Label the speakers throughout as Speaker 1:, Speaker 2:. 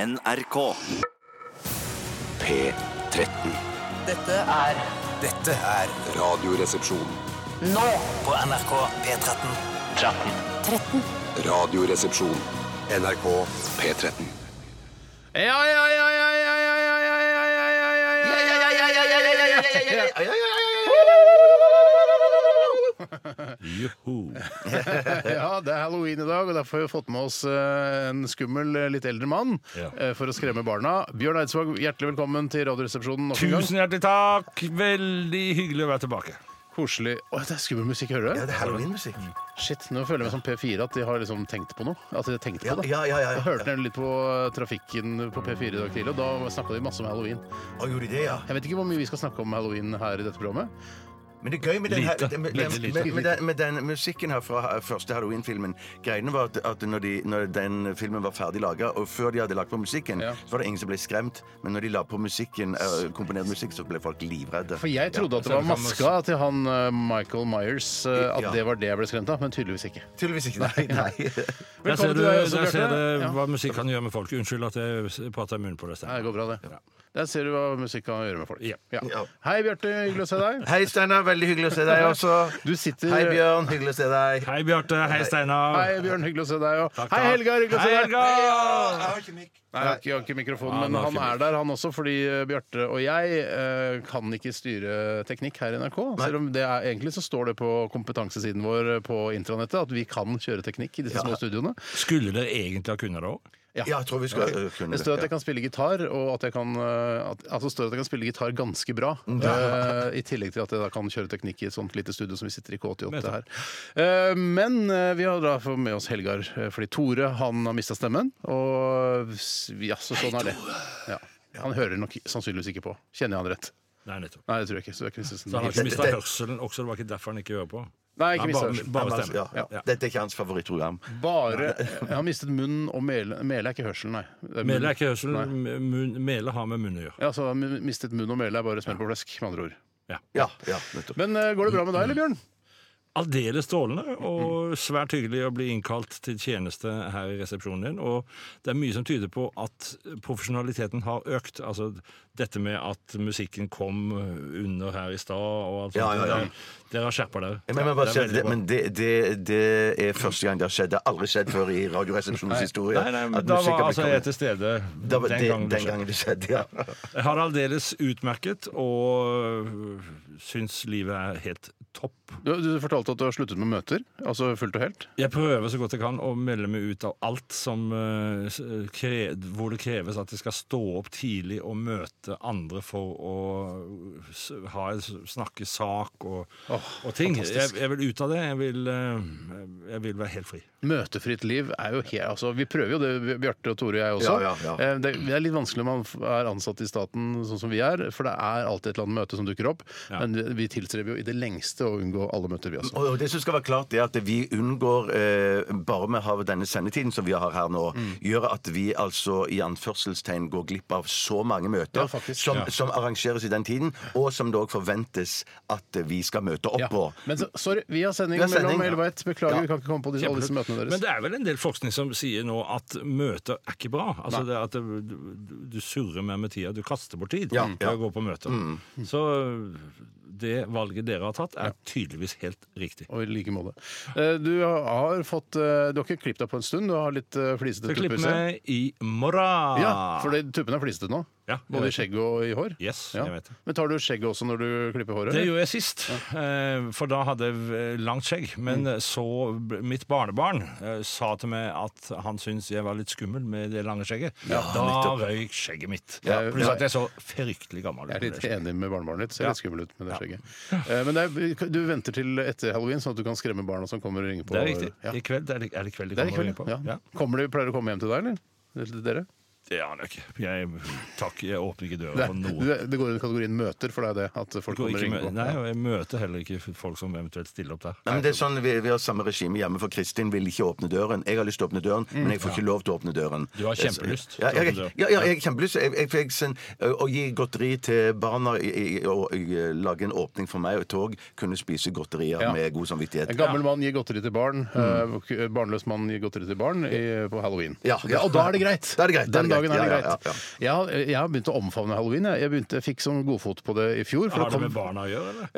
Speaker 1: NRK.
Speaker 2: P13.
Speaker 3: Dette er Dette er
Speaker 2: Radioresepsjon.
Speaker 3: nå på NRK P13.
Speaker 2: Radioresepsjon. NRK P13.
Speaker 4: Ja, ja, ja, ja, ja, ja, ja, ja, ja, ja, ja, ja, ja, ja, ja, ja, ja, ja, ja, ja, ja, ja, ja. Ja, det er halloween i dag, og derfor har vi fått med oss eh, en skummel, eh, litt eldre mann eh, for å skremme barna. Bjørn Eidsvåg, hjertelig velkommen til Radioresepsjonen. nok en gang.
Speaker 5: Tusen hjertelig takk! Veldig hyggelig å være tilbake.
Speaker 4: Koselig. Å, det er skummel musikk, hører du?
Speaker 6: Ja, det er halloweenmusikk.
Speaker 4: Mm. Shit, nå føler jeg meg som P4, at de har liksom tenkt på noe. At de har tenkt på
Speaker 6: Ja,
Speaker 4: det.
Speaker 6: ja, ja, ja,
Speaker 4: Jeg hørte
Speaker 6: ja.
Speaker 4: nemlig litt på eh, trafikken på P4 i dag tidlig, og da snakka de masse om halloween.
Speaker 6: Og gjorde de det, ja.
Speaker 4: Jeg vet ikke hvor mye vi skal snakke om halloween her i dette programmet.
Speaker 6: Men det er gøy med den, her, med, med,
Speaker 4: Lite, lite.
Speaker 6: med, med, den, med den musikken her fra ha- første Halloween-filmen. Greiene var at, at når, de, når den filmen var ferdig laga, og før de hadde lagt på musikken,
Speaker 4: Ja.
Speaker 6: så var det ingen som ble skremt. Men når de la på musikken, eh, komponert musikk, så ble folk livredde.
Speaker 4: For jeg trodde at det
Speaker 5: så
Speaker 4: var
Speaker 5: vi kan også-
Speaker 4: maska til han eh, Michael Myers, eh, at
Speaker 6: Ja.
Speaker 4: det var det jeg ble skremt av, men tydeligvis ikke.
Speaker 6: Tydeligvis ikke. Nei, nei.
Speaker 5: Der ser
Speaker 4: Velkommen
Speaker 5: du,
Speaker 4: til deg også,
Speaker 5: der ser
Speaker 4: Bjarte.
Speaker 5: du
Speaker 4: Ja.
Speaker 5: hva musikk kan gjøre med folk. Unnskyld at jeg s- prater i munnen på deg.
Speaker 4: Nei,
Speaker 5: Stein.
Speaker 4: det går bra, det. Der ser du hva musikk kan gjøre med folk.
Speaker 5: Ja.
Speaker 6: Ja.
Speaker 4: Hei, Bjarte. Hyggelig å se deg.
Speaker 6: Hei, Steinar. Veldig hyggelig å se deg også.
Speaker 4: Du sitter-
Speaker 6: Hei, Bjørn. Hyggelig å se deg.
Speaker 5: Hei, Bjarte. Hei,
Speaker 4: Hei,
Speaker 5: Steinar.
Speaker 4: Bjørn. Hyggelig å se deg. Og
Speaker 5: Takk,
Speaker 4: hei,
Speaker 5: takk.
Speaker 4: Helga. Hyggelig å se
Speaker 5: Hei,
Speaker 4: deg.
Speaker 5: Helga!
Speaker 4: Nei, jeg har ikke, jeg har ikke mikrofonen,
Speaker 5: Ja,
Speaker 4: men
Speaker 5: han har
Speaker 4: han
Speaker 5: ikke
Speaker 4: er der, han også, fordi eh, Bjarte og jeg eh, kan ikke styre teknikk her i NRK. Selv om det er, egentlig så står det på kompetansesiden vår eh, på intranettet at vi kan kjøre teknikk i disse små studioene.
Speaker 5: Skulle dere egentlig ha kunnet det òg?
Speaker 6: Ja, jeg tror vi skal eh, kunne
Speaker 4: Det står at jeg kan spille gitar, og at jeg kan, eh, at, altså står det at jeg kan spille gitar ganske bra. Eh, I tillegg til at jeg da kan kjøre teknikk i et sånt lite studio som vi sitter i K88 her. Eh, men eh, vi har da fått med oss Helgar, eh, fordi Tore han har mista stemmen. Og s- ja, så sånn er det. Ja. Han hører nok sannsynligvis ikke på. Kjenner jeg han rett?
Speaker 5: Nei, nettopp.
Speaker 4: Nei, det tror jeg ikke. Så det er Kristensen.
Speaker 5: Så han har ikke mista
Speaker 6: det-
Speaker 5: hørselen også. Det var ikke derfor han ikke hører på.
Speaker 4: Nei, ikke
Speaker 5: Han
Speaker 4: mistet
Speaker 5: bare-
Speaker 4: hørselen.
Speaker 6: Ja,
Speaker 5: Bare
Speaker 6: men altså,
Speaker 5: stemme.
Speaker 6: ja.
Speaker 5: Ja.
Speaker 6: Dette er ikke hans favorittprogram.
Speaker 4: Bare Jeg har mistet munn og mele. Mele er ikke hørselen, nei. Det er munn.
Speaker 5: Mele er ikke
Speaker 4: Nei.
Speaker 5: hørselen. Mun- Mele har med munnen å gjøre.
Speaker 4: Ja, så m- mistet munn og mele er bare smell på flesk, med andre ord.
Speaker 6: Ja, ja, nettopp.
Speaker 4: Men eh, går det bra med deg, eller Bjørn?
Speaker 5: Aldeles strålende, og svært hyggelig å bli innkalt til tjeneste her i resepsjonen din. Og det er mye som tyder på at profesjonaliteten har økt. Altså dette med at musikken kom under her i stad og alt sånt.
Speaker 6: Ja, ja, ja.
Speaker 5: Dere- Dere har skjerpa dere.
Speaker 6: Men, men, bare
Speaker 5: Det er
Speaker 6: si at
Speaker 5: veldig
Speaker 6: det,
Speaker 5: bra.
Speaker 6: men det, det, det er første gang det har skjedd. Det har aldri skjedd før i Radioresepsjonens historie.
Speaker 5: Nei, nei,
Speaker 6: at
Speaker 5: men da
Speaker 6: musikk
Speaker 5: var
Speaker 6: har blitt
Speaker 5: altså jeg
Speaker 6: kommet.
Speaker 5: til stede
Speaker 6: Da var
Speaker 5: den
Speaker 6: det,
Speaker 5: gangen. det
Speaker 6: den
Speaker 5: skjedde.
Speaker 6: gangen det skjedde, ja.
Speaker 5: Jeg har det aldeles utmerket og øh, syns livet er helt topp.
Speaker 4: Du, du fortalte at du har sluttet med møter, altså fullt og helt.
Speaker 5: Jeg prøver så godt jeg kan å melde meg ut av alt som, eh, s- kre, hvor det kreves at jeg skal stå opp tidlig og møte andre for å s- ha, snakke sak og, og ting. Jeg, jeg vil ut av det. Jeg vil, eh, jeg vil være helt fri.
Speaker 4: Møtefritt liv er jo helt altså, Vi prøver jo det, Bjarte og Tore og jeg også.
Speaker 6: Ja, ja, ja.
Speaker 4: Eh, Det, det er litt vanskelig når man f- er ansatt i staten sånn som vi er, for det er alltid et eller annet møte som dukker opp.
Speaker 5: Ja.
Speaker 4: Men vi- vi tilstreber jo i det lengste å unngå alle møter, vi også.
Speaker 6: Og og det som skal være klart det er at vi unngår, eh, bare med å ha denne sendetiden som vi har her nå,
Speaker 5: Mm.
Speaker 6: gjør at vi altså i anførselstegn går glipp av så mange møter
Speaker 4: Ja, faktisk.
Speaker 6: som,
Speaker 4: Ja.
Speaker 6: som arrangeres i den tiden, og som det òg forventes at vi skal møte opp
Speaker 4: Ja.
Speaker 6: på.
Speaker 4: Men så, sorry, vi har sending
Speaker 6: Vi har sending,
Speaker 4: mellom
Speaker 6: ja.
Speaker 4: elleve og ett. Beklager,
Speaker 6: Ja.
Speaker 4: vi kan ikke komme på disse, alle disse møtene
Speaker 5: Men
Speaker 4: deres.
Speaker 5: det er vel en del forskning som liksom sier nå at møter er ikke bra. Altså det at det, du, du surrer mer med tida. Du kaster bort tid
Speaker 6: Ja,
Speaker 5: ved
Speaker 6: ja.
Speaker 5: å gå på møter.
Speaker 4: Mm.
Speaker 5: Så eh, det valget dere har tatt, er tydeligvis helt riktig.
Speaker 4: Og i like måte. Eh, Du har fått eh, Du har ikke klippet deg på en stund, du har litt eh, flisete
Speaker 5: Skal klippe
Speaker 4: tupper. ser jeg.
Speaker 5: meg i morgen.
Speaker 4: Ja, for det- tuppene er flisete nå.
Speaker 5: Ah. Ja, jeg
Speaker 4: Både i
Speaker 5: vet
Speaker 4: skjegg og i hår.
Speaker 5: Yes,
Speaker 4: Ja.
Speaker 5: jeg vet det.
Speaker 4: Men tar du skjegget også når du klipper håret?
Speaker 5: Det
Speaker 4: eller?
Speaker 5: gjorde jeg sist, eh, for da hadde jeg eh, langt skjegg. Men
Speaker 4: Mm.
Speaker 5: så b- mitt barnebarn eh, sa til meg at han syntes jeg var litt skummel med det lange skjegget. da røyk skjegget mitt.
Speaker 4: Ja.
Speaker 5: Pluss at jeg så fryktelig gammel
Speaker 4: Jeg er
Speaker 5: ut. med
Speaker 4: litt
Speaker 5: det skjegget.
Speaker 4: enig med barnebarnet ditt. Ser litt skummel ut med det skjegget. Eh, Men det er, du venter til etter halloween, sånn at du kan skremme barna som kommer og ringer på?
Speaker 5: Det er riktig.
Speaker 4: Ja.
Speaker 5: I kveld, er det, er det i kveld de
Speaker 4: Det er i
Speaker 5: kommer og
Speaker 4: kveld,
Speaker 5: ringer på?
Speaker 4: ja.
Speaker 5: Ja.
Speaker 4: Kommer de, pleier de å komme hjem til deg, eller? Eller til dere?
Speaker 5: Det aner jeg ikke. Jeg, takk, jeg åpner
Speaker 4: Det,
Speaker 5: ikke døra for noen.
Speaker 4: det, det går under kategorien møter, for det er det at folk
Speaker 5: Går
Speaker 4: kommer og
Speaker 5: ikke
Speaker 4: ringer
Speaker 5: mø-
Speaker 4: på.
Speaker 5: Nei, og jeg møter heller ikke folk som eventuelt stiller opp der.
Speaker 6: Nei, men det er sånn, vi, vi har samme regime hjemme, for Kristin vil ikke åpne døren. Jeg har lyst til å åpne døren, men jeg får ikke lov til å åpne døren.
Speaker 5: Mm. Du har kjempelyst
Speaker 6: Ja,
Speaker 5: til å
Speaker 6: jeg,
Speaker 5: åpne døren.
Speaker 6: ja, ja, jeg har kjempelyst. Jeg, jeg, jeg, sen- å gi godteri til barna i- i- og i- lage en åpning for meg og et tog, kunne spise godterier
Speaker 4: Ja.
Speaker 6: med god samvittighet.
Speaker 4: En gammel mann gir godteri til barn. eh, k- Barnløs mann gir godteri til barn i, på halloween.
Speaker 6: Ja, ja.
Speaker 4: Og da er det greit!
Speaker 6: Da er det greit, da
Speaker 4: Den
Speaker 6: er
Speaker 4: dagen er det greit.
Speaker 6: det greit. Ja, ja,
Speaker 4: Jeg, har- jeg har begynt å omfavne halloween. Jeg, jeg, begynte, jeg fikk sånn godfot på det i fjor. for
Speaker 5: Har det
Speaker 4: kom-
Speaker 5: med barna å gjøre, eller?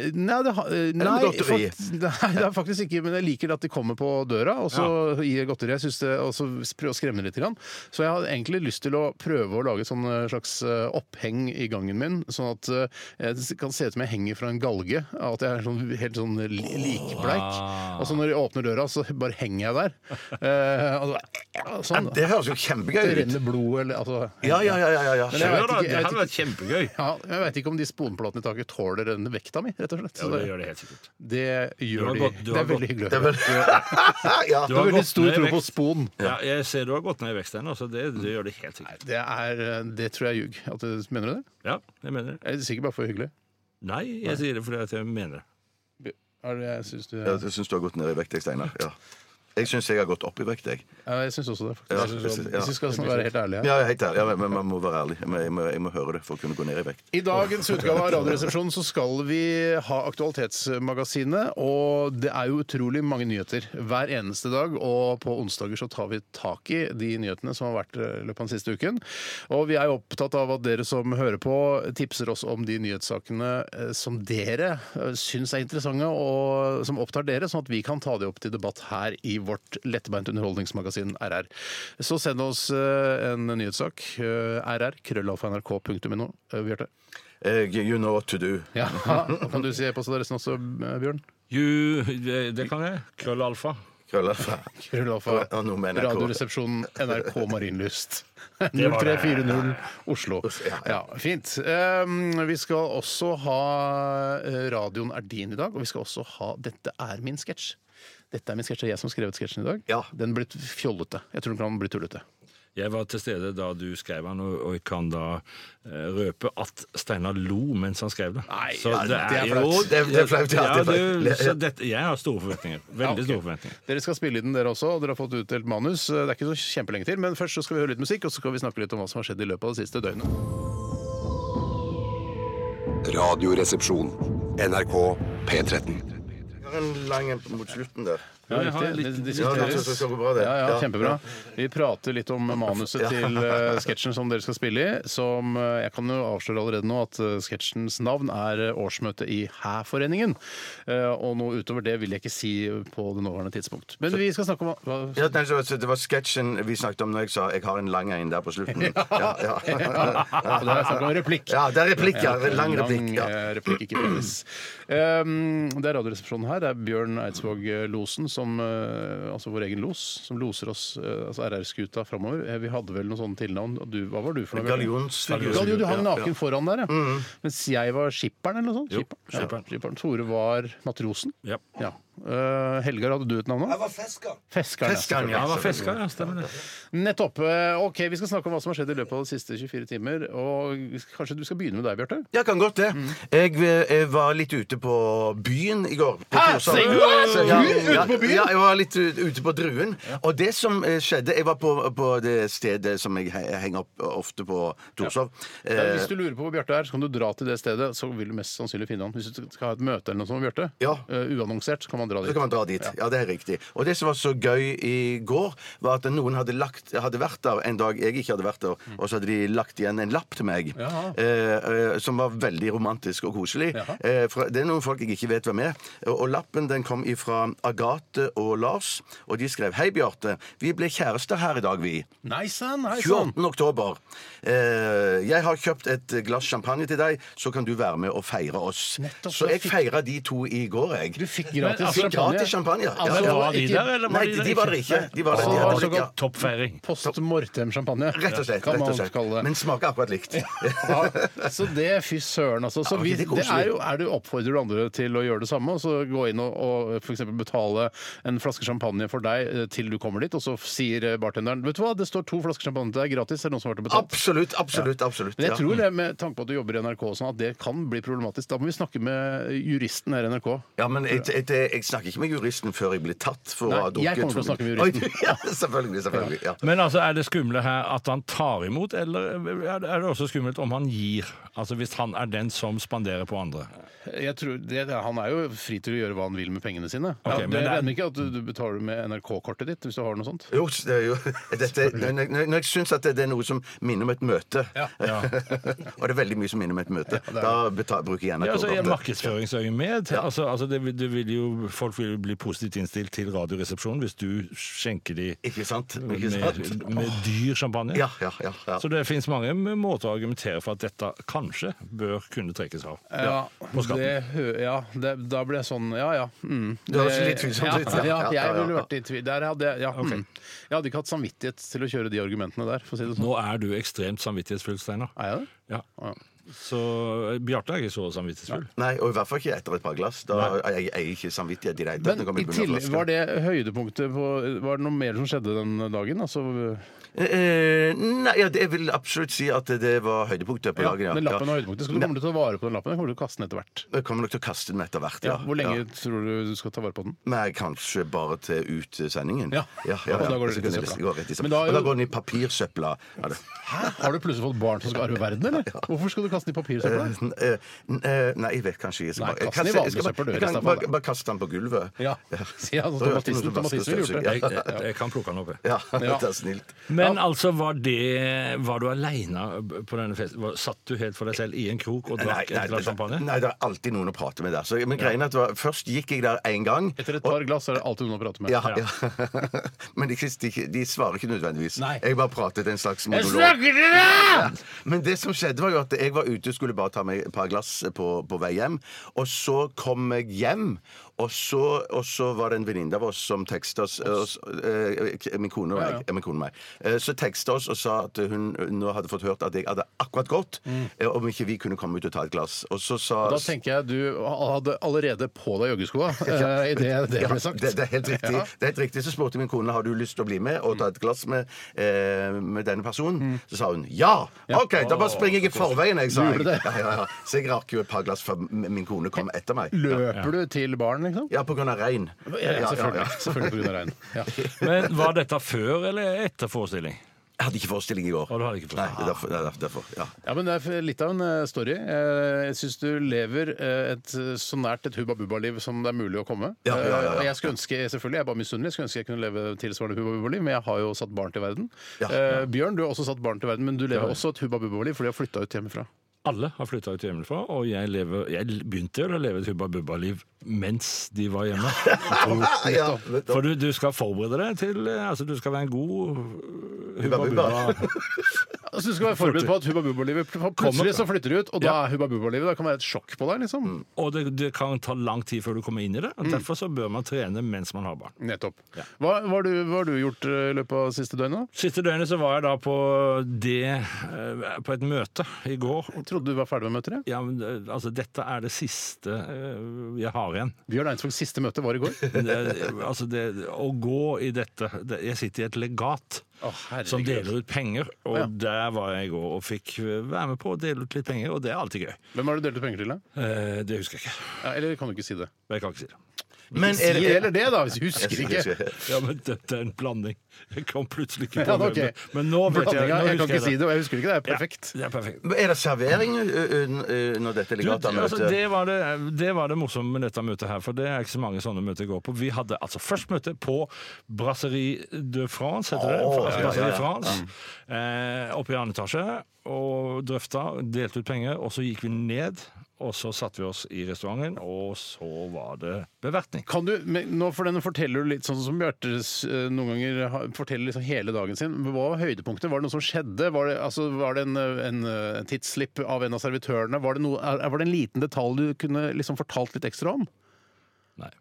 Speaker 4: Eh, nei, det, ha- eh, nei,
Speaker 6: godteri?
Speaker 4: fakt- nei, det er faktisk ikke Men jeg liker at de kommer på døra, og så gir jeg godteri. Jeg synes det, og så prøver å skremme litt. Grann. Så jeg har egentlig lyst til å prøve å lage et sånn eh, slags eh, oppheng i gangen min, sånn at eh, det kan se ut som jeg henger fra en galge. At jeg er sånn, helt sånn li- likbleik. Og så når jeg åpner døra, så bare henger jeg der. Eh, og så, sånn.
Speaker 6: Det høres jo
Speaker 4: Det
Speaker 6: kjempegøy ut.
Speaker 4: renner blod eller altså,
Speaker 6: Ja, ja, ja. ja, ja, ja.
Speaker 4: Men jeg
Speaker 5: Ja,
Speaker 4: vet
Speaker 5: da,
Speaker 4: ikke- jeg
Speaker 5: det
Speaker 4: vet
Speaker 5: hadde vært kjempegøy.
Speaker 4: ja, jeg veit ikke om de sponplatene i taket tåler den vekta mi, rett og slett.
Speaker 5: Ja,
Speaker 4: Så
Speaker 5: det
Speaker 4: det-
Speaker 5: gjør det helt sikkert.
Speaker 4: Det
Speaker 5: Du
Speaker 4: gjør
Speaker 5: har
Speaker 4: de.
Speaker 5: gått- du
Speaker 4: det
Speaker 5: har
Speaker 4: er veldig hyggelig å
Speaker 6: Det er
Speaker 4: høre.
Speaker 6: vel- ja.
Speaker 5: Du
Speaker 4: Jeg
Speaker 5: har
Speaker 4: har veldig
Speaker 5: gått
Speaker 4: stor
Speaker 5: ned i
Speaker 4: tro på
Speaker 5: vekt.
Speaker 4: spon.
Speaker 5: Ja, jeg ser du har gått ned i vekst ennå, så det, det gjør det helt sikkert.
Speaker 4: Det, er, eh, det tror jeg er ljug. At du- Mener du det?
Speaker 5: Ja, jeg mener det.
Speaker 4: Jeg er sikkert bare for hyggelig.
Speaker 5: Nei, jeg sier det fordi at jeg mener det.
Speaker 4: Er det, jeg syns du
Speaker 6: Ja, Jeg syns du har gått ned i vekt, jeg, Steinar. Ja. Jeg syns jeg har gått opp i vekt, jeg.
Speaker 4: ja, jeg syns også det. faktisk.
Speaker 6: Ja,
Speaker 4: Jeg synes
Speaker 6: jeg
Speaker 4: også-
Speaker 6: synes- ja.
Speaker 4: Hvis vi skal sånn være helt ærlige her.
Speaker 6: Ja, jeg er helt ærlig. Ja, men- men man må være ærlig. Jeg må, jeg, må, jeg må høre det for å kunne gå ned i vekt.
Speaker 4: I dagens utgave av Radioresepsjonen så skal vi ha Aktualitetsmagasinet. Og det er jo utrolig mange nyheter hver eneste dag. Og på onsdager så tar vi tak i de nyhetene som har vært eh, i løpet av den siste uken. Og vi er jo opptatt av at dere som hører på, tipser oss om de nyhetssakene eh, som dere eh, syns er interessante, og som opptar dere, sånn at vi kan ta det opp til debatt her i vårt lettbeint underholdningsmagasin RR. Så send oss eh, en nyhetssak. eh, RR, krøllalfa.nrk.no. Eh, Bjarte?
Speaker 6: Eh, you know what to do.
Speaker 4: Ja, og kan du si e-postadressen også, eh, Bjørn?
Speaker 5: Ju, det, det kan jeg. Krøllalfa.
Speaker 6: Krøller.
Speaker 4: Krøllalfa.
Speaker 6: Ja, nå mener jeg K.
Speaker 4: Radioresepsjonen NRK Marienlyst.
Speaker 5: var det.
Speaker 4: 0340 Oslo.
Speaker 6: Ja,
Speaker 4: Ja, fint. Um, vi skal også ha eh, Radioen er din i dag, og vi skal også ha Dette er min sketsj. Dette er min sketsj, det er jeg som har skrevet sketsjen i dag.
Speaker 6: Ja.
Speaker 4: Den ble fjollete. Jeg tror den kan bli tullete.
Speaker 5: Jeg var til stede da du skrev den, og, og jeg kan da eh, røpe at Steinar lo mens han skrev det.
Speaker 4: Nei,
Speaker 5: Så
Speaker 4: ja, det er flaut.
Speaker 5: jo-
Speaker 6: Det er- det er flaut, ja,
Speaker 5: Ja,
Speaker 6: det er flaut.
Speaker 5: det- så dette- jeg har store forventninger. Veldig
Speaker 4: ok.
Speaker 5: store forventninger.
Speaker 4: Dere skal spille i den, dere også. og Dere har fått utdelt manus. Det er ikke så kjempelenge til, men først så skal vi høre litt musikk, og så skal vi snakke litt om hva som har skjedd i løpet av det siste døgnet.
Speaker 2: Radioresepsjon. NRK P13.
Speaker 6: Jeg har en lang en mot slutten der.
Speaker 5: Ja, jeg har en
Speaker 4: riktig.
Speaker 5: liten-
Speaker 4: Det- det
Speaker 6: Ja, det
Speaker 4: diskuteres.
Speaker 6: synes jeg går bra, det.
Speaker 4: Ja, ja,
Speaker 6: Ja.
Speaker 4: kjempebra. Vi prater litt om manuset til eh, sketsjen som dere skal spille i. Som eh, Jeg kan jo avsløre allerede nå at eh, sketsjens navn er eh, årsmøte i Hæ-foreningen. Eh, Og noe utover det vil jeg ikke si på det nåværende tidspunkt. Men vi skal snakke om hva
Speaker 6: Ja, nei, så- så det var sketsjen vi snakket om når jeg sa 'jeg har en lang en der på slutten'. Ja, ja.
Speaker 4: Og det er snakk om replikk.
Speaker 6: ja det er replikk, ja. En Lang
Speaker 4: Lang,
Speaker 6: replikk. Ja.
Speaker 4: eh, replikk, ikke penis. Um, det er Radioresepsjonen her. Det er Bjørn Eidsvåg eh, Losen, som, eh, altså vår egen los, som loser oss, eh, altså RR-skuta, framover. Eh, Vi hadde vel noen sånne tilnavn. og Du, hva var du for noe?
Speaker 6: Gallionsfigur.
Speaker 4: Gallion, du hang
Speaker 6: Ja, Mm. ja.
Speaker 4: naken foran der, ja. Mens jeg var skipperen, eller noe sånt?
Speaker 5: Jo,
Speaker 4: Skipperen. Ja,
Speaker 5: skipperen.
Speaker 4: skipperen. Tore var matrosen.
Speaker 5: Ja.
Speaker 4: Ja. Eh, Helgar, hadde du et navn nå? Jeg var fesker. Feskeren, ja,
Speaker 6: Feskeren,
Speaker 5: Ja,
Speaker 6: ja.
Speaker 5: han var fisker, ja. Stemmer det.
Speaker 4: Nettopp. Eh, Ok, Vi skal snakke om hva som har skjedd i løpet av de siste 24 timer. Og Kanskje du skal begynne med deg, Bjarte?
Speaker 6: Ja, kan godt det. Jeg, eh, var litt ute på byen i går. På
Speaker 4: Hæ?
Speaker 6: Torshov.
Speaker 4: Sier du det?
Speaker 6: Så, ja,
Speaker 4: Du er ute
Speaker 6: ja,
Speaker 4: på byen?
Speaker 6: Ja, jeg var litt u- ute på Druen. Og det som eh, skjedde Jeg var på, på det stedet som jeg he- henger opp ofte på Torshov.
Speaker 4: Eh,
Speaker 6: Eh,
Speaker 4: Hvis du lurer på hvor Bjarte er, så kan du dra til det stedet. Så vil du mest sannsynlig finne han. Hvis du skal ha et møte eller noe sånt med Bjarte,
Speaker 6: Ja.
Speaker 4: eh, uannonsert, så kan man dra
Speaker 6: Så
Speaker 4: dit.
Speaker 6: kan man dra dit. Ja, det er riktig. Og det som var så gøy i går, var at noen hadde, lagt, hadde vært der en dag jeg ikke hadde vært der, og så hadde de lagt igjen en lapp til meg
Speaker 4: Mm. Jaha.
Speaker 6: eh, eh, som var veldig romantisk og koselig.
Speaker 4: Jaha.
Speaker 6: Eh, fra, det er noen folk jeg ikke vet hvem er. Og, og lappen den kom ifra Agathe og Lars, og de skrev Hei, Bjarte. Vi ble kjærester her i dag, vi.
Speaker 4: Nei sann, nei sann!
Speaker 6: 28. oktober. Eh, jeg har kjøpt et glass champagne til deg, så kan du være med og feire oss.
Speaker 4: Nettopp,
Speaker 6: så
Speaker 4: da
Speaker 6: jeg
Speaker 4: fikk-
Speaker 6: feira de to i går, jeg.
Speaker 4: Du fikk gratis
Speaker 5: altså,
Speaker 6: Fikk gratis champagne. ja.
Speaker 4: Altså,
Speaker 6: Ja.
Speaker 4: det
Speaker 5: Var de
Speaker 4: Ikke-
Speaker 5: der, eller var
Speaker 6: Nei,
Speaker 5: de der?
Speaker 6: de var det ikke. De var det.
Speaker 4: Altså,
Speaker 6: De
Speaker 4: det var
Speaker 6: hadde det, ja.
Speaker 4: såkalt
Speaker 5: Toppfeiring.
Speaker 4: Post mortem-champagne.
Speaker 6: Rett og slett.
Speaker 4: kan
Speaker 6: rett og
Speaker 4: man
Speaker 6: slett.
Speaker 4: kalle det.
Speaker 6: Men smaker akkurat likt.
Speaker 4: Ja, så det, fy søren, altså. Så
Speaker 6: Ja,
Speaker 4: vi,
Speaker 6: det er
Speaker 4: det
Speaker 6: koselig.
Speaker 4: er jo, er du oppfordrer du andre til å gjøre det samme, og så gå inn og, og f.eks. betale en flaske champagne for deg eh, til du kommer dit, og så sier eh, bartenderen Vet du hva, det står to flasker champagne til deg gratis, er det noen som har vært og betalt?
Speaker 6: Absolutt, absolutt, absolutt.
Speaker 4: Men jeg
Speaker 6: ja.
Speaker 4: tror det med tanke på at du jobber i NRK og sånn, at det kan bli problematisk. Da må vi snakke med juristen her i NRK.
Speaker 6: Ja, men jeg, jeg, jeg, jeg snakker ikke med juristen før jeg blir tatt for å ha
Speaker 4: Nei, jeg
Speaker 6: drukket
Speaker 4: kommer til å
Speaker 6: to-
Speaker 4: snakke med juristen.
Speaker 6: Oi, ja, selvfølgelig, selvfølgelig. Ja.
Speaker 5: Men altså, er det skumle her at han tar imot, eller er det også skummelt om han gir? Altså Hvis han er den som spanderer på andre.
Speaker 4: Jeg tror, det, han er jo fri til å gjøre hva han vil med pengene sine.
Speaker 5: Ok,
Speaker 4: ja,
Speaker 5: men
Speaker 4: det
Speaker 5: det er-
Speaker 4: regner ikke at du, du betaler med NRK-kortet ditt hvis du har noe sånt.
Speaker 6: Jo, det er jo dette, når, når når jeg syns at det det er noe som minner om et møte Og det er veldig mye som minner om et møte. da betal, bruker jeg
Speaker 5: Ja, altså, I
Speaker 6: NRK-kortet.
Speaker 5: markedsføringsøyemed. Altså, altså, det, vil- det vil jo, folk vil jo bli positivt innstilt til Radioresepsjonen hvis du skjenker de
Speaker 6: Ikke sant? Ikke sant?
Speaker 5: med, med dyr champagne.
Speaker 6: Ja, ja, ja, ja.
Speaker 5: Så det fins mange måter å argumentere for at dette kanskje bør kunne trekkes av.
Speaker 4: Ja,
Speaker 5: på skatten.
Speaker 4: det, hø- ja det, da ble jeg sånn Ja ja. Mm.
Speaker 6: Det høres litt tvilsomt ut,
Speaker 4: Ja, ja,
Speaker 6: ja. Ja, ja,
Speaker 4: jeg
Speaker 6: ja.
Speaker 4: ville vært i tvil. Der hadde jeg, ja, mm. jeg hadde ikke hatt samvittighet til å kjøre de argumentene der, for å si det sånn.
Speaker 5: Nå er du ekstremt samvittighetsfull, Steinar.
Speaker 4: Er jeg det?
Speaker 5: Ja.
Speaker 4: Ja.
Speaker 5: Så eh, Bjarte er ikke så samvittighetsfull.
Speaker 6: Nei, og i hvert fall ikke etter et par glass. Da er jeg, jeg er ikke samvittighet i det hele tatt.
Speaker 4: Men
Speaker 6: når jeg kommer
Speaker 4: i
Speaker 6: på noen
Speaker 4: tillegg,
Speaker 6: flasker.
Speaker 4: var det høydepunktet på Var det noe mer som skjedde den dagen? Altså,
Speaker 6: Eh, Nei, ja, det- jeg vil absolutt si at det var høydepunktet på
Speaker 4: ja,
Speaker 6: dagen.
Speaker 4: den lappen
Speaker 6: ja.
Speaker 4: var høydepunktet. Skal du komme til å ta vare på den lappen? Eller kommer du til å kaste den etter hvert?
Speaker 6: Jeg kommer nok til å kaste den etter hvert.
Speaker 4: Ja,
Speaker 6: Ja.
Speaker 4: hvor lenge
Speaker 6: Ja.
Speaker 4: tror du du skal ta vare på den?
Speaker 6: Nei, kanskje bare til ut sendingen.
Speaker 4: Ja. Og da går det
Speaker 6: Så
Speaker 4: rett i
Speaker 6: kan jeg-
Speaker 4: søpla.
Speaker 6: går rett i søpla.
Speaker 4: Men da er
Speaker 6: Og da
Speaker 4: jo-
Speaker 6: går den i papirsøpla. Ja, det-
Speaker 4: Har du plutselig fått barn som skal arve verden, eller? Hvorfor skal du kaste den i papirsøpla?
Speaker 6: Eh, n- eh, n- eh, Nei, jeg vet kanskje ikke. Jeg skal
Speaker 4: Nei,
Speaker 6: bare- jeg
Speaker 4: kast den i
Speaker 6: kaster- jeg skal
Speaker 4: vanlig søppel, du,
Speaker 6: bare- jeg
Speaker 4: resten
Speaker 6: kan
Speaker 4: av
Speaker 6: bare-
Speaker 4: fallet.
Speaker 6: Bare kaste den på gulvet.
Speaker 4: Ja. Si, ja, sånn som
Speaker 6: Da gjør jeg
Speaker 4: Mathisen-
Speaker 6: noe med
Speaker 4: Mathisen ville gjort det.
Speaker 6: vaskestøvsug.
Speaker 5: Jeg, jeg, jeg kan plukke den opp. jeg.
Speaker 6: Ja,
Speaker 4: Ja.
Speaker 6: ja. det er snilt.
Speaker 5: Men altså, var det Var du aleine på denne festen? Var- Satt du helt for deg selv i en krok og
Speaker 6: Nei,
Speaker 5: drakk
Speaker 6: nei,
Speaker 5: et glass champagne?
Speaker 6: nei, det er alltid noen å prate med der. Så, men greien er at det var, Først gikk jeg der én gang.
Speaker 4: Etter et par glass er det alltid noen å prate med.
Speaker 6: Ja, ja. Men de, de, de svarer ikke nødvendigvis.
Speaker 4: Nei.
Speaker 6: Jeg bare pratet en slags monolog.
Speaker 4: til deg!
Speaker 6: Men det som skjedde var jo at jeg var ute og skulle bare ta meg et par glass på, på vei hjem. Og så kom jeg hjem, og så, og så var det en venninne av oss som teksta oss, oss eh, k- Min kone og
Speaker 4: Ja,
Speaker 6: jeg.
Speaker 4: ja.
Speaker 6: eh, Min kone og meg. Eh, Så teksta oss og sa at hun nå hadde fått hørt at jeg hadde akkurat gått. eh, Om ikke vi kunne komme ut og ta et glass. Og så sa
Speaker 4: Mm. Da tenker jeg du hadde allerede på deg joggeskoa eh, i det det
Speaker 6: ja,
Speaker 4: ble sagt.
Speaker 6: det, det, er helt riktig.
Speaker 4: Ja.
Speaker 6: det er helt riktig. Så spurte min kone har du lyst til å bli med og ta et glass med, eh, med denne personen.
Speaker 4: Mm.
Speaker 6: Så sa hun ja! OK, da bare springer jeg i forveien, jeg, sa
Speaker 4: Du
Speaker 6: jeg.
Speaker 4: gjorde det.
Speaker 6: Ja, ja, ja. Så jeg rakk jo et par glass før m- min kone kom etter meg.
Speaker 4: Løper du til baren, liksom?
Speaker 6: Ja, på grunn av regn.
Speaker 4: selvfølgelig. Selvfølgelig pga. regn. Ja.
Speaker 5: Men Var dette før eller etter forestilling?
Speaker 6: Jeg hadde ikke forestilling i går.
Speaker 5: Og du hadde ikke
Speaker 6: Nei,
Speaker 5: forestilling.
Speaker 6: det er derfor. Det er derfor ja.
Speaker 4: ja, men Det er litt av en eh, story. Eh, Jeg syns du lever eh, et, eh, så nært et Hubba Bubba-liv som det er mulig å komme.
Speaker 6: Ja, ja, ja, ja.
Speaker 4: Eh, Og jeg skulle ønske, selvfølgelig, jeg er bare misunnelig, jeg skulle ønske jeg kunne leve tilsvarende Hubba Bubba-liv, men jeg har jo satt barn til verden.
Speaker 6: Ja.
Speaker 4: Eh, Bjørn, du har også satt barn til verden, men du lever
Speaker 5: Ja.
Speaker 4: også et Hubba Bubba-liv, for de har flytta ut hjemmefra.
Speaker 5: Alle har flytta ut hjemmefra, og jeg, lever, jeg begynte vel å leve et Hubba Bubba-liv mens de var hjemme.
Speaker 4: Ah,
Speaker 6: ja, men da-
Speaker 5: For du, du skal forberede deg til eh, Altså, du skal være en god eh, Hubba
Speaker 6: Hubba Bubba.
Speaker 5: Bubba.
Speaker 4: Altså, du skal være forberedt på at Hubba Bubba-livet pl- Plutselig så flytter de ut, og da er Hubba Bubba-livet Det kan være et sjokk på deg, liksom.
Speaker 5: Og det, det kan ta lang tid før du kommer inn i det. og Derfor så bør man trene mens man har barn.
Speaker 4: Nettopp. Hva hva har du, hva har du gjort eh, i løpet av siste døgnet?
Speaker 5: Siste døgnet så var jeg da på det eh, På et møte i går.
Speaker 4: Jeg trodde du var ferdig med møter, jeg.
Speaker 5: Ja, men, eh, altså, dette er det siste eh, jeg har igjen.
Speaker 4: Bjørn Einsvogs siste møte var i går.
Speaker 5: Det, altså, det, å gå i dette det, Jeg sitter i et legat.
Speaker 4: herregud.
Speaker 5: Som deler ut penger, og
Speaker 4: Ja.
Speaker 5: der var jeg i går og fikk være med på å dele ut litt penger, og det er alltid gøy.
Speaker 4: Hvem har du delt ut penger til? da?
Speaker 5: Eh, det husker jeg ikke.
Speaker 4: Ja, eller kan du ikke si det?
Speaker 5: Jeg kan ikke si det.
Speaker 6: Men
Speaker 4: Si det eller det, da, hvis du husker
Speaker 6: Jeg
Speaker 4: ikke.
Speaker 6: husker ikke.
Speaker 5: Ja, men dette er en blanding. Jeg kom plutselig ikke
Speaker 4: Ja, det
Speaker 5: på
Speaker 4: er
Speaker 5: det.
Speaker 4: ok.
Speaker 5: Men nå vet jeg,
Speaker 4: Blandinga,
Speaker 5: nå
Speaker 4: jeg kan
Speaker 5: husker
Speaker 4: ikke si
Speaker 5: jeg
Speaker 4: det, og jeg husker ikke. Det er
Speaker 5: Ja,
Speaker 4: perfekt.
Speaker 5: det er perfekt.
Speaker 6: Men Er det servering ø, ø, ø, når dette
Speaker 5: Du,
Speaker 6: ligger av
Speaker 5: altså,
Speaker 6: møtet?
Speaker 5: det, var det, det var det morsomme med dette møtet her, for det er ikke så mange sånne møter jeg går på. Vi hadde altså først møte på Brasserie de France, heter det.
Speaker 6: Åh,
Speaker 5: Altså,
Speaker 6: ja, ja,
Speaker 5: Brasserie
Speaker 6: ja. Mm.
Speaker 5: France. Eh, oppe i andre etasje, og drøfta, delte ut penger, og så gikk vi ned. Og så satte vi oss i restauranten, og så var det bevertning.
Speaker 4: Kan du, men nå for denne forteller du litt sånn som Bjarte eh, noen ganger ha- forteller liksom hele dagen sin. Men Hva var høydepunktet? Var det noe som skjedde? Var det, altså, var det en, eh, en eh, tidsslipp av en av servitørene? eh, Var det, noe, er- var det en liten detalj du kunne liksom fortalt litt ekstra om?
Speaker 5: Nei.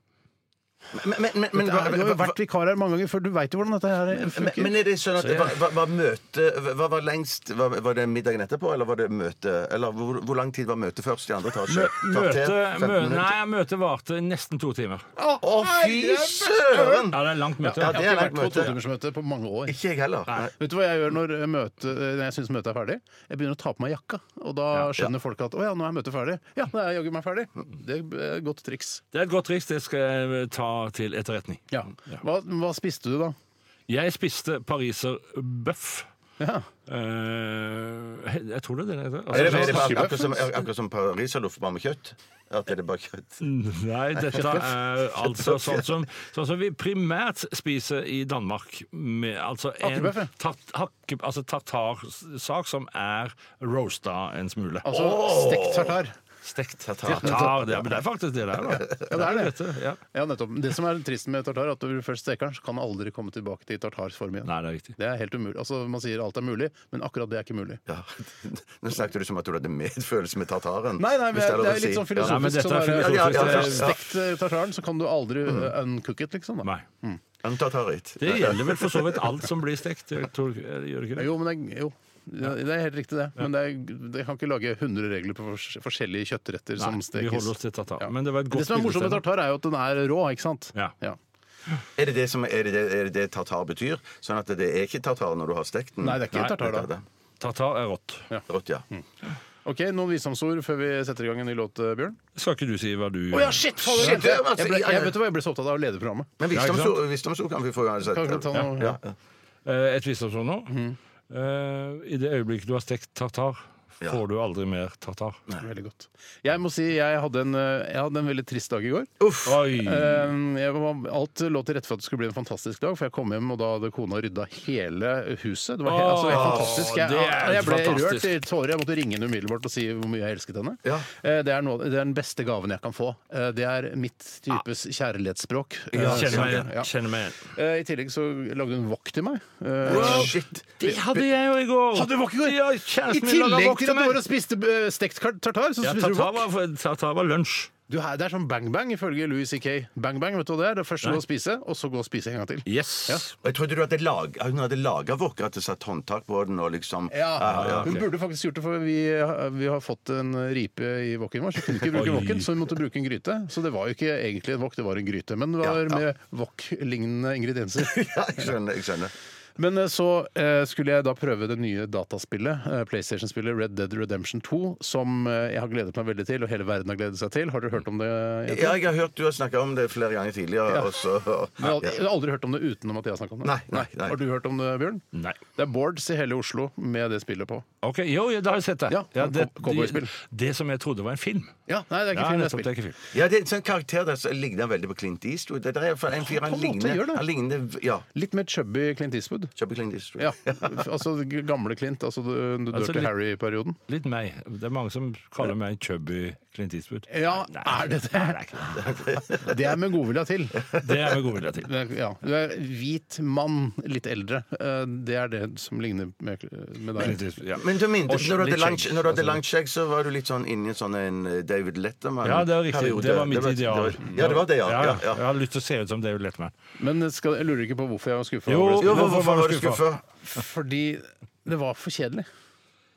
Speaker 6: Men, men, men, men,
Speaker 4: Det er, du har jo vært vikar her mange ganger før, du veit jo hvordan dette her
Speaker 6: men,
Speaker 4: funker.
Speaker 6: men er det sånn at var, var, var møte, var, var lengst, var, var det middagen etterpå, eller var det møte Eller hvor, hvor lang tid var møtet først i andre etasje?
Speaker 5: Møtet mø,
Speaker 6: minutter?
Speaker 5: nei, møtet varte nesten to timer.
Speaker 6: Å, fy søren!
Speaker 5: Ja, det er et langt møte.
Speaker 6: Ja, det
Speaker 4: Jeg har
Speaker 6: er
Speaker 4: ikke
Speaker 6: langt
Speaker 4: vært på
Speaker 6: møte.
Speaker 4: totimersmøte på mange år.
Speaker 6: Ikke jeg heller. Nei.
Speaker 4: Vet du hva jeg gjør når, møte, når jeg syns møtet er ferdig? Jeg begynner å ta på meg jakka. Og da skjønner folk at 'å ja, nå er møtet ferdig'. Ja, da er jeg jaggu meg ferdig. Det er et godt triks.
Speaker 5: Det er et godt triks. Det skal jeg ta til etterretning.
Speaker 4: Ja. Hva, hva spiste du da?
Speaker 5: Jeg spiste pariserbøff.
Speaker 4: Ja.
Speaker 5: Eh, jeg tror det er det det heter.
Speaker 6: Er det,
Speaker 5: Altså,
Speaker 6: er det bare, akkurat som, akkurat som pariserloff, bare med kjøtt? At det er bare kjøtt?
Speaker 5: Nei, dette er altså sånn som, sånn som vi primært spiser i Danmark. Med, altså en
Speaker 4: Hakkebøff, ja.
Speaker 5: tart, hakke, altså tartarsak som er roasta en smule.
Speaker 4: Altså stekt tartar.
Speaker 5: Stekt tartar. tartar det, er- men det er faktisk det der, da.
Speaker 4: Ja, det er det.
Speaker 5: Dette, ja.
Speaker 4: Ja, nettopp. Det som er trist med tartar, er at når du først steker den, så kan den aldri komme tilbake til tartarsform igjen.
Speaker 5: Nei, det er riktig.
Speaker 4: Det er helt umulig. Altså, Man sier alt er mulig, men akkurat det er ikke mulig.
Speaker 6: Ja. Nå snakket du som at du hadde medfølelse med tartaren.
Speaker 4: Nei, nei, men
Speaker 6: hvis
Speaker 4: det
Speaker 6: er lov
Speaker 4: er
Speaker 6: å
Speaker 4: litt
Speaker 6: si.
Speaker 4: sånn
Speaker 5: Ja, men
Speaker 4: filosofisk.
Speaker 5: dette
Speaker 4: sånn
Speaker 5: er
Speaker 4: der,
Speaker 6: Ja, ja,
Speaker 5: filosofisk.
Speaker 6: ja,
Speaker 5: det er-
Speaker 6: ja.
Speaker 4: Stekt eh, tartaren, så kan du aldri eh, uncook it, liksom. da.
Speaker 5: Nei.
Speaker 6: En tartarit.
Speaker 5: Det gjelder vel for så vidt alt som blir stekt. Jeg tror, eh, gjør det ikke det?
Speaker 4: Jo, men det, er- jo. Ja, det er helt riktig, det. Men det er, jeg kan ikke lage 100 regler på fors- forskjellige kjøttretter
Speaker 5: Nei,
Speaker 4: som
Speaker 5: vi
Speaker 4: stekes.
Speaker 5: holder oss til tartar.
Speaker 4: Ja.
Speaker 5: Men det var
Speaker 4: Det
Speaker 5: et godt
Speaker 4: som er morsomt med
Speaker 5: bildestemmer.
Speaker 4: tartar, er jo at den er rå, ikke sant?
Speaker 5: Ja.
Speaker 6: Er det det, som, er, det det, er det det tartar betyr? Sånn at det er ikke tartar når du har stekt den?
Speaker 4: Nei, det er ikke tartar da. Mm.
Speaker 6: det er det.
Speaker 5: Tartar er rått.
Speaker 6: Rått, ja.
Speaker 4: OK, noen visdomsord før vi setter i gang en ny låt, eh, Bjørn?
Speaker 5: Skal ikke du si hva du
Speaker 4: shit!
Speaker 6: Shit, det er vanskelig.
Speaker 4: jeg, ble, jeg, vet du hva, jeg ble så opptatt av å lede programmet.
Speaker 6: Men
Speaker 5: Ja, ikke sant?
Speaker 6: visdomsord visdomsord kan vi få uansett.
Speaker 4: Kan vi ta noe-
Speaker 6: Ja, ja.
Speaker 5: Eh, Et visdomsord nå.
Speaker 4: Mm.
Speaker 5: Eh, I det øyeblikket du har stekt tartar,
Speaker 6: Ja.
Speaker 5: får du aldri mer tartar.
Speaker 4: Veldig godt. Jeg må si jeg hadde en, eh, jeg hadde en veldig trist dag i går.
Speaker 5: Oi!
Speaker 4: Eh, Jeg var, alt lå til rette for at det skulle bli en fantastisk dag, for jeg kom hjem, og da hadde kona rydda hele huset. Det var he
Speaker 5: Åh,
Speaker 4: altså, helt fantastisk. Jeg,
Speaker 5: det er
Speaker 4: jeg ble
Speaker 5: fantastisk.
Speaker 4: rørt i tårer. Jeg måtte ringe henne umiddelbart og si hvor mye jeg elsket henne.
Speaker 6: Ja.
Speaker 4: Eh, Det, er noe, det er den beste gaven jeg kan få. Eh, Det er mitt types kjærlighetsspråk. Eh,
Speaker 5: Kjenner meg igjen.
Speaker 4: ja.
Speaker 5: Kjenner meg igjen.
Speaker 4: Eh, I tillegg så lagde hun wok til meg. Eh,
Speaker 6: Shit.
Speaker 5: Det hadde jeg jo i går!
Speaker 4: Hadde du wok i går?
Speaker 5: Ja,
Speaker 4: I
Speaker 5: kjæresten min laga
Speaker 4: tillegg
Speaker 5: wok
Speaker 4: til
Speaker 5: til
Speaker 4: at du
Speaker 5: meg.
Speaker 4: var og spiste eh, stekt kar- tartar, så
Speaker 5: Ja,
Speaker 4: spiser du
Speaker 5: tartar
Speaker 4: wok.
Speaker 5: var, tartar var lunsj.
Speaker 4: Du, her- det er sånn bang-bang, ifølge Louis C.K. Bang-bang, vet du hva det er? Det er først å gå og spise, og så gå og spise en gang til.
Speaker 5: Yes.
Speaker 6: Og jeg trodde du hadde lag, hun hadde laga wok, at det satt håndtak på den og liksom
Speaker 4: Ja,
Speaker 6: ja,
Speaker 4: Hun burde faktisk gjort det, for vi, vi har fått en ripe i woken vår. Så kunne vi ikke bruke
Speaker 5: Oi.
Speaker 4: woken, så vi måtte bruke en gryte. Så det var jo ikke egentlig en wok, det var en gryte. Men det var
Speaker 6: Ja, ja.
Speaker 4: med wok-lignende ingredienser.
Speaker 6: Ja, jeg skjønner. jeg skjønner
Speaker 4: Men eh, så eh, skulle jeg da prøve det nye dataspillet, eh, PlayStation-spillet Red Dead Redemption 2, som eh, jeg har gledet meg veldig til, og hele verden har gledet seg til. Har dere hørt om det? Jente?
Speaker 6: Ja, jeg har hørt du har snakka om det flere ganger tidligere. Og så,
Speaker 4: Men jeg har
Speaker 6: ja.
Speaker 4: aldri- aldri hørt om det utenom at jeg har snakket om det.
Speaker 6: Nei, nei, nei. Mm.
Speaker 4: Har du hørt om det, Bjørn?
Speaker 5: Nei.
Speaker 4: Det er boards i hele Oslo med det spillet på.
Speaker 5: Ok, Jo, ja, da har jeg sett det.
Speaker 4: Ja, sånn
Speaker 5: det,
Speaker 4: cow- cowboyspill.
Speaker 5: det, det som jeg trodde var en film.
Speaker 4: Ja, nei, det er ikke film,
Speaker 5: Ja,
Speaker 4: det er
Speaker 5: nettopp, det
Speaker 4: spill.
Speaker 5: er ikke film.
Speaker 6: ja, det er en sånn karakter der som ligner han veldig på Clint Eastwood. Det der er for en fyr han
Speaker 4: På en måte gjør
Speaker 6: ligner,
Speaker 4: det.
Speaker 6: han ligner Ja.
Speaker 4: Litt mer chubby Clint Eastwood.
Speaker 6: Chubby Clint Eastwood.
Speaker 4: Ja, altså g- gamle Clint, altså du- du
Speaker 5: Altså,
Speaker 4: Dirty
Speaker 5: litt-
Speaker 4: Harry-perioden.
Speaker 5: Litt meg. Det er mange som kaller meg chubby Clint Eastwood.
Speaker 4: Ja, er det det?
Speaker 5: Nei, det er ikke det.
Speaker 4: Det er med godvilja til.
Speaker 5: Det er med god vilje til.
Speaker 4: Det er- Ja, du er hvit mann, litt eldre. Eh, Det er det som ligner med, med
Speaker 5: Clint
Speaker 4: deg.
Speaker 5: Eastwood, ja.
Speaker 6: Men du mente,
Speaker 5: Og
Speaker 6: når du hadde
Speaker 5: litt
Speaker 6: langt,
Speaker 5: skjegg.
Speaker 6: når du hadde
Speaker 5: Altså,
Speaker 6: langt skjegg, så var du litt sånn inni en sånn en eh, David Letterman.
Speaker 5: Ja, det er riktig.
Speaker 6: periode.
Speaker 5: Det var mitt ideal.
Speaker 6: det var- Ja, det var det, ja. ja, ja.
Speaker 5: Jeg har lyst til å se ut som David Letterman.
Speaker 4: Men skal, jeg lurer ikke på hvorfor jeg var skuffa.
Speaker 5: Jo.
Speaker 4: over det.
Speaker 6: Jo,
Speaker 5: Hvorfor
Speaker 6: hvorfor
Speaker 5: var
Speaker 6: var
Speaker 5: du
Speaker 6: du skuffa?
Speaker 4: Fordi det var for kjedelig.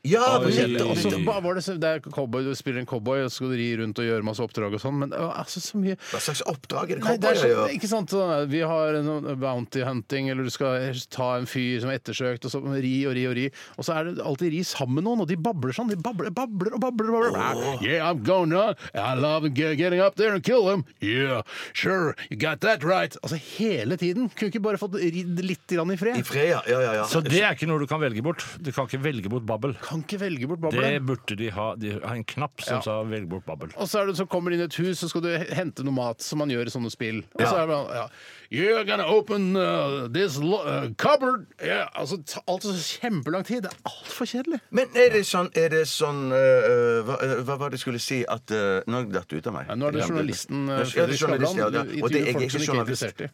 Speaker 6: Ja,
Speaker 5: Oi.
Speaker 6: men
Speaker 4: Det,
Speaker 6: dette
Speaker 5: Oi.
Speaker 6: også
Speaker 4: også, bare var det, så- det er cowboy, du spiller en cowboy, og så skal du ri rundt og gjøre masse oppdrag og sånn, men å, altså, så mye
Speaker 6: Hva slags oppdrag er det
Speaker 4: Nei, det er
Speaker 6: cowboyer
Speaker 4: sånn,
Speaker 6: gjør?
Speaker 4: ikke sant? sånn, Vi har noe bounty hunting, eller du skal ta en fyr som er ettersøkt, og så ri og ri og ri. Og så er det alltid ri sammen med noen, og de babler sånn. De babler, babler og babler. og babler. Yeah, I'm going on. I love ge- getting up there and kill them. Yeah, sure, you got that right. Altså hele tiden. Kunne ikke bare fått ridd litt grann i
Speaker 6: I
Speaker 4: fred?
Speaker 6: fred, ja. ja, ja, ja.
Speaker 5: Så det er ikke noe du kan velge bort. Du kan ikke velge bort babbel.
Speaker 4: Kan ikke velge bort
Speaker 5: Det
Speaker 4: babler.
Speaker 5: burde de ha. De har en knapp som
Speaker 4: Ja.
Speaker 5: sa 'velg bort babbel'.
Speaker 4: Og så er det så kommer du inn i et hus, så skal du hente noe mat, som man gjør i sånne spill. Og så
Speaker 6: Ja.
Speaker 4: er det bare ja, You're gonna open uh, this lo uh, cupboard yeah. altså, ta, Alt tar så kjempelang tid. Det er altfor kjedelig.
Speaker 6: Men er det sånn, er det sånn øh, hva, øh, hva var det jeg skulle si at øh, Nå datt det ut av meg.
Speaker 4: Ja, nå er det journalisten, øh,
Speaker 6: Ja, det er
Speaker 4: Fredrik
Speaker 6: journalisten, ja,
Speaker 4: Skavlan. Du
Speaker 6: ja. Og det-
Speaker 4: intervjuer
Speaker 6: jeg
Speaker 4: folk
Speaker 6: er
Speaker 4: som du ikke er
Speaker 6: journalist.
Speaker 4: interessert i.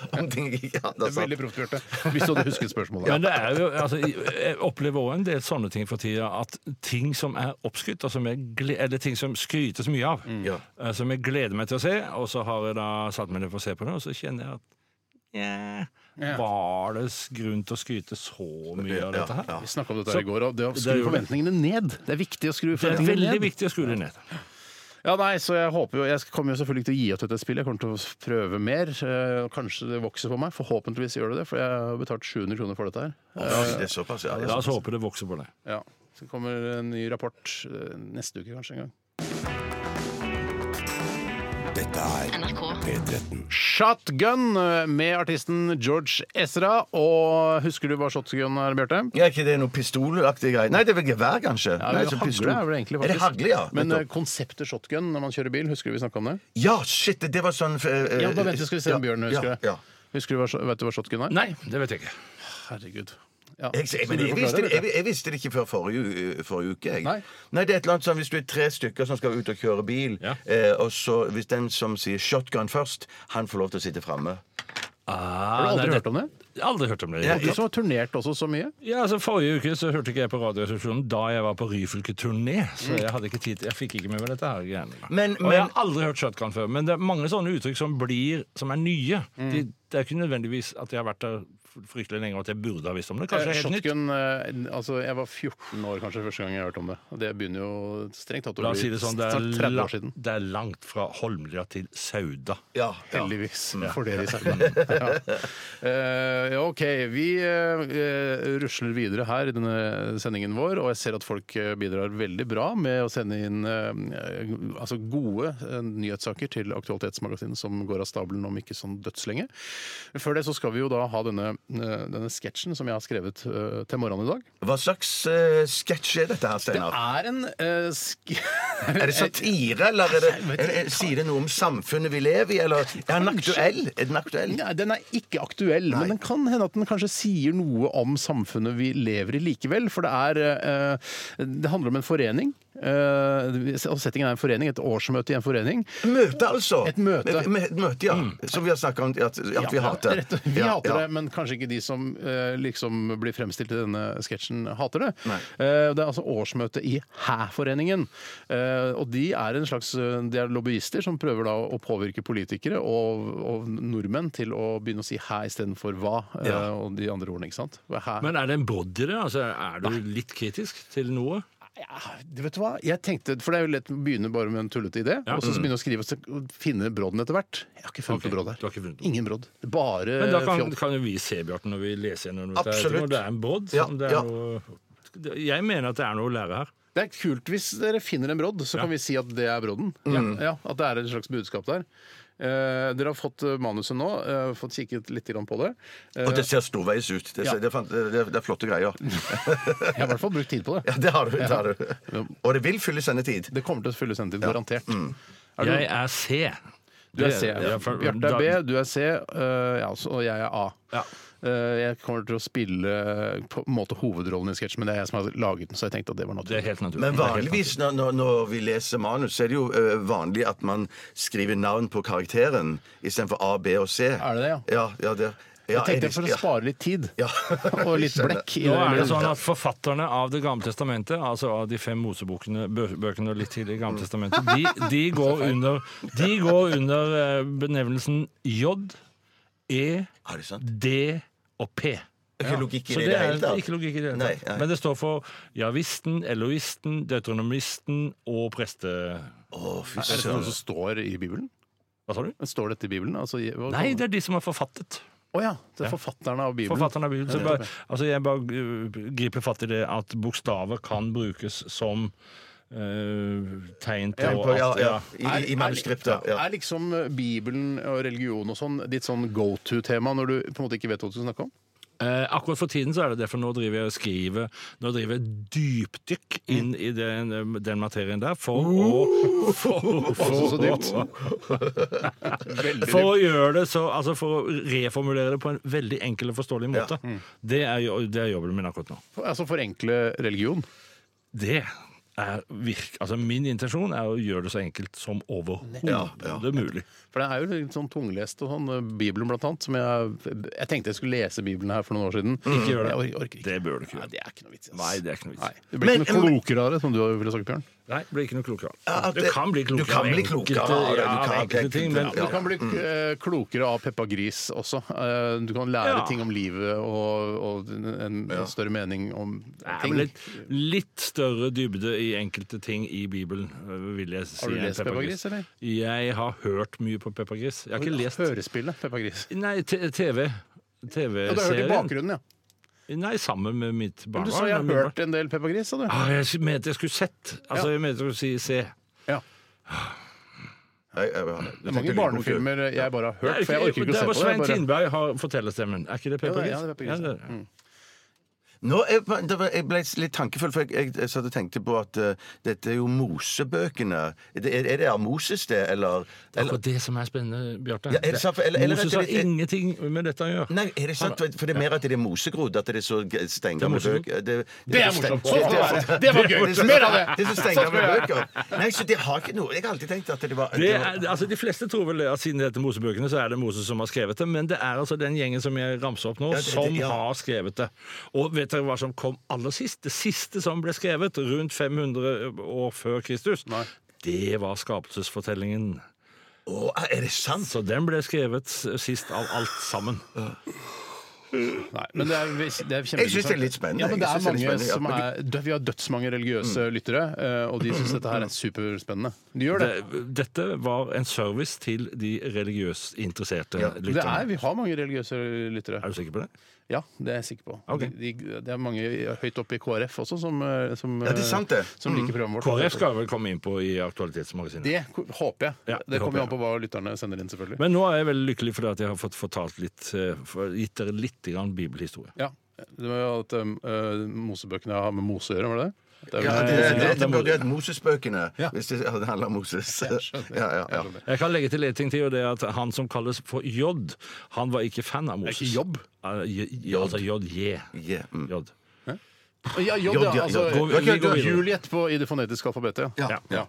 Speaker 6: Nei, om ting jeg ikke ja, altså. det er
Speaker 4: Det er
Speaker 6: sant.
Speaker 4: veldig proft, Bjarte. Hvis du hadde husket spørsmålet.
Speaker 5: Men det er jo, altså, jeg opplever òg en del sånne sånne ting for tida at ting som er oppskrytt, og som jeg gle- eller ting som skrytes mye av,
Speaker 6: Ja.
Speaker 5: eh, som jeg gleder meg til å se, og så har jeg da satt meg ned for å se på det, og så kjenner jeg at Nja,
Speaker 4: Ja.
Speaker 5: var det s- grunn til å skryte så mye av dette her?
Speaker 6: Ja, ja.
Speaker 4: Vi snakka om dette her i går, og det å
Speaker 5: Det
Speaker 4: skru
Speaker 5: gjorde vi.
Speaker 4: forventningene ned. Det er viktig å skru
Speaker 5: Det er
Speaker 4: forventningene
Speaker 5: veldig
Speaker 4: ned.
Speaker 5: viktig å skru det ned.
Speaker 4: Ja, nei, så Jeg håper jo, jeg kommer jo selvfølgelig ikke til å gi opp dette spillet. Jeg kommer til å prøve mer. Eh, Kanskje det vokser for meg. Forhåpentligvis gjør det det, for jeg har betalt 700 kroner for dette her.
Speaker 6: Det er såpass, ja.
Speaker 5: La oss håpe det vokser på deg.
Speaker 4: Ja. Så kommer en ny rapport eh, neste uke kanskje en gang.
Speaker 2: Dette er
Speaker 1: NRK.
Speaker 2: P13.
Speaker 4: Shotgun eh, med artisten George Ezra. Og husker du hva shotgun er, Bjarte?
Speaker 6: Ja, ikke det er noe pistolaktig greie? Nei, det er vel gevær, kanskje?
Speaker 4: Ja,
Speaker 6: Nei,
Speaker 4: det
Speaker 6: så
Speaker 4: er hagle
Speaker 6: pistol.
Speaker 4: er vel egentlig
Speaker 6: Er det
Speaker 4: faktisk.
Speaker 6: hagle, ja?
Speaker 4: Men eh,
Speaker 6: Nettopp.
Speaker 4: konseptet shotgun når man kjører bil, husker du vi snakka om det?
Speaker 6: ja, shit, det- det var sånn eh, eh,
Speaker 4: Ja, da venter vi skal vi se om Bjørn husker
Speaker 6: ja,
Speaker 4: det.
Speaker 6: Ja.
Speaker 4: Husker du hva, vet du hva shotgun er?
Speaker 5: Nei, det vet jeg ikke.
Speaker 4: Herregud. Ja.
Speaker 6: Jeg, jeg,
Speaker 4: Så
Speaker 6: men
Speaker 4: du
Speaker 6: jeg,
Speaker 4: forklarer
Speaker 6: visste,
Speaker 4: det,
Speaker 6: det- jeg, jeg visste det ikke før forrige, u- eh, forrige uke. Jeg.
Speaker 4: Nei.
Speaker 6: det er et eller annet sånn Hvis du er tre stykker som skal ut og kjøre bil,
Speaker 5: Ja.
Speaker 6: eh, og så hvis den som sier shotgun først, han får lov til å sitte framme.
Speaker 5: Ah,
Speaker 4: Har du aldri hørt om det?
Speaker 5: Aldri hørt om det.
Speaker 4: Du som har turnert også så mye.
Speaker 5: Ja, altså Forrige uke så hørte ikke jeg på Radioresepsjonen da jeg var på Ryfylke-turné. Så jeg hadde ikke tid til, jeg fikk ikke med meg dette. her greiene.
Speaker 6: Men-
Speaker 5: Og jeg
Speaker 6: men-
Speaker 5: har aldri hørt shotgun før. Men det er mange sånne uttrykk som blir, som er nye. De, det er ikke nødvendigvis at jeg har vært der fryktelig lenge og at jeg burde ha visst om det. Kanskje det er Eh, helt nytt.
Speaker 4: Shotgun, eh, altså Jeg var 14 år kanskje første gang jeg hørte om det. Og Det begynner jo strengt tatt å
Speaker 5: La
Speaker 4: bli
Speaker 5: oss si det sånn, det er,
Speaker 4: snart 30 år
Speaker 5: langt,
Speaker 4: siden.
Speaker 5: det er langt fra Holmlia til Sauda.
Speaker 6: Ja, ja.
Speaker 4: Heldigvis for dere i Sauda. Ja. Eh, ja, OK. Vi eh, rusler videre her i denne sendingen vår, og jeg ser at folk eh, bidrar veldig bra med å sende inn eh, altså gode eh, nyhetssaker til Aktualitetsmagasinet, som går av stabelen om ikke sånn dødslenge. Før det så skal vi jo da ha denne, eh, denne sketsjen som jeg har skrevet eh, til morgenen i dag.
Speaker 6: Hva slags eh, sketsj er dette her, Steinar?
Speaker 4: er en eh, sk...
Speaker 6: Er det satire, eller er det, er, er, sier det noe om samfunnet vi lever i, eller er den aktuell? Er den aktuell?
Speaker 4: Nei, den er ikke aktuell, men den kan hende at den kanskje sier noe om samfunnet vi lever i likevel. For det er eh, Det handler om en forening. Eh, og settingen er en forening, et årsmøte i en forening.
Speaker 6: Møte, altså.
Speaker 4: Et møte. Mm.
Speaker 6: Med- med- et møte, ja. Som vi har snakka om at, at vi hater.
Speaker 4: Rett, vi
Speaker 6: Ja,
Speaker 4: hater
Speaker 6: ja.
Speaker 4: det, men kanskje ikke de som eh, liksom blir fremstilt i denne sketsjen, hater det.
Speaker 6: Nei.
Speaker 4: Eh, det er altså årsmøte i Hæ-foreningen. Eh, og de er en slags eh, de er lobbyister som prøver da å påvirke politikere og, og nordmenn til å begynne å si hæ istedenfor hva eh,
Speaker 6: Ja.
Speaker 4: og de andre ordene. ikke sant? Hæ.
Speaker 5: Men er det en brodd i det? Altså, er du litt kritisk til noe?
Speaker 4: Ja, det vet du hva? Jeg tenkte, for det er jo lett å begynne bare med en tullete idé,
Speaker 5: Ja.
Speaker 4: og
Speaker 6: Mm.
Speaker 4: så begynne å skrive og så finne brodden etter hvert. Jeg har ikke funnet
Speaker 5: Ok,
Speaker 4: noe brodd
Speaker 5: du har
Speaker 4: her.
Speaker 5: ikke funnet noe.
Speaker 4: Ingen brodd. Bare
Speaker 5: Men da kan,
Speaker 4: fjoll.
Speaker 5: kan jo vi se, Bjarten, når vi leser gjennom dette. her,
Speaker 6: Eh, Absolutt.
Speaker 5: Når det er en brodd.
Speaker 6: Ja,
Speaker 5: om det er
Speaker 6: ja.
Speaker 5: noe, jeg mener at det er noe å lære her.
Speaker 4: Det er kult hvis dere finner en brodd, så kan vi si at det er brodden. Mm. Ja, at det er et slags budskap der. Eh, dere har fått eh, manuset nå, eh, fått kikket litt grann på det. Eh,
Speaker 6: Og det ser storveis ut. Det,
Speaker 4: Ja.
Speaker 6: ser, det, fant- det, det er flotte greier.
Speaker 4: jeg har i hvert fall brukt tid på det.
Speaker 6: Ja, det har du. Det har du. Og det vil fylle sendetid.
Speaker 4: Det kommer til å fylle sendetid, garantert. Er du,
Speaker 5: Jeg er C.
Speaker 4: du er C.
Speaker 5: Mm. Ja, for-
Speaker 4: Bjarte er B,
Speaker 5: da-
Speaker 4: du er C, eh, ja, så- og jeg er A.
Speaker 5: Ja.
Speaker 4: Eh, jeg kommer til å spille eh, på en måte hovedrollen i sketsjen, men det er jeg som har laget den, så jeg tenkte at det var
Speaker 5: Det
Speaker 4: naturlig.
Speaker 5: er helt naturlig.
Speaker 6: Men
Speaker 5: Det er helt
Speaker 6: vanligvis når, når, når vi leser manus, så er det jo ø, vanlig at man skriver navn på karakteren istedenfor A, B og C. Er
Speaker 4: det det, ja?
Speaker 6: Ja, ja, det, ja,
Speaker 4: Jeg tenkte
Speaker 6: er
Speaker 4: for
Speaker 6: det-
Speaker 4: å spare litt tid,
Speaker 6: Ja.
Speaker 4: og litt
Speaker 6: Skjønner.
Speaker 4: blekk. i
Speaker 5: Nå er det
Speaker 4: det.
Speaker 5: sånn at Forfatterne av Det gamle testamentet, altså av de fem Mosebøkene bø- bøkene og litt til i Gamle testamentet, de, de, går under, de går under eh, benevnelsen J, E,
Speaker 6: Er det sant?
Speaker 5: D og P.
Speaker 6: Det er Ikke logikk i
Speaker 5: Så
Speaker 6: det i
Speaker 5: det
Speaker 6: det
Speaker 5: er
Speaker 6: hele tatt.
Speaker 5: ikke logikk i det hele
Speaker 6: Nei,
Speaker 5: tatt.
Speaker 6: nei.
Speaker 5: Men det står for javisten, eloisten, deuteronomisten og preste...
Speaker 6: Å, fy
Speaker 4: Er det noe
Speaker 6: søren.
Speaker 4: som står i Bibelen?
Speaker 5: Hva sa du?
Speaker 4: Står dette i Bibelen? Altså, hva-
Speaker 5: Nei, det er de som har forfattet.
Speaker 4: Å ja. Det er forfatterne av Bibelen.
Speaker 5: Forfatteren av Bibelen. Så bare, altså jeg bare uh, griper fatt i det at bokstaver kan brukes som uh, tegn på
Speaker 6: Ja, på- ja,
Speaker 5: at
Speaker 6: ja.
Speaker 5: ja.
Speaker 6: I, i, i manuskriptet. Ja.
Speaker 4: Er liksom Bibelen og religion og sånn ditt sånn go to-tema når du på en måte ikke vet hva du skal snakke om?
Speaker 5: Eh, akkurat for tiden så er det det, for nå driver jeg og skriver Nå driver jeg dypdykk inn i den, eh, den materien der for å for,
Speaker 4: så dypt.
Speaker 5: for å gjøre det så Altså for å reformulere det på en veldig enkel og forståelig måte. Det, er, jo- det er jobben min akkurat nå.
Speaker 4: For- Altså forenkle religion.
Speaker 5: Det er virk... Altså, min intensjon er å gjøre det så enkelt som overhodet mulig.
Speaker 4: For det er jo litt sånn tunglest og sånn. eh, Bibelen, blant annet. Som jeg, jeg tenkte jeg skulle lese Bibelen her for noen år siden. Ikke
Speaker 5: gjør det.
Speaker 4: Jeg orker, orker ikke.
Speaker 5: Det bør du ikke
Speaker 4: Nei,
Speaker 5: gjøre.
Speaker 4: det er ikke noe vits. ass.
Speaker 5: Nei, det er ikke noe
Speaker 4: Nei.
Speaker 5: vits.
Speaker 4: Det blir ikke noe klokere av det, som du ville sagt, Bjørn.
Speaker 5: Nei, det blir ikke noe klokere.
Speaker 6: Ja, at
Speaker 5: Du
Speaker 6: det-
Speaker 5: kan bli
Speaker 6: du
Speaker 5: klokere,
Speaker 6: kan
Speaker 5: av
Speaker 6: bli
Speaker 5: enkelte-
Speaker 6: klokere av det, du
Speaker 5: ja,
Speaker 6: kan
Speaker 5: av enkelte
Speaker 6: ikke-
Speaker 5: ting, men
Speaker 4: Du kan bli
Speaker 6: Mm.
Speaker 4: eh, klokere av Peppa Gris også. Eh, Du kan lære
Speaker 5: Ja.
Speaker 4: ting om livet og, og en, en større mening om
Speaker 5: Det er
Speaker 4: ting.
Speaker 5: vel litt, litt større dybde i enkelte ting i Bibelen, øh, vil jeg si.
Speaker 4: Har du
Speaker 5: enn
Speaker 4: lest Peppa Gris, eller?
Speaker 5: Jeg har hørt mye på Peppa Gris. Jeg har ikke lest
Speaker 4: Hørespillet Peppa Gris.
Speaker 5: Nei, t- TV.
Speaker 4: Ja, du har hørt i
Speaker 5: TV-serien.
Speaker 4: bakgrunnen, ja.
Speaker 5: Nei, sammen med mitt
Speaker 4: Men
Speaker 5: barn.
Speaker 4: du sa jeg har hørt en del Peppa Gris, sa du.
Speaker 5: Ah, jeg s- mente jeg skulle sett. Altså,
Speaker 4: Ja.
Speaker 5: jeg mente jeg skulle si se.
Speaker 4: Ja.
Speaker 6: Nei, jeg- jeg-
Speaker 4: Det er mange barnefilmer jeg bare har hørt, for jeg orker ikke å
Speaker 5: det
Speaker 4: se på
Speaker 5: var
Speaker 4: det.
Speaker 5: Svein
Speaker 4: jeg bare-
Speaker 5: Tindberg har fortellerstemmen. Er ikke det Peppa
Speaker 4: Ja,
Speaker 5: Gris?
Speaker 4: ja, det er Peppa Gris,
Speaker 5: det er det.
Speaker 6: Nå, jeg, det var, jeg ble litt tankefull, for jeg, jeg, jeg satt og tenkte på at eh, dette er jo Mosebøkene. Det, er, er det av Moses, det,
Speaker 5: Det
Speaker 6: eller,
Speaker 5: er
Speaker 6: eller
Speaker 5: akkurat det som er spennende, Bjarte.
Speaker 6: Ja, er det sant? Eller- eller-
Speaker 5: Moses
Speaker 6: eller-
Speaker 5: har ingenting med dette å gjøre.
Speaker 6: Nei, er det sant? For for det er mer at det er mosegrodd. At det er så g- steingamle
Speaker 5: Sånn, Det er mosegrodd.
Speaker 6: bøker. Det,
Speaker 4: Det er
Speaker 6: så
Speaker 4: morsomt.
Speaker 6: stein-
Speaker 4: Sånn skal det være. Det var gøy.
Speaker 6: er så-
Speaker 4: Mer av det.
Speaker 6: Det er så steingamle bøker. Nei, så det har ikke noe Jeg har alltid tenkt at det var
Speaker 5: Det
Speaker 6: det var-
Speaker 5: er, altså, de fleste tror vel at siden det heter Mosebøkene, så er det Moses som har skrevet det, men det er altså den gjengen som jeg ramser opp nå,
Speaker 6: Ja, det- det-
Speaker 5: som
Speaker 6: ja.
Speaker 5: har skrevet det. Og vet dere hva som kom aller sist? Det siste som ble skrevet, rundt 500 år før Kristus, det var skapelsesfortellingen.
Speaker 6: Å, er det sant?
Speaker 5: Så den ble skrevet sist av alt sammen.
Speaker 4: Nei, men det er, det er kjempe-
Speaker 6: Jeg synes det er litt spennende.
Speaker 4: Ja, men det
Speaker 6: Jeg
Speaker 4: er
Speaker 6: synes det er litt
Speaker 4: mange
Speaker 6: spennende, ja.
Speaker 4: som er, dø- vi har dødsmange religiøse lyttere, eh, og de syns dette her er superspennende. De gjør det.
Speaker 5: Det, dette var en service til de religiøst interesserte
Speaker 6: Ja,
Speaker 4: Det er,
Speaker 5: lytterne.
Speaker 4: Vi har mange religiøse lyttere.
Speaker 5: Er du sikker på det?
Speaker 4: Ja, det er jeg sikker på.
Speaker 5: Ok.
Speaker 4: De, de, det er mange høyt oppe i KrF også som, eh, som,
Speaker 6: Ja, det er sant, det.
Speaker 4: eh, som liker programmet vårt.
Speaker 5: KrF skal jeg vel komme inn på i Aktualitetsmagasinet.
Speaker 4: Det ko- håper jeg.
Speaker 5: Ja,
Speaker 4: det
Speaker 5: det håper
Speaker 4: kommer jo
Speaker 5: jeg.
Speaker 4: an på hva lytterne sender inn, selvfølgelig.
Speaker 5: Men nå er jeg veldig lykkelig fordi at jeg har fått fortalt litt, eh, for- gitt dere litt grann bibelhistorie.
Speaker 4: ja. Det var jo at eh, Mosebøkene har med Mose å gjøre, var det det? det?
Speaker 6: Ja,
Speaker 4: er vel-
Speaker 6: det, det, det,
Speaker 5: Ja,
Speaker 6: det
Speaker 5: det må
Speaker 6: burde
Speaker 5: du-
Speaker 6: hett Mosesbøkene,
Speaker 4: Ja.
Speaker 6: hvis det hadde handla om Moses. Ja, ja, ja.
Speaker 5: Jeg kan legge til en ting til, og det er at han som kalles for J, han var ikke fan av Moses.
Speaker 4: Er ikke Jobb?
Speaker 5: Eh, J, J, altså J, J.
Speaker 6: Yeah, mm.
Speaker 5: J.
Speaker 4: Ja, jobb,
Speaker 6: Jobb,
Speaker 4: ja.
Speaker 6: ja,
Speaker 4: Altså,
Speaker 6: jobb.
Speaker 5: Gå- vi går videre.
Speaker 4: Juliet på, i det fonetiske alfabetet.
Speaker 6: Ja.
Speaker 4: Ja.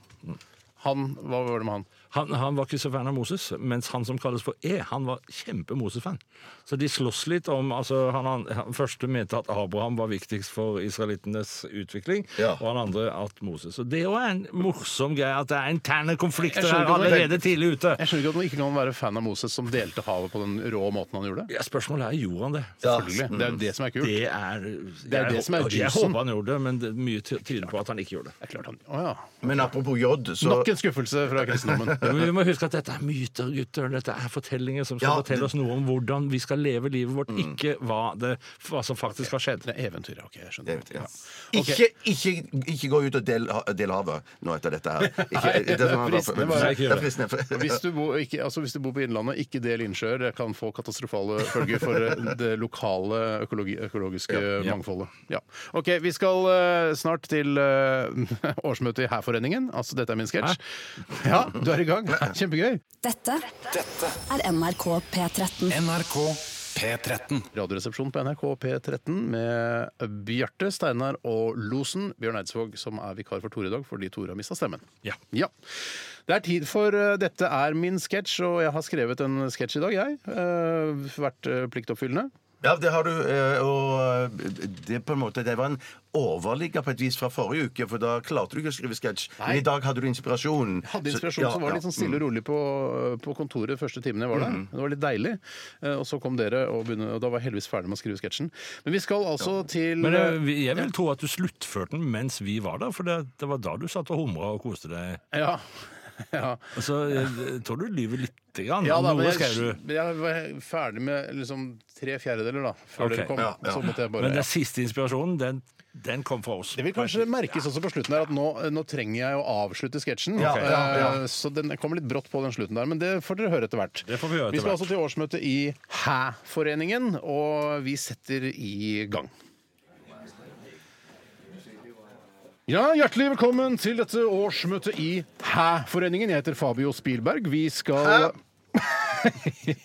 Speaker 4: Han, Hva var det med han?
Speaker 5: Han, han var ikke så fan av Moses, mens han som kalles for E, han var kjempe-Moses-fan. Så de slåss litt om altså, han, han, han første mente at Abraham var viktigst for israelittenes utvikling,
Speaker 6: Ja.
Speaker 5: og han andre at Moses. Og det er jo en morsom greie at det er interne konflikter
Speaker 4: Jeg skjønner
Speaker 5: her
Speaker 4: ikke om det-
Speaker 5: allerede tidlig ute.
Speaker 4: Jeg skjønner ikke at man ikke kan være fan av Moses som delte havet på den rå måten han gjorde.
Speaker 5: Ja, spørsmålet er gjorde han det.
Speaker 4: Selvfølgelig.
Speaker 6: Mm.
Speaker 4: Det er jo det som er kult.
Speaker 5: Det er
Speaker 4: Det er det
Speaker 5: jeg-
Speaker 4: som er
Speaker 5: Jeg
Speaker 4: juicen.
Speaker 5: håper han gjorde det, men det, mye ty- tyder på at han ikke gjorde det.
Speaker 4: Det er klart han, å ja.
Speaker 6: Men apropos J, så
Speaker 4: Nok en skuffelse fra kristendommen.
Speaker 5: Ja, men vi må huske at dette er myter, gutter. Dette er fortellinger som skal
Speaker 6: Ja,
Speaker 5: fortelle oss
Speaker 6: det-
Speaker 5: noe om hvordan vi skal leve livet vårt, ikke hva, det, hva som faktisk har skjedd.
Speaker 4: Det er eventyret. Ok, jeg skjønner.
Speaker 6: Ja.
Speaker 4: Ok.
Speaker 6: Ikke, ikke, ikke gå ut og del, del havet nå etter dette her. Ikke,
Speaker 4: Nei, det er
Speaker 6: sånn at-
Speaker 4: fristende bare.
Speaker 6: Det er fristende.
Speaker 4: Hvis du, bor, ikke, altså hvis du bor på Innlandet, ikke del innsjøer. Det kan få katastrofale følger for eh, det lokale økologi, økologiske mangfoldet. Ja. OK, vi skal eh, snart til eh, årsmøtet i Hærforeningen. Altså, dette er min sketsj. Ja, du er i gang. Kjempegøy.
Speaker 1: Dette er NRK P13.
Speaker 3: NRK P13.
Speaker 4: Radioresepsjonen på NRK P13 med Bjarte, Steinar og Losen. Bjørn Eidsvåg, som er vikar for Tore i dag fordi Tore har mista stemmen.
Speaker 5: Ja.
Speaker 4: Det er tid for eh, Dette er min sketsj, og jeg har skrevet en sketsj i dag, jeg. Eh, vært eh, pliktoppfyllende.
Speaker 6: Ja, det har du. eh, Og det, er på en måte, det var en overligger på et vis fra forrige uke, for da klarte du ikke å skrive sketsj. Men i dag hadde du inspirasjonen.
Speaker 4: Hadde inspirasjon, så var det litt sånn
Speaker 6: Mm.
Speaker 4: stille og rolig på, på kontoret første timen jeg var der. Det var litt deilig. Eh, Og så kom dere, og, begynne, og da var jeg heldigvis ferdig med å skrive sketsjen. Men vi skal altså til
Speaker 5: Men
Speaker 4: eh,
Speaker 5: jeg, jeg vil tro at du sluttførte den mens vi var der, for det, det var da du satt og humra og koste deg.
Speaker 4: eh, Ja. ja.
Speaker 5: Altså, jeg, jeg tror du lyver lite grann.
Speaker 4: Ja, da, men
Speaker 5: Noe
Speaker 4: jeg,
Speaker 5: skrev du.
Speaker 4: men jeg var ferdig med liksom tre fjerdedeler da, før
Speaker 5: Ok.
Speaker 4: dere kom.
Speaker 6: Ja, ja.
Speaker 4: Så måtte jeg bare...
Speaker 5: Men den siste inspirasjonen, den, den kom fra oss.
Speaker 4: Det vil kanskje merkes også på slutten der at nå, nå trenger jeg å avslutte sketsjen.
Speaker 5: Ja,
Speaker 4: Eh,
Speaker 5: ja,
Speaker 4: Så den kommer litt brått på den slutten der, men det får dere høre etter hvert.
Speaker 5: Det får vi høre etter
Speaker 4: vi skal
Speaker 5: hvert.
Speaker 4: altså til årsmøte i Hæ-foreningen, og vi setter i gang. Ja, Hjertelig velkommen til dette årsmøtet i Hæ-foreningen. Jeg heter Fabio Spilberg. Vi skal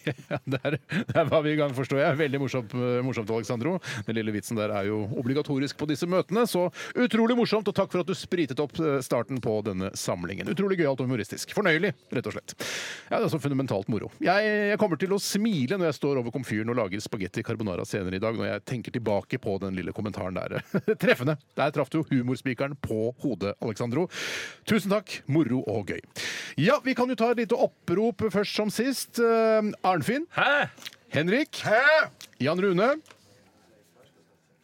Speaker 4: ja, der, der var vi i gang, forstår jeg. Veldig morsomt, eh, morsomt Alexandro. Den lille vitsen der er jo obligatorisk på disse møtene, så utrolig morsomt, og takk for at du spritet opp eh, starten på denne samlingen. Utrolig gøyalt og humoristisk. Fornøyelig, rett og slett. Ja, det er så fundamentalt moro. Jeg, jeg kommer til å smile når jeg står over komfyren og lager spagetti carbonara senere i dag, når jeg tenker tilbake på den lille kommentaren der. Treffende! Der traff du humorspikeren på hodet, Alexandro. Tusen takk. Moro og gøy. Ja, vi kan jo ta et lite opprop først som sist. Eh, Arnfinn.
Speaker 5: Hæ?
Speaker 4: Henrik.
Speaker 5: Hæ?
Speaker 4: Jan Rune.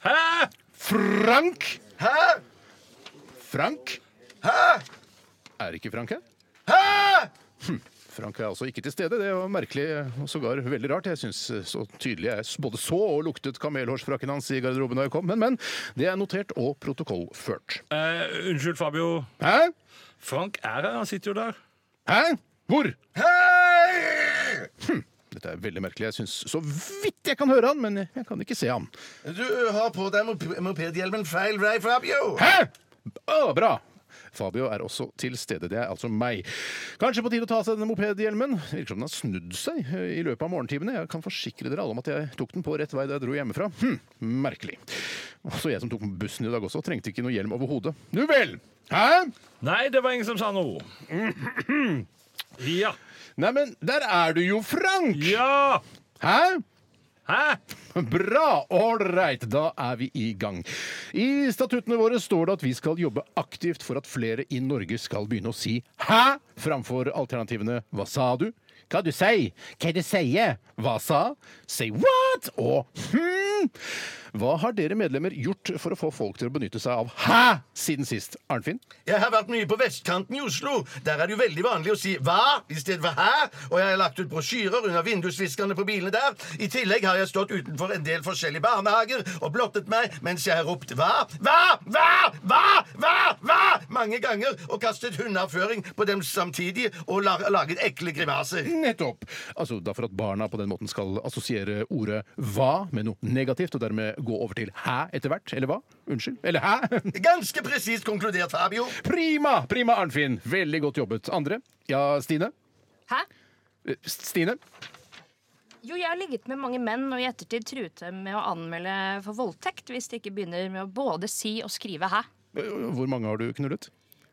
Speaker 5: Hæ?
Speaker 4: Frank.
Speaker 6: Hæ?
Speaker 4: Frank. Er ikke Frank her? Hm. Frank er altså ikke til stede. Det var merkelig og sågar veldig rart. Jeg syns så tydelig jeg både så og luktet kamelhårsfrakken hans i garderoben da jeg kom, men, men det er notert og protokollført.
Speaker 5: Eh, unnskyld, Fabio.
Speaker 4: Hæ?
Speaker 5: Frank er her. Han sitter jo der.
Speaker 4: Hæ? Hvor? Hm. Dette er veldig merkelig. Jeg syns så vidt jeg kan høre han, men jeg kan ikke se han.
Speaker 6: Du har på deg mop- mopedhjelmen feil vei, Fabio.
Speaker 4: Hæ? Å, bra. Fabio er også til stede. Det er altså meg. Kanskje på tide å ta av seg denne mopedhjelmen? Virker som den har snudd seg eh, i løpet av morgentimene. Jeg kan forsikre dere alle om at jeg tok den på rett vei da jeg dro hjemmefra. Hm, merkelig. Også jeg som tok bussen i dag også, trengte ikke noe hjelm overhodet. Nu vel! Hæ?
Speaker 5: Nei, det var ingen som sa noe. Ja.
Speaker 4: Neimen, der er du jo, Frank!
Speaker 5: Ja!
Speaker 4: Hæ?
Speaker 5: Hæ?
Speaker 4: Bra! Ålreit, da er vi i gang. I statuttene våre står det at vi skal jobbe aktivt for at flere i Norge skal begynne å si 'hæ' framfor alternativene 'hva sa du', 'hva du sier', 'hva du sier', 'hva sa', 'say what' og 'hm'. Hva har dere medlemmer gjort for å få folk til å benytte seg av 'hæ' siden sist, Arnfinn?
Speaker 6: Jeg har vært mye på vestkanten i Oslo. Der er det jo veldig vanlig å si hva i stedet for hæ. Og jeg har lagt ut brosjyrer under vindusviskerne på bilene der. I tillegg har jeg stått utenfor en del forskjellige barnehager og blottet meg mens jeg har ropt hva, hva, hva, hva, hva, hva mange ganger og kastet hundeavføring på dem samtidig og la laget ekle grimaser.
Speaker 4: Nettopp! Altså da for at barna på den måten skal assosiere ordet 'hva' med noe negativt, og dermed gå over til 'hæ' etter hvert, eller hva? Unnskyld? Eller 'hæ'?
Speaker 6: Ganske presist konkludert, Fabio.
Speaker 4: Prima! Prima, Arnfinn. Veldig godt jobbet. Andre? Ja, Stine?
Speaker 7: Hæ?
Speaker 4: Eh, Stine?
Speaker 7: Jo, jeg har ligget med mange menn og i ettertid truet dem med å anmelde for voldtekt hvis de ikke begynner med å både si og skrive hæ.
Speaker 4: Eh, Hvor mange har du knullet?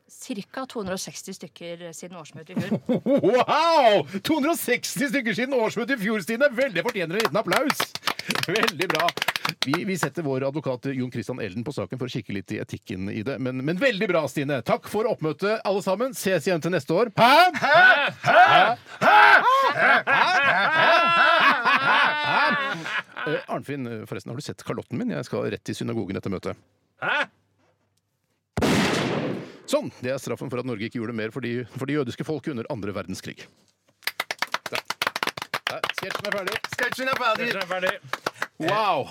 Speaker 7: Cirka 260 stykker siden årsmøtet i fjor.
Speaker 4: Wow! 260 stykker siden årsmøtet i fjor, Stine! Veldig fortjener en liten applaus! Veldig bra. Vi, vi setter vår advokat eh, Jon Christian Elden på saken for å kikke litt i etikken i det. Men, men veldig bra, Stine. Takk for oppmøtet, alle sammen. Ses igjen til neste år. Hæ? Eh, Arnfinn, forresten, har du sett kalotten min? Jeg skal rett til synagogen etter møtet.
Speaker 5: Hæ?
Speaker 4: Sånn! Det er straffen for at Norge ikke gjorde mer for de, for de jødiske folket under andre verdenskrig. Der. Der, Sketsjen er ferdig.
Speaker 6: Sketsjen er ferdig.
Speaker 5: Dette er ferdig.
Speaker 4: Wow!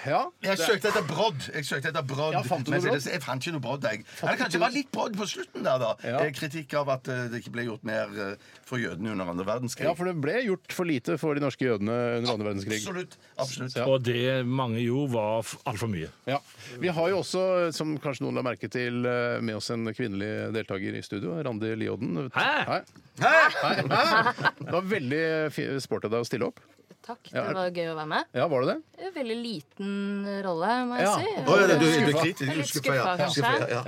Speaker 4: Ja.
Speaker 6: Jeg søkte etter brodd. Jeg søkte etter brodd.
Speaker 4: Ja, fant du
Speaker 6: Men
Speaker 4: noe
Speaker 6: jeg- Jeg fant ikke noe brodd. Jeg. Eller kanskje det var litt brodd på slutten der, da.
Speaker 4: Ja.
Speaker 6: Eh, Kritikk av at eh, det ikke ble gjort mer eh, for jødene under andre verdenskrig.
Speaker 4: ja, for det ble gjort for lite for de norske jødene under andre verdenskrig.
Speaker 6: Absolutt. Absolutt.
Speaker 4: Ja.
Speaker 5: Og det mange gjorde, var altfor mye.
Speaker 4: Ja. Vi har jo også, som kanskje noen la merke til, eh, med oss en kvinnelig deltaker i studio. Randi Lioden.
Speaker 5: Hæ?
Speaker 4: Hæ? Hæ? Det var veldig fi- sport av deg å stille opp.
Speaker 7: Takk,
Speaker 4: Ja,
Speaker 7: det
Speaker 4: er-
Speaker 7: var gøy å være med.
Speaker 4: Ja, var det det?
Speaker 7: Veldig liten rolle, må jeg
Speaker 4: Ja.
Speaker 7: si.
Speaker 4: Å,
Speaker 6: Å, ja, det- du, du,
Speaker 4: Skuffa.
Speaker 6: er kritisk.
Speaker 7: Jeg er litt
Speaker 6: Skuffa, ja.
Speaker 7: skuffa, kanskje.
Speaker 6: Skuffa, ja, ja.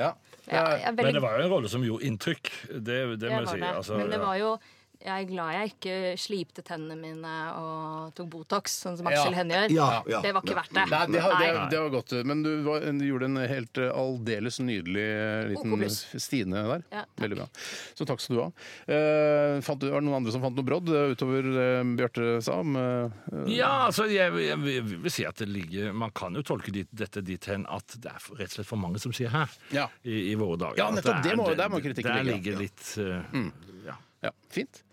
Speaker 4: Ja.
Speaker 7: Ja, jeg er
Speaker 5: Men det
Speaker 7: veldig
Speaker 5: var jo en rolle som gjorde inntrykk. Det, det må
Speaker 7: Det
Speaker 5: jeg
Speaker 7: var
Speaker 5: si.
Speaker 7: det.
Speaker 5: Altså,
Speaker 7: Men det
Speaker 5: ja.
Speaker 7: var jo jeg er glad jeg ikke slipte tennene mine og tok Botox, sånn som Aksel
Speaker 4: Ja.
Speaker 7: Hennie gjør.
Speaker 6: Ja, ja.
Speaker 7: Det var ikke verdt det.
Speaker 4: Nei, det, har- det,
Speaker 7: Nei.
Speaker 4: det var godt. Men du, var, du gjorde en helt eh, aldeles nydelig eh, liten
Speaker 7: OK pluss.
Speaker 4: Stine der.
Speaker 7: Ja, takk.
Speaker 4: Veldig bra. Så takk skal du ha. Eh, fant, du- var det noen andre som fant noe brodd eh, utover eh, Bjarte sa om eh,
Speaker 5: Ja, altså, jeg, jeg, jeg vil si at det ligger Man kan jo tolke dit, dette dit hen at det er for- rett og slett for mange som sier her
Speaker 4: Ja.
Speaker 5: i, i våre dager.
Speaker 4: Ja,
Speaker 5: At
Speaker 4: nettopp,
Speaker 5: er-
Speaker 4: det må- der må kritikken
Speaker 5: der
Speaker 4: ligge, ja. Mm.
Speaker 5: ligger litt eh, ja.
Speaker 4: Ja, fint.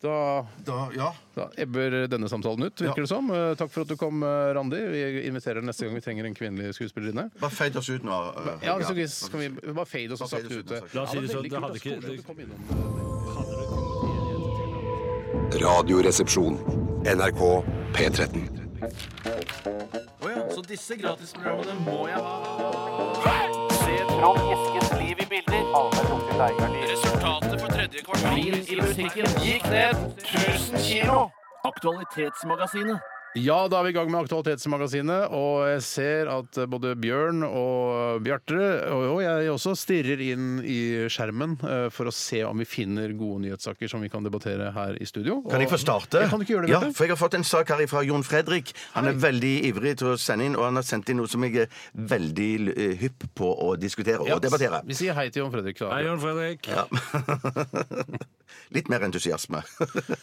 Speaker 4: Da,
Speaker 6: Da, ja.
Speaker 4: da ebber denne samtalen ut, virker det som. Eh, Takk for at du kom, eh, Randi. Vi inviterer neste gang vi trenger en kvinnelig skuespillerinne.
Speaker 6: Bare feit oss ut nå. eh,
Speaker 4: Ja, så
Speaker 6: Helga.
Speaker 4: så kan vi bare fade oss og
Speaker 6: Bare
Speaker 4: sakte
Speaker 6: fade oss
Speaker 4: ut.
Speaker 6: ut og sakte.
Speaker 5: La oss si det sånn,
Speaker 4: veldig
Speaker 5: det
Speaker 4: kult,
Speaker 5: hadde
Speaker 4: ass. Koselig
Speaker 5: ikke-
Speaker 4: at
Speaker 5: det-
Speaker 4: du kom innom.
Speaker 2: Radioresepsjon. NRK P13.
Speaker 8: Trond Eskens liv i bilder. Resultatet på tredje Verdien i butikken gikk ned 1000 kilo. Aktualitetsmagasinet.
Speaker 4: Ja, da er vi i gang med Aktualitetsmagasinet, og jeg ser at eh, både Bjørn og Bjarte, og og jeg også, stirrer inn i skjermen eh, for å se om vi finner gode nyhetssaker som vi kan debattere her i studio.
Speaker 6: Kan jeg få starte?
Speaker 4: Ja, kan du ikke gjøre det,
Speaker 6: ja,
Speaker 4: Bjarte?
Speaker 6: for Jeg har fått en sak her fra Jon Fredrik. Han er veldig ivrig til å sende inn, og han har sendt inn noe som jeg er veldig eh, hypp på å diskutere og debattere.
Speaker 4: Vi sier hei til Jon Fredrik. Da.
Speaker 5: Hei, Jon Fredrik.
Speaker 6: Litt mer entusiasme.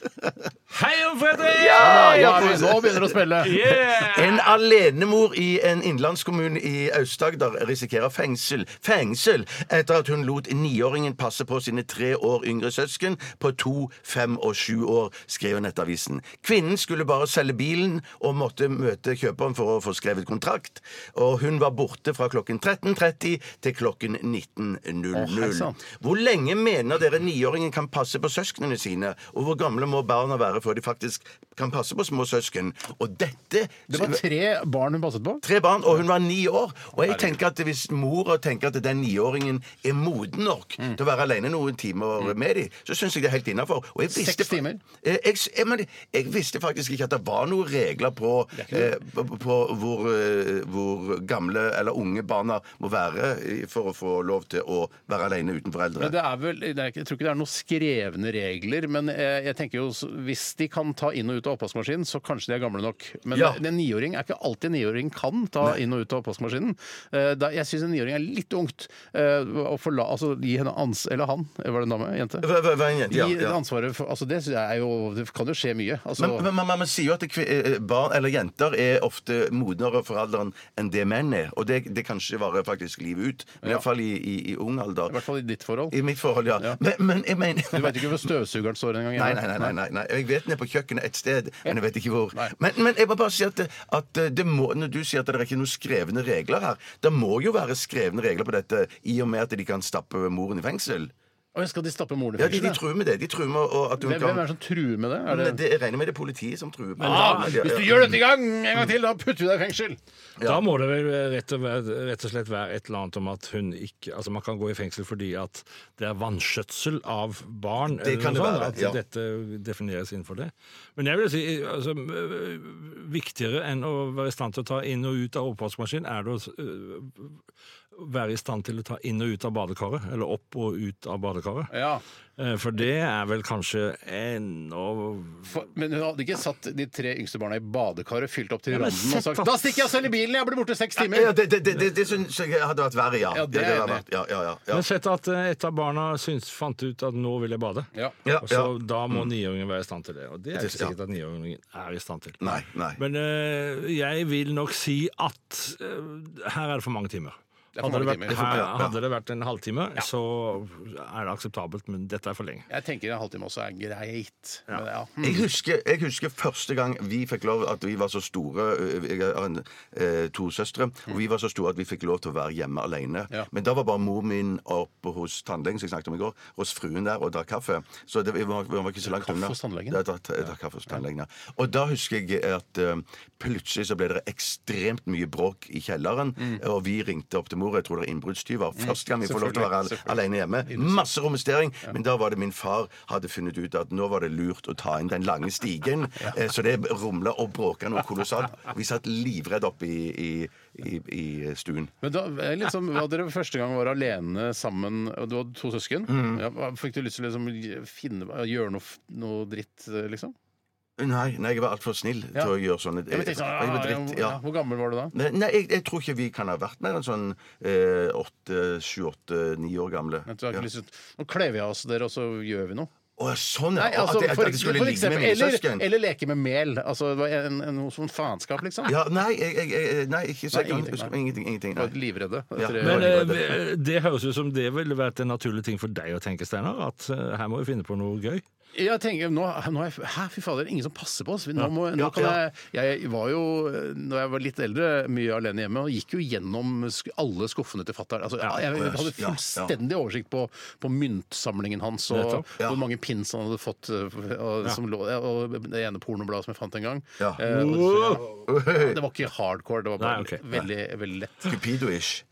Speaker 5: Hei, Jon Fredrik!
Speaker 4: Ja, ja, vi, nå begynner det å spille!
Speaker 5: Yeah!
Speaker 6: En alenemor i en innlandskommune i Aust-Agder risikerer fengsel, fengsel etter at hun lot niåringen passe på sine tre år yngre søsken på to, fem og sju år, skrev Nettavisen. Kvinnen skulle bare selge bilen og måtte møte kjøperen for å få skrevet kontrakt, og hun var borte fra klokken 13.30 til klokken 19.00.
Speaker 4: Å, hei sann.
Speaker 6: Hvor lenge mener dere niåringen kan passe på søsknene sine? Og hvor gamle må barna være før de faktisk kan passe på små søsken? Og dette
Speaker 4: Det var tre barn hun passet på.
Speaker 6: Tre barn, og hun var ni år. Og jeg tenker at hvis mora tenker at den niåringen er moden nok
Speaker 4: Mm.
Speaker 6: til å være alene noen timer med dem, så syns jeg det er helt innafor.
Speaker 4: Seks timer?
Speaker 6: Jeg, jeg, men jeg visste faktisk ikke at det var noen regler på, eh, på, på hvor, eh, hvor gamle eller unge barna må være eh, for å få lov til å være alene uten foreldre.
Speaker 4: Men det er vel, det er, ikke- jeg tror ikke det er noen skrevne regler, men jeg, jeg tenker jo, s- hvis de kan ta inn og ut av oppvaskmaskinen, så kanskje de er gamle nok. Men
Speaker 6: Ja.
Speaker 4: det- en niåring er ikke alltid en niåring kan ta inn og ut av oppvaskmaskinen. Eh, da- Jeg syns en niåring er litt ungt eh, å forla, altså, gi henne ans... Eller han, eh, var det en dame? Jente?
Speaker 6: Hva- hva- hva er en jente?
Speaker 4: Gi
Speaker 6: Ja, ja.
Speaker 4: ansvaret for, altså det, synes jeg er jo, det kan jo skje mye. Altså,
Speaker 6: Men, men, men man sier jo at kvi- eh, barn eller jenter er ofte modnere for alderen enn det menn er. Og det, det kan ikke vare faktisk livet ut. Men
Speaker 4: Ja.
Speaker 6: Iallfall i, i, i ung
Speaker 4: I
Speaker 6: alder.
Speaker 4: hvert fall i ditt forhold.
Speaker 6: I mitt forhold, ja. Men, men jeg mener
Speaker 4: Du veit ikke hvor støvsugeren står engang.
Speaker 6: Nei, nei, nei, nei, nei, nei. Jeg vet den er på kjøkkenet et sted, men jeg vet ikke hvor.
Speaker 4: Nei.
Speaker 6: Men, men jeg må bare si at, det- at eh, det må, når du sier at det er ikke noen skrevne regler her Det må jo være skrevne regler på dette i og med at de kan stappe moren i fengsel.
Speaker 4: Å, jeg skal de stappe moren i
Speaker 6: Ja, De, de
Speaker 4: fengselet?
Speaker 6: truer med det. De truer med å- at hun
Speaker 4: Hvem, hvem er det
Speaker 6: kan
Speaker 4: som truer med det? Er det...
Speaker 6: Men det, Jeg regner med det er politiet som truer. med
Speaker 4: Ah,
Speaker 6: det. Ja,
Speaker 4: hvis du
Speaker 6: ja.
Speaker 4: gjør dette i gang en gang til, da putter vi deg i fengsel!
Speaker 5: Da må det vel eh, rett og, rett og slett være et eller annet om at hun ikke Altså man kan gå i fengsel fordi at det er vanskjøtsel av barn.
Speaker 6: Det
Speaker 5: eller noe
Speaker 6: kan det
Speaker 5: sånt,
Speaker 6: være,
Speaker 5: At
Speaker 6: ja.
Speaker 5: dette defineres innenfor det. Men jeg vil si altså, viktigere enn å være i stand til å ta inn og ut av oppvaskmaskin, er det å øh, være i stand til å ta inn og ut av badekaret. Eller opp og ut av badekaret.
Speaker 4: Ja.
Speaker 5: Eh, For det er vel kanskje ennå
Speaker 4: For, men hun hadde ikke satt de tre yngste barna i badekaret, fylt opp til
Speaker 5: Ja, men
Speaker 4: randen og
Speaker 5: sett
Speaker 4: sagt
Speaker 5: at-
Speaker 4: 'Da stikker jeg selv i bilen! Jeg blir borte seks
Speaker 6: Ja,
Speaker 4: timer!'
Speaker 6: det, det, det, det, det syns jeg hadde vært verre, ja.
Speaker 4: Ja, det er
Speaker 6: hadde
Speaker 4: enig.
Speaker 6: vært- ja, ja, ja, ja.
Speaker 5: Men sett at eh, et av barna syns, fant ut at nå vil jeg bade.
Speaker 4: Ja.
Speaker 6: Ja,
Speaker 5: Og så
Speaker 6: ja. Mm.
Speaker 5: Da må niåringen være i stand til det. Og det er
Speaker 6: Det-
Speaker 5: ikke sikkert at niåringen er i stand til.
Speaker 6: Nei, nei.
Speaker 5: Men eh, jeg vil nok si at eh, her er det for mange timer.
Speaker 4: er for
Speaker 5: Hadde
Speaker 4: mange
Speaker 5: det, vært,
Speaker 4: timer. Det er for
Speaker 5: her,
Speaker 6: mange, ja.
Speaker 5: hadde det vært en halvtime, så er det akseptabelt, men dette er for lenge.
Speaker 4: Jeg tenker en halvtime også er greit. Men, ja.
Speaker 6: Jeg husker, jeg husker første gang vi fikk lov at vi var så store øh, ø, Jeg har en, eh, to søstre. Og vi var så store at vi fikk lov til å være hjemme alene.
Speaker 4: Ja.
Speaker 6: Men da var bare mor min oppe hos tannlegen som jeg snakket om i går, hos fruen der og drakk kaffe. Så det, vi var, vi var ikke så langt
Speaker 4: kaffe
Speaker 6: unna.
Speaker 4: hos tannlegen?
Speaker 6: Ja, drakk- jeg drakk kaffe hos tannlegen, ja. Og da husker jeg at eh, plutselig så ble det ekstremt mye bråk i kjelleren.
Speaker 4: Mm.
Speaker 6: Og vi ringte opp til mor. Jeg tror det er innbruddstyver. Første gang vi får lov til å være
Speaker 4: Selvfølgelig,
Speaker 6: al- alene hjemme. Masse romstering. Men da var det min far hadde funnet ut at nå var det lurt å ta inn den lange stigen. Eh, Så det rumla og bråka noe kolossalt. Vi satt livredd oppe i, i, i, i stuen.
Speaker 4: men da er det litt sånn, hva dere første gang var alene sammen, og du hadde to søsken.
Speaker 6: Mm.
Speaker 4: Ja, hva- fikk du lyst til å liksom, finne, gjøre noe, f- noe dritt, liksom?
Speaker 6: Nei, nei jeg var altfor snill
Speaker 4: Ja.
Speaker 6: til å gjøre sånne
Speaker 4: Jeg tenkte, sånn,
Speaker 6: Eh, jeg var
Speaker 4: ja,
Speaker 6: dritt,
Speaker 4: ja,
Speaker 6: ja.
Speaker 4: hvor gammel var du da?
Speaker 6: Nei, nei jeg, jeg tror ikke vi kan ha vært mer enn sånn eh, åtte, sju, åtte, ni år gamle.
Speaker 4: Jeg tror jeg
Speaker 6: Ja.
Speaker 4: har ikke lyst til, å- nå kler vi av oss, dere, og så gjør vi noe.
Speaker 6: Å, sånn, ja.
Speaker 4: Nei, altså,
Speaker 6: at, jeg-
Speaker 4: for-
Speaker 6: at jeg skulle
Speaker 4: for
Speaker 6: ligge med
Speaker 4: eksempel-
Speaker 6: mine
Speaker 4: eller,
Speaker 6: søsken.
Speaker 4: eller leke med mel. Altså, det var en, en, noe sånn faenskap, liksom.
Speaker 6: Ja, nei, jeg, jeg, jeg, nei, ikke så
Speaker 4: Nei,
Speaker 6: jeg kan
Speaker 4: ingenting,
Speaker 6: huske-
Speaker 4: nei.
Speaker 6: Ingenting. ingenting
Speaker 4: Var
Speaker 6: nei.
Speaker 4: livredde.
Speaker 6: Ja.
Speaker 4: etter-
Speaker 5: Men
Speaker 6: det
Speaker 5: eh,
Speaker 6: var det.
Speaker 5: vi- det høres ut som det ville vært en naturlig ting for deg å tenke, Steinar. At eh, her må vi finne på noe gøy.
Speaker 4: Jeg tenker, nå, nå er, jeg- Hæ, fy fader, ingen som passer på oss. Nå må, nå
Speaker 6: Ja,
Speaker 4: kan
Speaker 6: ja.
Speaker 4: jeg, jeg var jo, når jeg var litt eldre, mye alene hjemme, og gikk jo gjennom sk- alle skuffene til fatter'n. Altså, jeg, jeg hadde
Speaker 6: Ja, ja.
Speaker 4: fullstendig oversikt på, på myntsamlingen hans, og
Speaker 5: Nettopp.
Speaker 6: Ja.
Speaker 4: hvor mange pins han hadde fått, eh, og, som lå, og det ene pornobladet som jeg fant en gang.
Speaker 6: Ja.
Speaker 4: Eh, og, det var ikke hardcore, det var bare
Speaker 5: Nei, ok.
Speaker 4: veldig, veldig lett.
Speaker 6: Cupido-ish.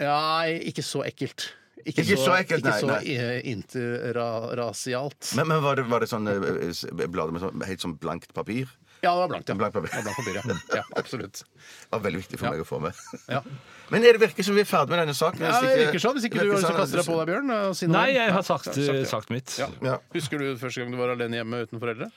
Speaker 4: Nei, ikke så ekkelt. Ikke,
Speaker 6: Ikke så
Speaker 4: ikke
Speaker 6: ekkelt, nei,
Speaker 4: så
Speaker 6: nei.
Speaker 4: eh, interrasialt.
Speaker 6: Men, men var, det, var det sånn eh, s- blader med sånn, helt sånn blankt papir?
Speaker 4: Ja, det var blankt, ja.
Speaker 6: Blankt papir. Mm.
Speaker 4: Det var blankt papir ja. ja, absolutt.
Speaker 6: Det var veldig viktig for meg å få med.
Speaker 4: Ja.
Speaker 6: Men er det virker som vi er ferdig med denne saken.
Speaker 4: Ja,
Speaker 6: hvis
Speaker 4: det virker sånn, hvis ikke du har lyst
Speaker 6: virker
Speaker 4: til å
Speaker 6: sånn,
Speaker 4: kaste deg på deg, Bjørn. og si noe
Speaker 5: Nei,
Speaker 4: mer.
Speaker 5: jeg har sagt, eh,
Speaker 4: Ja, ja.
Speaker 5: sagt mitt.
Speaker 4: Ja.
Speaker 6: Ja.
Speaker 4: Husker du første gang du var alene hjemme uten foreldre?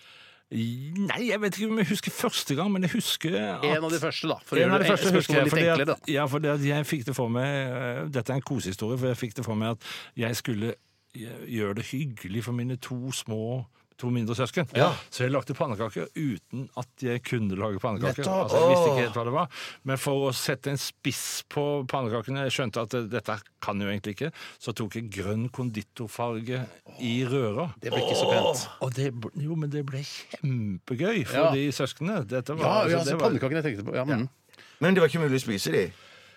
Speaker 5: Nei, jeg vet ikke om jeg husker første gang, men jeg husker at
Speaker 4: En av de første, da. For å
Speaker 5: En av
Speaker 4: gjøre
Speaker 5: de første husker
Speaker 4: spørsmålet
Speaker 5: jeg,
Speaker 4: litt
Speaker 5: fordi
Speaker 4: enklere,
Speaker 5: at, ja, fordi at jeg fikk det for meg eh, Dette er en kosehistorie, for jeg fikk det for meg at jeg skulle gj- gjøre det hyggelig for mine to små to mindre søsken. Så jeg lagde pannekaker uten at jeg kunne lage pannekaker.
Speaker 4: Nettopp.
Speaker 5: Altså, jeg visste ikke helt hva det var. Men for å sette en spiss på pannekakene, jeg skjønte at eh, dette kan jo egentlig ikke, så tok jeg grønn konditorfarge i røra.
Speaker 4: Det ble ikke så pent.
Speaker 5: Og det, bl- jo, men det ble kjempegøy for
Speaker 4: Ja.
Speaker 5: de søsknene. Dette
Speaker 4: Ja,
Speaker 5: var,
Speaker 4: ja
Speaker 5: altså,
Speaker 4: altså,
Speaker 5: det var,
Speaker 4: pannekakene jeg tenkte på. Ja, men.
Speaker 6: Men det var ikke mulig å spise de.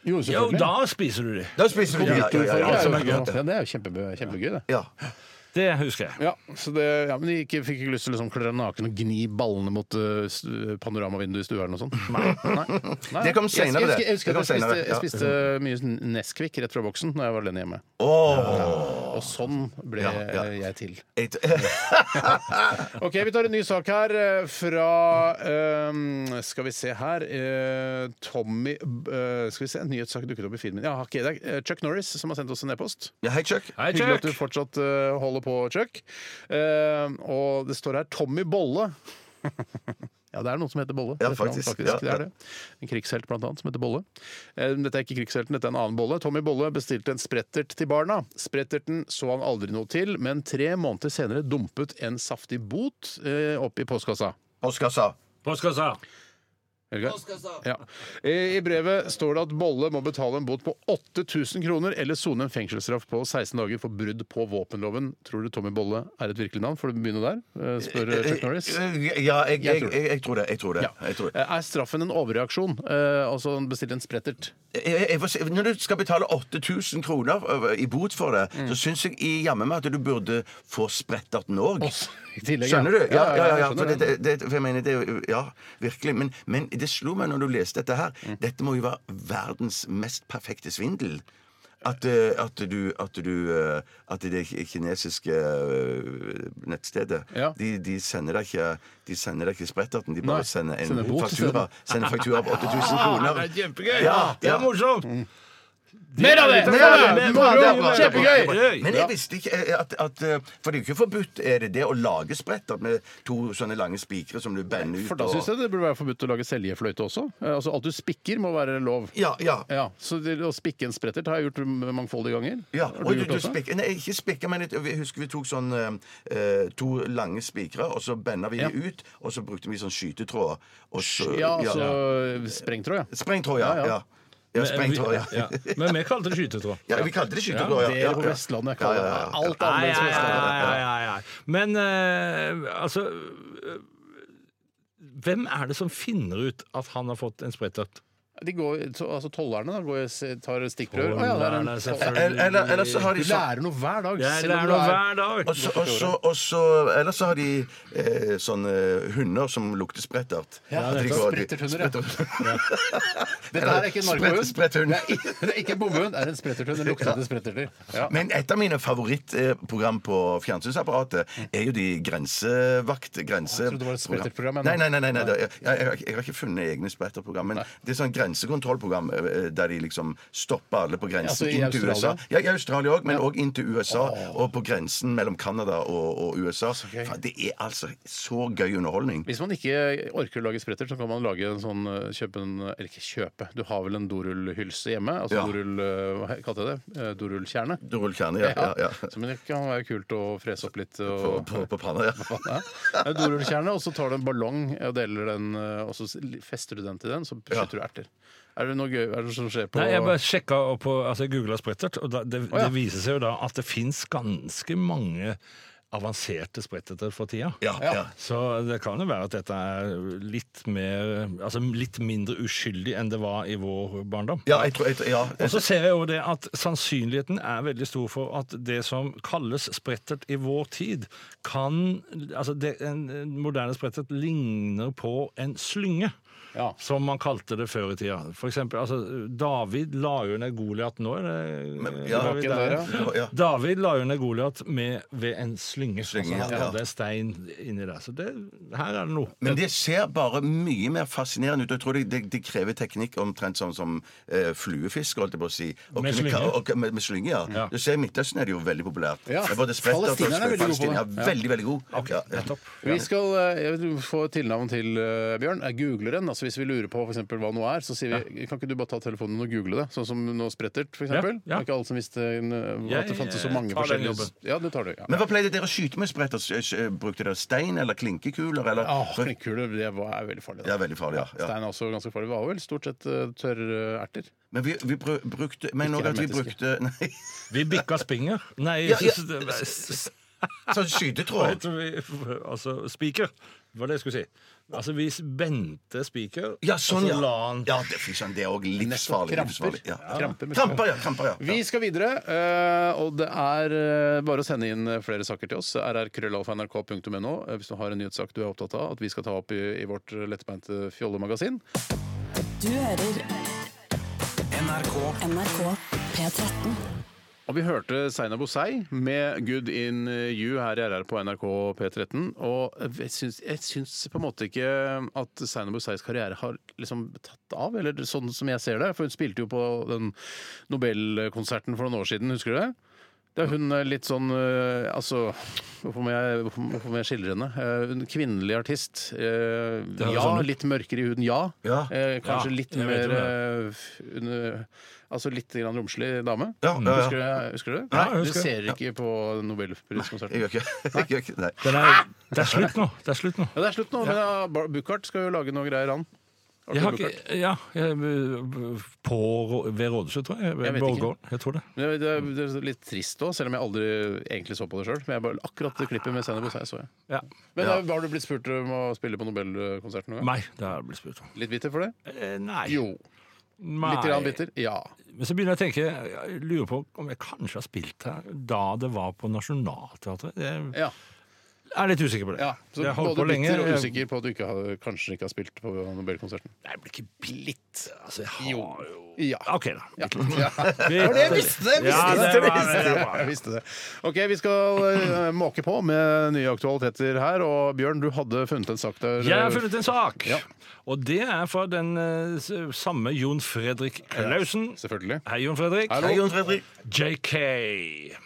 Speaker 4: Jo,
Speaker 5: jo,
Speaker 4: selvfølgelig.
Speaker 5: da spiser du de.
Speaker 6: Da spiser vi de. Ja, ja, ja,
Speaker 4: Ja,
Speaker 6: ja,
Speaker 4: ja,
Speaker 6: ja, ja, ja.
Speaker 4: ja, det er jo kjempe, kjempegøy, det.
Speaker 6: Ja.
Speaker 5: Det husker jeg.
Speaker 4: Ja, så det, ja, Men de ikke, fikk ikke lyst til å liksom, klare naken og gni ballene mot eh, s- panoramavinduet i stua eller noe sånt? Nei. Nei. Nei.
Speaker 6: Det kom
Speaker 4: jeg,
Speaker 6: senere, det.
Speaker 4: jeg, husker-
Speaker 6: Det
Speaker 4: jeg husker
Speaker 6: kom
Speaker 4: at
Speaker 6: senere,
Speaker 4: jeg spiste, jeg
Speaker 6: ja.
Speaker 4: spiste mye sånn Nesquik rett fra boksen da jeg var alene hjemme.
Speaker 6: Åh.
Speaker 4: Og sånn ble
Speaker 6: Ja, ja.
Speaker 4: eh, jeg til.
Speaker 6: Et-
Speaker 4: Ok, Vi tar en ny sak her eh, fra eh, Skal vi se her eh, Tommy eh, Skal vi se, En nyhetssak dukket opp i filmen. Ja, ok, det er eh, Chuck Norris som har sendt oss en e-post.
Speaker 6: Ja, hei, Chuck.
Speaker 5: Hei,
Speaker 4: Hyggelig at
Speaker 5: Chuck.
Speaker 4: du fortsatt eh, holder på, Chuck. Eh, og det står her Tommy Bolle. Ja, det er noen som heter Bolle.
Speaker 6: Ja,
Speaker 4: Det er han,
Speaker 6: faktisk. Ja,
Speaker 4: Det er det. En krigshelt blant annet som heter Bolle. Eh, Dette er ikke krigshelten, dette er en annen Bolle. Tommy Bolle bestilte en sprettert til barna. Spretterten så han aldri noe til, men tre måneder senere dumpet en saftig bot eh, opp i postkassa.
Speaker 6: Oskar sa
Speaker 5: Postkassa.
Speaker 4: Helge? Ja. Eh, I brevet står det at Bolle må betale en bot på 8000 kroner eller sone en fengselsstraff på 16 dager for brudd på våpenloven. Tror du Tommy Bolle er et virkelig navn? Får du begynne der? eh, Spør eh, Chuck Norris.
Speaker 6: Ja, jeg, jeg,
Speaker 4: tror det.
Speaker 6: jeg, jeg tror det. Jeg tror det.
Speaker 4: Ja.
Speaker 6: Jeg, tror
Speaker 4: Eh,
Speaker 6: det.
Speaker 4: Er straffen en overreaksjon? Eh, Altså han bestilte en sprettert?
Speaker 6: Jeg, Eh, jeg, får si- når du skal betale 8000 kroner over- i bot for det,
Speaker 4: Mm.
Speaker 6: så syns jeg i jammen meg at du burde få spretterten òg.
Speaker 4: I tillegg,
Speaker 6: Skjønner du? Ja, ja, ja,
Speaker 4: jeg
Speaker 6: ja, for,
Speaker 4: skjønner
Speaker 6: det, det, det, for jeg mener det er jo- Ja, virkelig. Men, men det slo meg når du leste dette her.
Speaker 4: Mm.
Speaker 6: Dette må jo være verdens mest perfekte svindel. At, eh, at du At, du, eh, at det ki- kinesiske eh, nettstedet
Speaker 4: Ja.
Speaker 6: de, de sender deg ikke De sender deg ikke spretterten, de bare
Speaker 4: Nei,
Speaker 6: sender en
Speaker 4: sender bot i
Speaker 6: faktura.
Speaker 4: stedet.
Speaker 6: Sender faktura på 8000 kroner.
Speaker 5: kjempegøy!
Speaker 6: Ja,
Speaker 5: Det
Speaker 6: ja.
Speaker 5: er morsomt!
Speaker 4: Mm, Mer av det!
Speaker 5: Det er
Speaker 4: Mer av det!
Speaker 5: veldig
Speaker 4: Moro!
Speaker 5: bra, det er bra, det er bra.
Speaker 4: Kjempegøy!
Speaker 6: Men jeg visste ikke eh, at, at eh, For det er jo ikke forbudt, er det det, å lage spretter med to sånne lange spikere som du bender ut
Speaker 4: For da
Speaker 6: og-
Speaker 4: syns jeg det burde være forbudt å lage seljefløyte også. Eh, Altså Alt du spikker, må være lov.
Speaker 6: Ja, ja.
Speaker 4: Ja, så det, Å spikke en sprettert har jeg gjort mangfoldige ganger.
Speaker 6: Ja,
Speaker 4: Har
Speaker 6: og du,
Speaker 4: gjort
Speaker 6: du
Speaker 4: det også?
Speaker 6: spikker, nei, ikke spikker, men jeg husker vi tok sånn eh, eh, to lange spikere, og så benda vi
Speaker 4: Ja.
Speaker 6: de ut, og så brukte vi sånn skytetråd. Og så,
Speaker 4: Ja, altså sprengtråd, ja.
Speaker 6: Sprengtråd, ja.
Speaker 4: Ja, ja.
Speaker 6: ja. ja sprengtråd, ja.
Speaker 5: Ja. Men vi kalte det skytetråd.
Speaker 6: ja. Vi kalte det skytetråd, ja.
Speaker 4: Det
Speaker 6: ja,
Speaker 4: på
Speaker 6: ja.
Speaker 4: Vestlandet kaller
Speaker 6: Ja, ja, ja.
Speaker 4: det alt
Speaker 5: Nei,
Speaker 4: annerledes
Speaker 5: ja,
Speaker 4: på
Speaker 5: ja,
Speaker 4: Vestlandet.
Speaker 5: ja, ja, ja. Men eh, altså eh, Hvem er det som finner ut at han har fått en sprettert?
Speaker 4: De går, så- altså Tollerne da, går, og tar stikkprøver. Å, ja, det er en,
Speaker 5: Tollerne,
Speaker 4: toll-
Speaker 5: selvfølgelig.
Speaker 6: Eller, eller, eller så har
Speaker 4: du
Speaker 6: de sånn
Speaker 4: lærer noe hver dag.
Speaker 5: Jeg
Speaker 4: selv om
Speaker 5: lærer
Speaker 4: du
Speaker 5: noe
Speaker 4: er-
Speaker 5: hver dag.
Speaker 6: og så, og så, og så, eller så har de eh, sånne hunder som lukter sprettert.
Speaker 4: Ja,
Speaker 6: At de
Speaker 4: det er
Speaker 6: går-
Speaker 4: spretterthunder, ja.
Speaker 6: spretterhunder.
Speaker 4: Dette her er ikke en
Speaker 6: Sprett-
Speaker 4: narkohund.
Speaker 6: spretthund.
Speaker 4: Det er ikke- Det er ikke en bommehund, det er en spretterthund. Det lukter etter spretterter. Ja.
Speaker 6: Men et av mine favorittprogram på fjernsynsapparatet er jo de grensevakt... Grense...
Speaker 4: Jeg trodde det var et spretterprogram, jeg nå.
Speaker 6: Nei, nei, nei. nei, nei. Jeg, jeg, jeg, har ikke- jeg har ikke funnet egne spretterprogram. Men det er sånn grensekontrollprogram eh, der de liksom stopper alle på
Speaker 4: Altså
Speaker 6: grensen
Speaker 4: i
Speaker 6: inn til USA.
Speaker 4: Australia?
Speaker 6: Ja, I Australia òg, men òg inn til USA. Og på grensen mellom Canada og, og USA. Faen, Det er altså så gøy underholdning.
Speaker 4: Hvis man ikke orker å lage spretter, så kan man lage en sånn, eh, kjøpe en Eller ikke kjøpe, du har vel en dorullhylse hjemme? Altså
Speaker 6: Ja.
Speaker 4: dorull... eh, Hva kalte jeg det? Eh, Dorullkjerne?
Speaker 6: Rullkjerne, ja. ja, ja.
Speaker 4: Så, men det kan være kult å frese opp litt.
Speaker 6: På,
Speaker 4: Og,
Speaker 6: på, på panna, ja.
Speaker 4: Ja. En Dorullkjerne, og så tar du en ballong og deler den, eh, og så fester du den til den, så skyter du erter. Er det noe gøy er det noe som skjer på
Speaker 5: Nei, Jeg bare sjekka opp på, altså jeg googla sprettert, og da, det,
Speaker 4: ja.
Speaker 5: det viser seg jo da at det fins ganske mange avanserte spretterter for tida.
Speaker 6: Ja, ja.
Speaker 5: Så det kan jo være at dette er litt, mer, altså litt mindre uskyldig enn det var i vår barndom.
Speaker 6: ja, jeg tror, jeg, tror- ja.
Speaker 5: Og så ser jeg jo det at sannsynligheten er veldig stor for at det som kalles sprettert i vår tid, kan Altså, det, en, en moderne sprettert ligner på en slynge.
Speaker 4: Ja.
Speaker 5: Som man kalte det før i tida. For eksempel, altså, David la jo ned Goliat nå. Er det,
Speaker 6: ja,
Speaker 5: David,
Speaker 4: ikke
Speaker 5: der,
Speaker 4: der,
Speaker 5: ja.
Speaker 6: Ja, ja.
Speaker 5: David la jo ned Goliat med- ved en slynge.
Speaker 6: Slynge,
Speaker 5: altså, han
Speaker 6: ja.
Speaker 5: hadde en stein inni der. Så det, her er det noe.
Speaker 6: Men det ser bare mye mer fascinerende ut. Jeg tror det, det, det krever teknikk omtrent sånn som eh, fluefisk, holdt jeg på å si. Og,
Speaker 5: Med slynge.
Speaker 6: og, og, med, med slynge, ja.
Speaker 5: Ja.
Speaker 6: Du ser I Midtøsten er det jo veldig populært.
Speaker 4: Ja.
Speaker 6: Det er Både spretter,
Speaker 4: Palestinerne er veldig gode på
Speaker 6: Palestina er
Speaker 4: det. Ja.
Speaker 6: veldig, veldig god. Ja, ja.
Speaker 4: Vi skal eh, jeg vil få et tilnavn til eh, Bjørn. Jeg googler en. altså Hvis vi lurer på for eksempel, hva noe er, så sier vi kan ikke du bare ta telefonen og google det? Sånn som nå Sprettert, f.eks.
Speaker 5: Ja,
Speaker 4: Ja,
Speaker 5: ja.
Speaker 4: Det er ikke alle som visste eh, at det fantes så
Speaker 5: Jeg
Speaker 4: mange
Speaker 5: tar den
Speaker 4: forskjellige
Speaker 5: jobben.
Speaker 4: Ja, du tar det. Ja.
Speaker 6: Men hva pleide dere å skyte med spretter? S- s- Brukte dere stein eller klinkekuler? Eller?
Speaker 4: Åh, knekkhuler, det var, er veldig farlig.
Speaker 6: Det
Speaker 4: Da.
Speaker 6: er veldig farlig, ja. ja.
Speaker 4: Stein er også ganske farlig. Det var vel stort sett eh, tørre erter.
Speaker 6: Men vi, vi bru- brukte Men
Speaker 4: Ikke
Speaker 6: også at vi
Speaker 4: hermetiske.
Speaker 6: brukte Nei,
Speaker 5: Vi bikka spinger. Nei,
Speaker 6: Ja, ja.
Speaker 5: jeg synes det-
Speaker 6: sånn
Speaker 5: Hva
Speaker 6: skytetråd.
Speaker 5: heter vi? Altså spiker, var det jeg skulle si. Altså, vi bente spiker,
Speaker 6: Ja, sånn,
Speaker 5: og
Speaker 6: ja.
Speaker 5: så la han
Speaker 6: ja det, fy søren, det er òg livsfarlig.
Speaker 4: Kramper.
Speaker 6: livsfarlig, Ja.
Speaker 4: Kramper, med-
Speaker 6: Kramper, ja. Kramper, ja.
Speaker 4: Vi
Speaker 6: ja.
Speaker 4: skal videre, eh, og det er eh, bare å sende inn eh, flere saker til oss. rrkrøllalfa.nrk.no eh, hvis du har en nyhetssak du er opptatt av at vi skal ta opp i, i vårt lettbeinte fjollemagasin.
Speaker 1: Du hører
Speaker 3: NRK
Speaker 1: NRK P13.
Speaker 4: Og vi hørte Zainab Osei med 'Good in you' her i RR på NRK P13. Og jeg syns, jeg syns på en måte ikke at Zainab Oseis karriere har liksom tatt av, eller sånn som jeg ser det. For hun spilte jo på den Nobelkonserten for noen år siden, husker du det? Det er hun eh, litt sånn eh, Altså, hvorfor må jeg, hvorfor hvorfor må jeg skildre henne? Eh, Hun er kvinnelig artist. eh,
Speaker 5: er
Speaker 4: Ja,
Speaker 5: sånn.
Speaker 4: litt mørkere i huden, ja.
Speaker 6: Ja.
Speaker 4: Eh, Kanskje
Speaker 5: Ja,
Speaker 4: litt
Speaker 5: jeg vet
Speaker 4: mer eh,
Speaker 5: jo
Speaker 4: f- under, Altså litt grann romslig dame.
Speaker 6: Ja, ja, ja.
Speaker 4: Husker, du, det? husker du det?
Speaker 5: Ja, jeg
Speaker 4: du
Speaker 5: husker
Speaker 4: ser ikke på Nobelpriskonserten.
Speaker 6: Jeg gjør ikke jeg gjør ikke- Nei.
Speaker 5: Den er, Det er slutt nå. Det er slutt nå.
Speaker 4: Ja, det er slutt nå, men ja, Bar- Buchardt skal jo lage noe greier, han. Arthur
Speaker 5: Jeg har
Speaker 4: Buchardt.
Speaker 5: ikke Ja, jeg, på, Rå- ved Rådhuset, tror jeg.
Speaker 4: Jeg
Speaker 5: Ved
Speaker 4: vet
Speaker 5: Borggården. Jeg tror det.
Speaker 4: Men det, er- det er litt trist òg, selv om jeg aldri egentlig så på det sjøl. Men jeg bare, akkurat det klippet med Sandy Bosei så jeg.
Speaker 5: Ja.
Speaker 4: Men eh, Har du blitt spurt om å spille på Nobelkonserten noen gang?
Speaker 5: Nei, det har jeg blitt spurt om.
Speaker 4: Litt bitter for det?
Speaker 5: Eh, Nei.
Speaker 4: Jo.
Speaker 5: Nei.
Speaker 4: Litt grann bitter? Ja.
Speaker 5: Men så begynner jeg å tenke Jeg lurer på om jeg kanskje har spilt her da det var på Nationaltheatret. Jeg
Speaker 4: ja.
Speaker 5: er litt usikker på det.
Speaker 4: ja. Så
Speaker 5: jeg har holdt
Speaker 4: både
Speaker 5: på lenge.
Speaker 4: bitter og
Speaker 5: Jeg-
Speaker 4: usikker på at du ikke har, kanskje ikke har spilt på Nobelkonserten.
Speaker 5: Nei, Jeg blir ikke blitt Altså, jeg har
Speaker 4: Jo.
Speaker 5: jo
Speaker 4: Ja.
Speaker 5: OK, da.
Speaker 4: Ja.
Speaker 5: Det var det jeg visste! Jeg visste, ja, det var, det var.
Speaker 4: Jeg visste det. Ok, Vi skal eh, måke på med nye aktualiteter her. Og Bjørn, du hadde funnet en sak der.
Speaker 5: Jeg har funnet en sak,
Speaker 4: Ja.
Speaker 5: og det er fra den eh, s- samme Jon Fredrik Klausen.
Speaker 4: Selvfølgelig.
Speaker 5: Hei, Jon Fredrik.
Speaker 4: Hallo.
Speaker 6: Hei, Jon Fredrik.
Speaker 5: JK.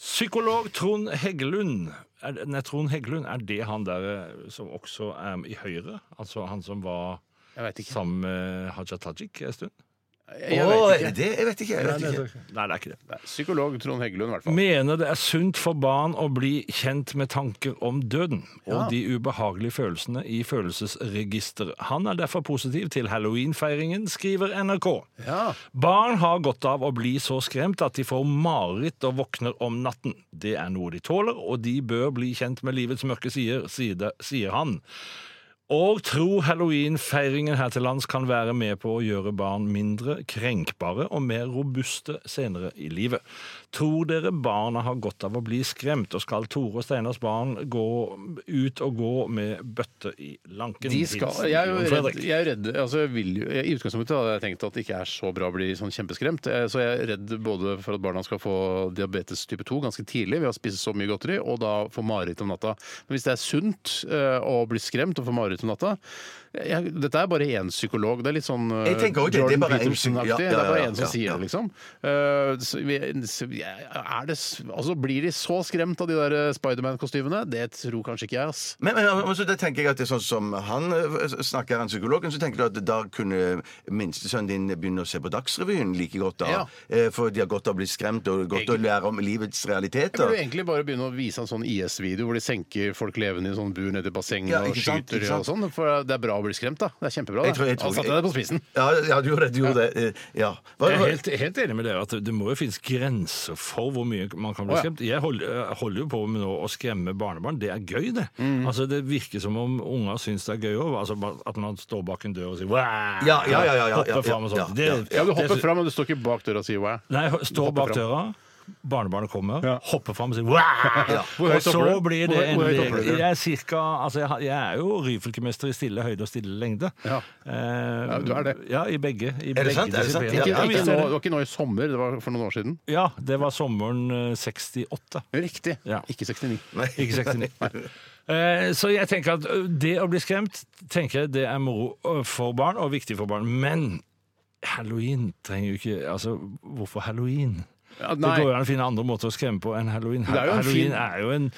Speaker 5: Psykolog Trond Heggelund er, det- Nei, Trond Heggelund, er det han der eh, som også er i Høyre? Altså han som var
Speaker 4: Jeg vet ikke.
Speaker 5: sammen med Haja Tajik en stund?
Speaker 4: Jeg
Speaker 6: Å,
Speaker 4: vet
Speaker 6: er
Speaker 4: ikke.
Speaker 6: det det? Jeg vet ikke. Jeg vet ikke.
Speaker 5: Nei, det er ikke det.
Speaker 4: Nei, Psykolog Trond Heggelund, i hvert fall.
Speaker 5: Mener det er sunt for barn å bli kjent med tanker om døden og de ubehagelige følelsene i følelsesregisteret. Han er derfor positiv til halloweenfeiringen, skriver NRK.
Speaker 4: Ja.
Speaker 5: Barn har godt av å bli så skremt at de får mareritt og våkner om natten. Det er noe de tåler, og de bør bli kjent med livets mørke sider, side- sier han. Og tro halloweenfeiringen her til lands kan være med på å gjøre barn mindre krenkbare og mer robuste senere i livet. Tror dere barna har godt av å bli skremt, og skal Tore og Steinars barn gå ut og gå med bøtte i lanken?
Speaker 4: De skal,
Speaker 5: Hilsen
Speaker 4: jeg er jo
Speaker 5: Jon
Speaker 4: redd,
Speaker 5: Fredrik.
Speaker 4: jeg er jo redd altså jeg vil jo, jeg, I utgangspunktet hadde jeg tenkt at det ikke er så bra å bli sånn kjempeskremt. eh, Så jeg er redd både for at barna skal få diabetes type 2 ganske tidlig ved å spise så mye godteri, og da få mareritt om natta. Men hvis det er sunt eh, å bli skremt og få mareritt om natta jeg, Dette er bare én psykolog. Det er litt sånn eh,
Speaker 6: Jeg tenker også det, det er
Speaker 4: Jordan
Speaker 6: bare en psy-
Speaker 4: Peterson-aktig.
Speaker 6: ja, ja,
Speaker 4: Det er bare
Speaker 6: ja,
Speaker 4: én som
Speaker 6: ja,
Speaker 4: sier
Speaker 6: ja.
Speaker 4: det, liksom. Eh, så vi- så vi- Er det, s- altså, blir de så skremt av de der Spiderman-kostymene? Det tror kanskje ikke jeg, ass.
Speaker 6: Men, men altså, da tenker jeg at det er sånn som han ø, snakker, han psykologen, så tenker du at da kunne minstesønnen din begynne å se på Dagsrevyen like godt da.
Speaker 4: Ja.
Speaker 6: Eh, For de har godt av å bli skremt og godt av å lære om livets
Speaker 4: Jeg burde
Speaker 6: realiteter.
Speaker 4: jo egentlig bare begynne å vise en sånn IS-video hvor de senker folk levende i sånn bur nede i bassenget
Speaker 6: Ja,
Speaker 4: og
Speaker 6: ikke sant,
Speaker 4: skyter
Speaker 6: ikke
Speaker 4: de og sånn. For det er bra å bli skremt, da. Det er kjempebra.
Speaker 6: Jeg tror- jeg
Speaker 4: det.
Speaker 6: tror-
Speaker 4: Han satte deg på spissen.
Speaker 6: Ja, ja, du gjorde det. Du gjorde det. eh, Ja. Hva,
Speaker 5: Jeg er
Speaker 6: hva,
Speaker 5: helt, helt enig med dere at det må jo finnes grenser for hvor mye man kan bli
Speaker 4: Å, ja.
Speaker 5: skremt. Jeg holder, jeg holder jo på med nå å skremme barnebarn. Det er gøy, det.
Speaker 4: Mhm.
Speaker 5: Altså, Det virker som om unger syns det er gøy òg. Altså, bare at man står bak en dør og sier «Wah!»
Speaker 6: Ja, ja, ja, ja, ja, ja,
Speaker 5: Hopper fram og
Speaker 6: ja,
Speaker 5: sånn.
Speaker 6: ja, ja.
Speaker 5: Det-
Speaker 4: Ja, du
Speaker 5: det-
Speaker 4: hopper fram, men du står ikke bak døra og sier wow.
Speaker 5: Nei,
Speaker 4: Du
Speaker 5: står
Speaker 4: hopper
Speaker 5: bak
Speaker 4: fram.
Speaker 5: døra. barnebarnet kommer,
Speaker 4: Ja.
Speaker 5: hopper fram og sier «Wah!»
Speaker 4: Hvor
Speaker 5: Og
Speaker 4: høyt hopper
Speaker 5: så
Speaker 4: du?
Speaker 5: blir det
Speaker 4: Hvor høy-
Speaker 5: en
Speaker 4: hvor høyt
Speaker 5: regel.
Speaker 4: hopper du?
Speaker 5: Jeg er, cirka, altså jeg, har- jeg er jo Ryfylke-mester i stille høyde og stille lengde.
Speaker 4: Ja.
Speaker 5: Eh,
Speaker 4: Ja, du er det.
Speaker 5: Ja, i begge. I
Speaker 6: Er det
Speaker 5: begge
Speaker 6: sant? Er det sant?
Speaker 5: disipliner.
Speaker 4: Ikke,
Speaker 6: Ja,
Speaker 4: ikke
Speaker 5: visst
Speaker 4: nå,
Speaker 5: er
Speaker 4: det
Speaker 5: det.
Speaker 4: var ikke nå i sommer, det var for noen år siden.
Speaker 5: ja, det var sommeren eh, 68.
Speaker 4: Riktig.
Speaker 5: Ja.
Speaker 4: Ikke 69.
Speaker 5: Ikke 69. Eh, Så jeg tenker at ø, det å bli skremt tenker jeg det er moro ø, for barn, og viktig for barn. Men halloween trenger jo ikke Altså, hvorfor halloween?
Speaker 4: Ja,
Speaker 5: Det går jo
Speaker 4: nei.
Speaker 5: an å finne andre måter å skremme på enn halloween.
Speaker 4: Det er jo en
Speaker 5: halloween
Speaker 4: fin-
Speaker 5: er jo en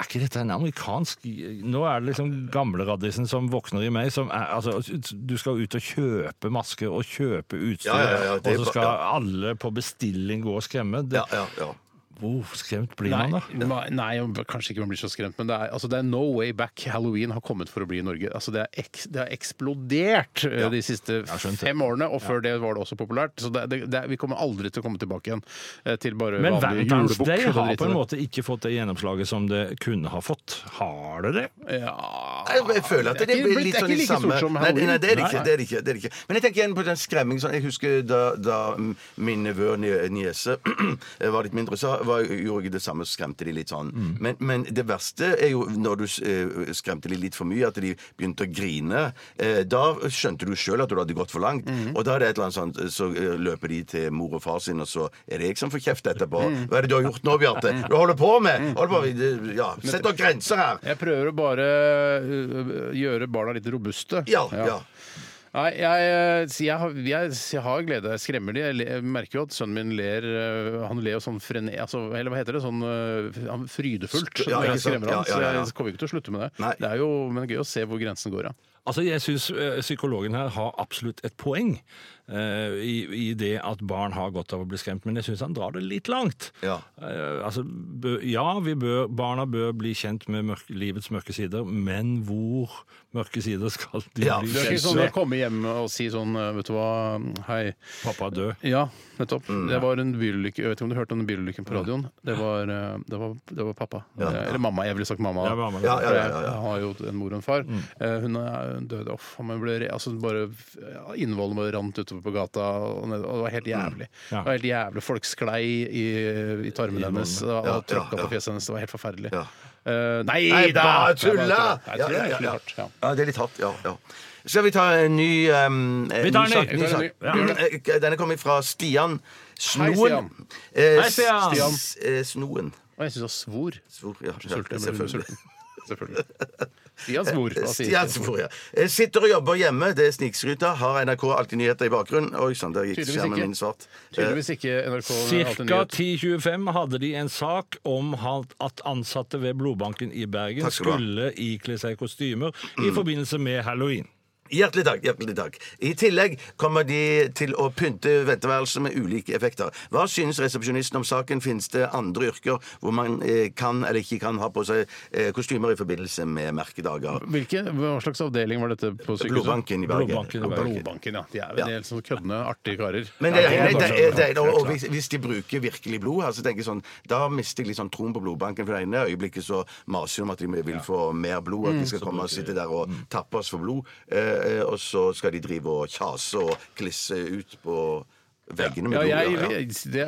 Speaker 5: er ikke dette en amerikansk Nå er det liksom gamleraddisen som våkner i meg. Som er, altså, du skal ut og kjøpe masker og kjøpe utstyr,
Speaker 6: Ja, ja, ja, det er
Speaker 5: og så
Speaker 6: ba-
Speaker 5: skal
Speaker 6: ja.
Speaker 5: alle på bestilling gå og skremme. Det,
Speaker 6: Ja, ja, ja.
Speaker 5: Hvor skremt blir
Speaker 4: Nei,
Speaker 5: man da?
Speaker 4: ma- nei, kanskje ikke man blir så skremt, men det er, altså, det er no way back. Halloween har kommet for å bli i Norge. Altså, det, er eks, det har eksplodert eh, de siste
Speaker 5: skjønt det.
Speaker 4: fem årene, og før det var det også populært. Så det, det, det, vi kommer aldri til å komme tilbake igjen eh, til bare
Speaker 5: Men
Speaker 4: vanlig
Speaker 5: Valentine's
Speaker 4: julebukk.
Speaker 5: Day
Speaker 4: og
Speaker 5: har
Speaker 4: dritt
Speaker 5: på
Speaker 4: i
Speaker 5: en
Speaker 4: det.
Speaker 5: måte ikke fått det gjennomslaget som det kunne ha fått. Har det det?
Speaker 4: Ja,
Speaker 6: Jeg, jeg føler at
Speaker 4: Ah, Det
Speaker 6: det,
Speaker 4: er ikke
Speaker 6: blir
Speaker 4: blitt- det
Speaker 6: litt
Speaker 4: er ikke
Speaker 6: sånn i
Speaker 4: like
Speaker 6: samme
Speaker 4: stort som
Speaker 6: nei, nei, nei, det er det
Speaker 4: Halloween.
Speaker 6: ikke. Det er det ikke, det er det ikke. Men jeg tenker igjen på den skremmingen. Sånn, jeg husker da, da mm, min nevø og nie- niese var litt mindre, så var, gjorde jeg det samme og skremte de litt sånn.
Speaker 4: Mm.
Speaker 6: Men, men det verste er jo når du eh, skremte de litt for mye, at de begynte å grine. Eh, Da skjønte du sjøl at du hadde gått for langt.
Speaker 4: Mm.
Speaker 6: Og da er det et eller annet sånt, så eh, løper de til mor og far sin, og så er det jeg som får kjeft etterpå.
Speaker 4: Mm.
Speaker 6: Hva er det du har gjort nå, Bjarte? Du holder på med! Holder på med ja, sett noen grenser her!
Speaker 4: Jeg prøver å bare øh, gjøre barna litt robuste.
Speaker 6: Ja, ja.
Speaker 4: Nei, jeg, øh, så jeg, har- jeg, jeg har glede. Jeg skremmer de. Jeg, le- jeg merker jo at sønnen min ler øh, Han ler jo sånn frene... Altså, eller hva heter det? Sånn øh, han- frydefullt.
Speaker 6: Ja,
Speaker 4: når
Speaker 6: ja,
Speaker 4: jeg ikke skremmer
Speaker 6: ja,
Speaker 4: han,
Speaker 6: ja, ja, ja.
Speaker 4: Så jeg kommer ikke til å slutte med det.
Speaker 6: Nei.
Speaker 4: Det er jo men det er gøy å se hvor grensen går, ja.
Speaker 5: Altså, Jeg syns psykologen her har absolutt et poeng eh, i, i det at barn har godt av å bli skremt, men jeg syns han drar det litt langt.
Speaker 6: Ja.
Speaker 5: Eh, altså, bø, ja, vi bør, barna bør bli kjent med mørk, livets mørke sider, men hvor mørke sider skal de
Speaker 6: Ja,
Speaker 5: bli
Speaker 4: Det er ikke
Speaker 5: kjent
Speaker 4: sånn å
Speaker 5: med?
Speaker 4: komme hjem og si sånn øh, Vet du hva, hei.
Speaker 5: Pappa er død.
Speaker 4: Ja, nettopp.
Speaker 6: Mm.
Speaker 4: Det var en bilulykke. Jeg vet ikke om du hørte om den bilulykken på radioen? Det var, øh, det var, det var pappa. Eh, Eller mamma. Jeg ville sagt mamma.
Speaker 5: Ja, mamma,
Speaker 6: Ja, ja, ja, ja, Mm.
Speaker 4: For Jeg har jo en mor og en far. Eh, Hun er hun døde off. Men ble, re- altså bare ja, innvollene bare rant utover på gata. Og ned- og det var helt
Speaker 6: Mm.
Speaker 4: jævlig.
Speaker 5: Ja.
Speaker 4: Det var helt jævlig. Folk sklei i, i tarmene hennes og
Speaker 6: Ja,
Speaker 4: og tråkka
Speaker 6: ja, ja.
Speaker 4: på fjeset hennes. Det var helt forferdelig.
Speaker 6: Ja.
Speaker 4: Eh, nei
Speaker 6: Nei
Speaker 4: da!
Speaker 6: da,
Speaker 4: Jeg bare
Speaker 6: tulla!
Speaker 4: tuller. Jeg tror det er
Speaker 6: Ja, ja,
Speaker 4: litt
Speaker 6: ja.
Speaker 4: hardt, ja.
Speaker 6: Ja, det er litt hardt, ja. ja. Skal vi ta en ny um,
Speaker 5: Vi tar en ny.
Speaker 6: sak-
Speaker 5: Vi
Speaker 4: tar en
Speaker 6: sak?
Speaker 4: ny.
Speaker 6: Ja. Eh, Denne kommer fra Stian Snoen.
Speaker 4: Stian.
Speaker 6: Eh,
Speaker 5: Hei, Stian.
Speaker 6: S- S- eh, Snoen.
Speaker 4: Og jeg syns han svor.
Speaker 6: Svor, ja.
Speaker 4: Sulten, jeg ble
Speaker 6: Selvfølgelig.
Speaker 4: sulten. Selvfølgelig. Stian svor. hva sier
Speaker 6: Stian Svor, ja. Eh, Sitter og jobber hjemme, det er snikskryta. Har NRK alltid nyheter i bakgrunnen? Oi sann, der gikk
Speaker 4: Tydeligvis
Speaker 6: skjermen
Speaker 4: ikke.
Speaker 6: min svart. Eh,
Speaker 4: Tydeligvis ikke NRK alltid
Speaker 5: Cirka
Speaker 4: nyhet.
Speaker 5: 10.25 hadde de en sak om han- at ansatte ved blodbanken i Bergen
Speaker 6: Takk skal du ha. Mm.
Speaker 5: skulle ikle seg kostymer i forbindelse med halloween.
Speaker 6: Hjertelig takk. hjertelig takk I tillegg kommer de til å pynte venteværelset med ulike effekter. Hva synes resepsjonisten om saken? Fins det andre yrker hvor man eh, kan eller ikke kan ha på seg eh, kostymer i forbindelse med merkedager?
Speaker 4: Hvilke, hva slags avdeling var dette på sykehuset?
Speaker 6: Blodbanken i Bergen.
Speaker 5: Blodbanken i
Speaker 4: Ja,
Speaker 5: Bergen.
Speaker 4: Blodbanken, ja. De er vel
Speaker 6: Ja.
Speaker 4: helt sånn køddende, artige karer.
Speaker 6: Men det,
Speaker 4: Ja,
Speaker 6: er-
Speaker 4: helt
Speaker 6: det, er-
Speaker 4: klart.
Speaker 6: det, er- og, og
Speaker 4: Helt klart.
Speaker 6: hvis, hvis de bruker virkelig blod, her, så tenker jeg sånn, da mister jeg litt sånn troen på blodbanken. For det ene øyeblikket så maser de om at de vil få mer blod, at de skal komme og sitte der og tappe oss for blod. Eh, og så skal de drive og kjase og klisse ut på veggene med
Speaker 4: Ja,
Speaker 6: blod.
Speaker 4: jeg,
Speaker 6: ja, ja.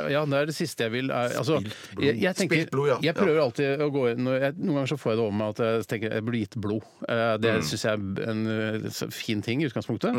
Speaker 4: det, ja, det er det siste jeg vil. Er, altså, jeg, jeg, tenker,
Speaker 6: Spilt blod, ja.
Speaker 4: jeg prøver alltid å gå inn når jeg, Noen ganger så får jeg det over meg at jeg tenker jeg blir gitt blod. Eh,
Speaker 6: Mm.
Speaker 4: Det synes syns jeg er en eh, så fin ting i utgangspunktet.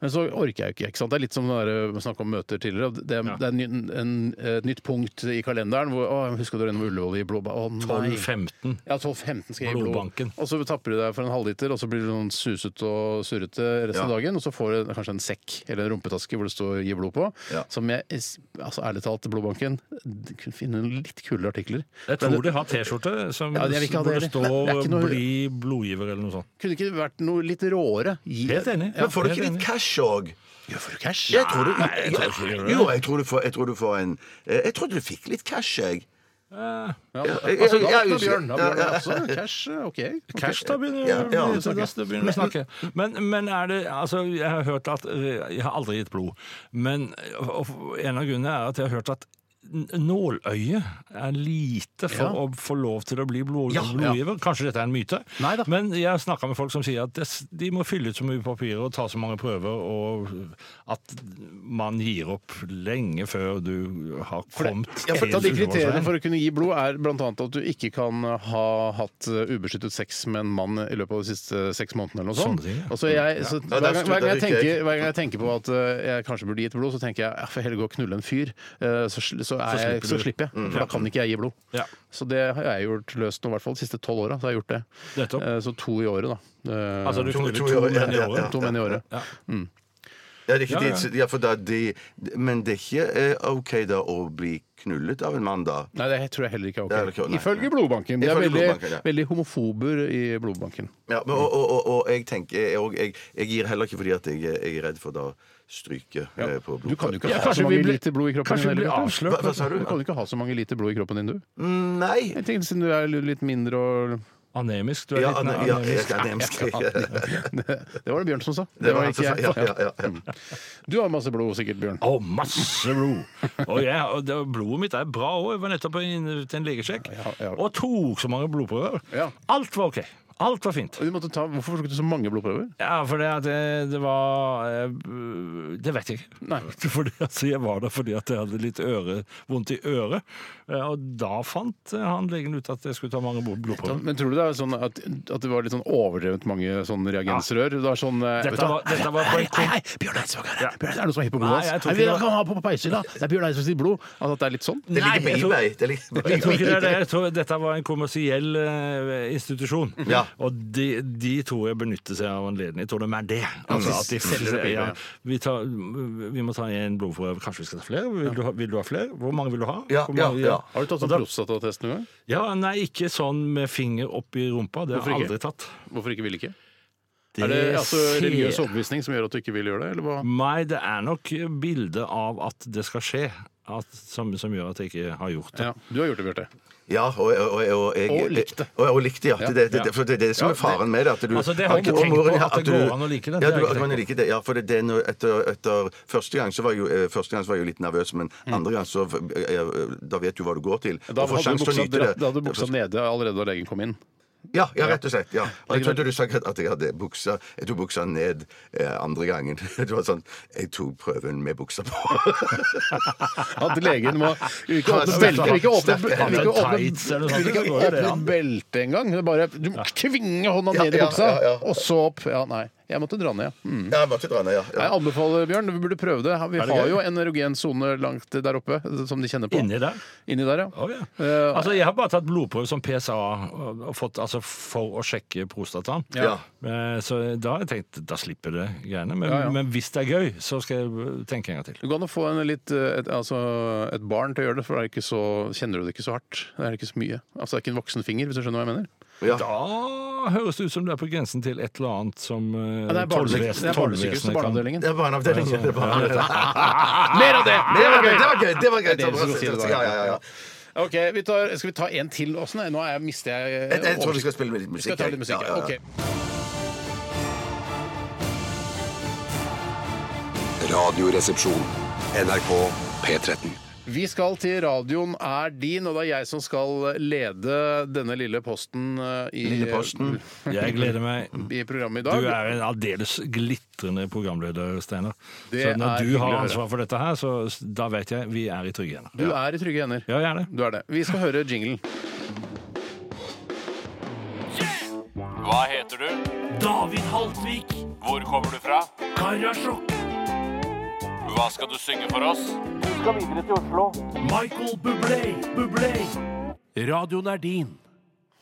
Speaker 4: Men så orker jeg jo ikke. ikke sant? Det er litt som det der, eh, snakk om møter tidligere. Det, er- det er ny- en, et nytt punkt i kalenderen hvor å, jeg husker du gjennom Ullevål i blod? Å nei.
Speaker 5: 12.15.
Speaker 4: Ja, 12-15 skal jeg gi blod.
Speaker 5: Blodbanken.
Speaker 4: Og så tapper du deg for en halvliter, og så blir du sånn suset og surrete resten av
Speaker 6: Ja.
Speaker 4: dagen. Og så får du kanskje en sekk eller en rumpetaske hvor det står 'gi blod' på.
Speaker 6: Ja.
Speaker 4: Som jeg altså ærlig talt, Blodbanken du kunne finne noen litt kule artikler.
Speaker 5: Jeg tror de har T-skjorte som
Speaker 4: Ja, jeg vil ikke ha
Speaker 5: hvor det
Speaker 4: det heller. Det er
Speaker 5: står
Speaker 4: ikke noe-
Speaker 5: 'bli blodgiver' eller noe sånt.
Speaker 4: Kunne ikke vært noe litt råere? Gi
Speaker 5: Helt enig.
Speaker 4: Ja.
Speaker 6: Men får du
Speaker 5: helt
Speaker 6: ikke
Speaker 5: enig.
Speaker 6: litt cash òg?
Speaker 4: Ja, får du cash?
Speaker 6: Jeg tror du
Speaker 5: Nei, jeg tror ikke du gjør det.
Speaker 6: Jo, jeg tror du får, jeg tror du får en eh, Jeg trodde du fikk litt cash, jeg.
Speaker 4: Ja,
Speaker 6: Ja,
Speaker 4: altså,
Speaker 6: jeg- jeg-
Speaker 4: da-
Speaker 6: jeg er
Speaker 4: da,
Speaker 6: usikker.
Speaker 4: Bjørn, da, Bjørn,
Speaker 6: Ja, ja.
Speaker 4: altså, cash, OK.
Speaker 5: Cash, da begynner
Speaker 6: Ja, ja,
Speaker 5: begynner-
Speaker 6: snakker.
Speaker 5: da begynner vi å snakke. Men, men er det Altså, jeg eh, har hørt at Jeg har aldri gitt blod, men og- og en av grunnene er at jeg har hørt at n- nåløye er lite for
Speaker 4: Ja.
Speaker 5: å få lov til å bli blod,
Speaker 4: Ja,
Speaker 5: blodgiver. Kanskje dette er en myte,
Speaker 4: Neida.
Speaker 5: men jeg har snakka med folk som sier at det, s- de må fylle ut så mye papirer og ta så mange prøver, og at man gir opp lenge før du har kommet
Speaker 4: Ja, for et av de
Speaker 5: helt
Speaker 4: kriteriene
Speaker 5: underveis.
Speaker 4: for å kunne gi blod er bl.a. at du ikke kan ha hatt eh, ubeskyttet sex med en mann i løpet av de siste seks månedene eller noe sånt.
Speaker 5: Sånne ting, ja.
Speaker 4: Og så jeg, så
Speaker 6: Ja,
Speaker 4: hver,
Speaker 6: der
Speaker 4: gang,
Speaker 6: stod-
Speaker 4: hver, gang jeg
Speaker 6: der gikk jeg.
Speaker 4: tenker, hver gang jeg tenker på at eh, jeg kanskje burde gitt blod, så tenker jeg jeg får heller gå og knulle en fyr, eh, så, sl- så, er jeg,
Speaker 5: slipper
Speaker 4: så
Speaker 5: du.
Speaker 4: slipper jeg.
Speaker 6: Mm.
Speaker 4: For da kan ikke jeg gi blod.
Speaker 5: Ja.
Speaker 4: Så det har jeg gjort løst nå, i hvert fall de siste tolv åra. Så har jeg gjort det.
Speaker 5: Nettopp.
Speaker 4: Eh, Så to i året, da. Eh,
Speaker 5: Altså, du
Speaker 6: To-
Speaker 5: knuller to
Speaker 6: to i år,
Speaker 5: menn i
Speaker 6: ja, ja,
Speaker 5: året.
Speaker 4: To menn i året.
Speaker 6: Ja, det er ikke
Speaker 5: Ja, ja.
Speaker 6: De, ja, for da de, Men det er ikke eh, OK da å bli knullet av en mann, da?
Speaker 4: Nei, det tror jeg heller ikke
Speaker 6: Det er
Speaker 4: er
Speaker 6: vel
Speaker 4: ok.
Speaker 6: ikke- nei,
Speaker 4: Ifølge Blodbanken. De er
Speaker 6: Ifølge
Speaker 4: veldig,
Speaker 6: Blodbanken, ja.
Speaker 4: veldig homofober i Blodbanken.
Speaker 6: Ja, men, og, og, og, og jeg tenker jeg, og jeg, jeg gir heller ikke fordi at jeg, jeg er redd for da stryke eh, på blodet.
Speaker 4: Du kan jo ikke
Speaker 5: Ja,
Speaker 4: ha
Speaker 5: kanskje
Speaker 4: så
Speaker 5: vi
Speaker 4: mange
Speaker 5: blir-
Speaker 4: liter blod i kroppen
Speaker 5: kanskje
Speaker 4: din.
Speaker 5: vi blir
Speaker 4: heller,
Speaker 5: avslørt.
Speaker 6: Hva- hva sa du?
Speaker 4: Du kan jo ikke ha så mange liter blod i kroppen din, du.
Speaker 6: Nei!
Speaker 4: Jeg tenkte Siden du er litt mindre og
Speaker 5: Anemisk. Du er
Speaker 6: Ja,
Speaker 5: litt
Speaker 6: ane,
Speaker 5: mer
Speaker 6: ja, jeg
Speaker 5: anemisk.
Speaker 6: er nemsk.
Speaker 4: Det var det Bjørn som sa.
Speaker 6: Det var han som sa ja, ja, ja, ja.
Speaker 4: Mm. Du har masse blod sikkert, Bjørn.
Speaker 5: Å, masse blod! Og, jeg, og det, blodet mitt er bra òg. Jeg var nettopp inne til en legesjekk
Speaker 4: Ja, ja.
Speaker 5: og tok så mange blodprøver.
Speaker 4: Ja.
Speaker 5: Alt var OK. Alt var fint.
Speaker 4: Og Du måtte ta, hvorfor tok du så mange blodprøver?
Speaker 5: Ja, for det, at det, det var eh, Det vet jeg ikke.
Speaker 4: Nei.
Speaker 5: Fordi, altså, jeg var der fordi at jeg hadde litt øre, vondt i øret. Eh, Og da fant eh, han legen ut at jeg skulle ta mange blod- blodprøver.
Speaker 4: Men tror du det er sånn at, at det var litt sånn overdrevent mange sånn reagensrør? Det var sånn eh, vet du
Speaker 5: Dette
Speaker 4: hva?
Speaker 5: var, dette var på
Speaker 4: Nei,
Speaker 5: en kom...
Speaker 4: nei, Bjørn Eidsvåg er her! Bjørn, er det noen som er hypp på
Speaker 5: Nei,
Speaker 4: blodet
Speaker 5: jeg
Speaker 4: hans? Nei,
Speaker 5: tror ikke
Speaker 4: vi
Speaker 5: det var-
Speaker 4: kan ha på på peishylla! Det er Bjørn Eidsvåg sitt blod! Altså at det er litt sånn?
Speaker 6: Det ligger
Speaker 5: Nei,
Speaker 6: på
Speaker 5: jeg tror-
Speaker 6: eBay. Det ligger
Speaker 5: Jeg
Speaker 6: på
Speaker 5: tror ikke det er det.
Speaker 6: eBay.
Speaker 5: Jeg tror dette var en kommersiell eh, institusjon.
Speaker 6: Ja.
Speaker 5: Og de, de tror jeg benytter seg av anledningen. Jeg tror de er det. Altså at de
Speaker 4: selger seg billig,
Speaker 5: ja,
Speaker 4: ja.
Speaker 5: vi, tar, vi må ta en blodprøve. Kanskje vi skal ta flere? Vil du ha, vil du ha flere? Hvor mange vil du ha?
Speaker 6: Ja,
Speaker 5: Hvor mange,
Speaker 6: ja, ja.
Speaker 4: Har du tatt sånn prostatatest noen gang?
Speaker 5: Ja, Nei, ikke sånn med finger opp i rumpa. Det har
Speaker 4: Hvorfor
Speaker 5: jeg
Speaker 4: ikke?
Speaker 5: aldri tatt.
Speaker 4: Hvorfor ikke vil ikke? Er det altså,
Speaker 5: ser-
Speaker 4: religiøs overbevisning som gjør at du ikke vil gjøre det? Eller hva?
Speaker 5: Nei, det er nok bildet av at det skal skje, at, som, som gjør at jeg ikke har gjort det.
Speaker 4: Ja, du har gjort det, Bjørte.
Speaker 6: Ja, og, og, og, og jeg
Speaker 4: Og likte.
Speaker 6: Og, og likte, ja. Det, det, det, for det er det som
Speaker 5: Ja,
Speaker 6: er faren med det. At du,
Speaker 5: Altså, det har jeg ikke
Speaker 6: og
Speaker 5: tenkt på,
Speaker 6: moren, ja,
Speaker 5: at det
Speaker 6: du-
Speaker 5: går an å like det. Det har
Speaker 6: Ja, du,
Speaker 5: jeg ikke
Speaker 6: at man liker det. Ja, for det, det er noe, etter, etter første gang så var jeg jo, eh, første gang så var jeg jo litt nervøs, men
Speaker 5: Mm.
Speaker 6: andre gang så eh, eh, Da vet du hva du går til.
Speaker 4: Da
Speaker 6: Og får
Speaker 4: hadde,
Speaker 6: sjanse
Speaker 4: du
Speaker 6: til å
Speaker 4: buksa,
Speaker 6: nyte det.
Speaker 4: da hadde du buksa nede allerede da legen kom inn.
Speaker 6: Ja, ja, rett og slett. ja. Og jeg trodde du sa at jeg hadde buksa Jeg tok buksa ned eh, andre gangen. Det var sånn Jeg tok prøven med buksa på.
Speaker 4: At legen må Vil ikke åpne
Speaker 6: Sterke-
Speaker 4: belte, vil ikke åpne,
Speaker 6: sterke
Speaker 4: vil
Speaker 6: hender.
Speaker 4: ikke åpne,
Speaker 5: Tights eller noe sånt,
Speaker 4: vil ikke
Speaker 5: så går jo det
Speaker 4: åpne
Speaker 5: an.
Speaker 4: belte engang. Det er bare- Du må tvinge hånda
Speaker 6: Ja,
Speaker 4: ned i
Speaker 6: ja,
Speaker 4: buksa,
Speaker 6: ja, ja.
Speaker 4: og så opp. Ja, nei. Jeg måtte dra ned, ja. Mm.
Speaker 6: Ja, jeg måtte dra ned, ja.
Speaker 4: Jeg
Speaker 6: ja.
Speaker 4: anbefaler, Bjørn, vi burde prøve det. Vi
Speaker 5: det
Speaker 4: har
Speaker 5: gøy?
Speaker 4: jo en erogen sone langt der oppe eh, som de kjenner på.
Speaker 5: Inni der?
Speaker 4: Inni der, ja.
Speaker 5: Å, ja.
Speaker 4: Eh,
Speaker 5: altså, jeg har bare tatt blodprøve som PSA og og fått, altså, for å sjekke prostataen.
Speaker 6: Ja.
Speaker 5: Eh, Så da har jeg tenkt da slipper det greiene. Men,
Speaker 4: Ja, ja.
Speaker 5: men hvis det er gøy, så skal jeg eh, tenke en gang til.
Speaker 4: Du kan jo få en litt, eh, et, altså, et barn til å gjøre det, for da er det ikke så, kjenner du det ikke så hardt. Det er ikke så mye. Altså, det er ikke en voksen finger, hvis du skjønner hva jeg mener.
Speaker 6: ja.
Speaker 5: Da høres det ut som det er på grensen til et eller annet som eh,
Speaker 4: Ja, det er barnesyk-
Speaker 5: tollvesen-
Speaker 4: det er barnesykehus,
Speaker 5: tollvesenet kan-
Speaker 4: barneavdelingen.
Speaker 6: Det er barneavdelingen. Det er barneavdelingen.
Speaker 4: Mer av det!
Speaker 6: Det var gøy! Det var gøy! Det var gøy. Sånn
Speaker 4: Det er dere som sier det, da.
Speaker 6: Ja, ja, ja, ja.
Speaker 4: Ok, vi tar, Skal vi ta en til? Åsne? Nå er jeg, mister jeg eh,
Speaker 6: Jeg, jeg tror vi
Speaker 4: oversikten.
Speaker 6: skal spille med litt
Speaker 4: Vi skal
Speaker 6: musikk.
Speaker 4: ta litt musikk.
Speaker 6: Ja, ja, ja.
Speaker 4: Ok.
Speaker 2: Radioresepsjon. NRK P13.
Speaker 4: Vi skal til radioen er din, og det er jeg som skal lede denne lille posten eh, i,
Speaker 6: Lille posten.
Speaker 5: Jeg gleder meg.
Speaker 4: i programmet i
Speaker 5: Du
Speaker 4: dag.
Speaker 5: er en aldeles glitrende programleder, Steinar. Så
Speaker 4: Det er
Speaker 5: når du
Speaker 4: hyggelig å
Speaker 5: har
Speaker 4: høre.
Speaker 5: ansvar for dette her, så s- da vet jeg vi er i trygge hender.
Speaker 4: Du er i trygge hender.
Speaker 5: Ja, gjerne.
Speaker 4: Du er det. Vi skal høre jinglen.
Speaker 8: Hva heter du? David Haltvik. Hvor kommer du fra? Karasjok. Hva skal du synge for oss? Du skal videre til Oslo. Michael Bublé, Bublé. Radioen er din.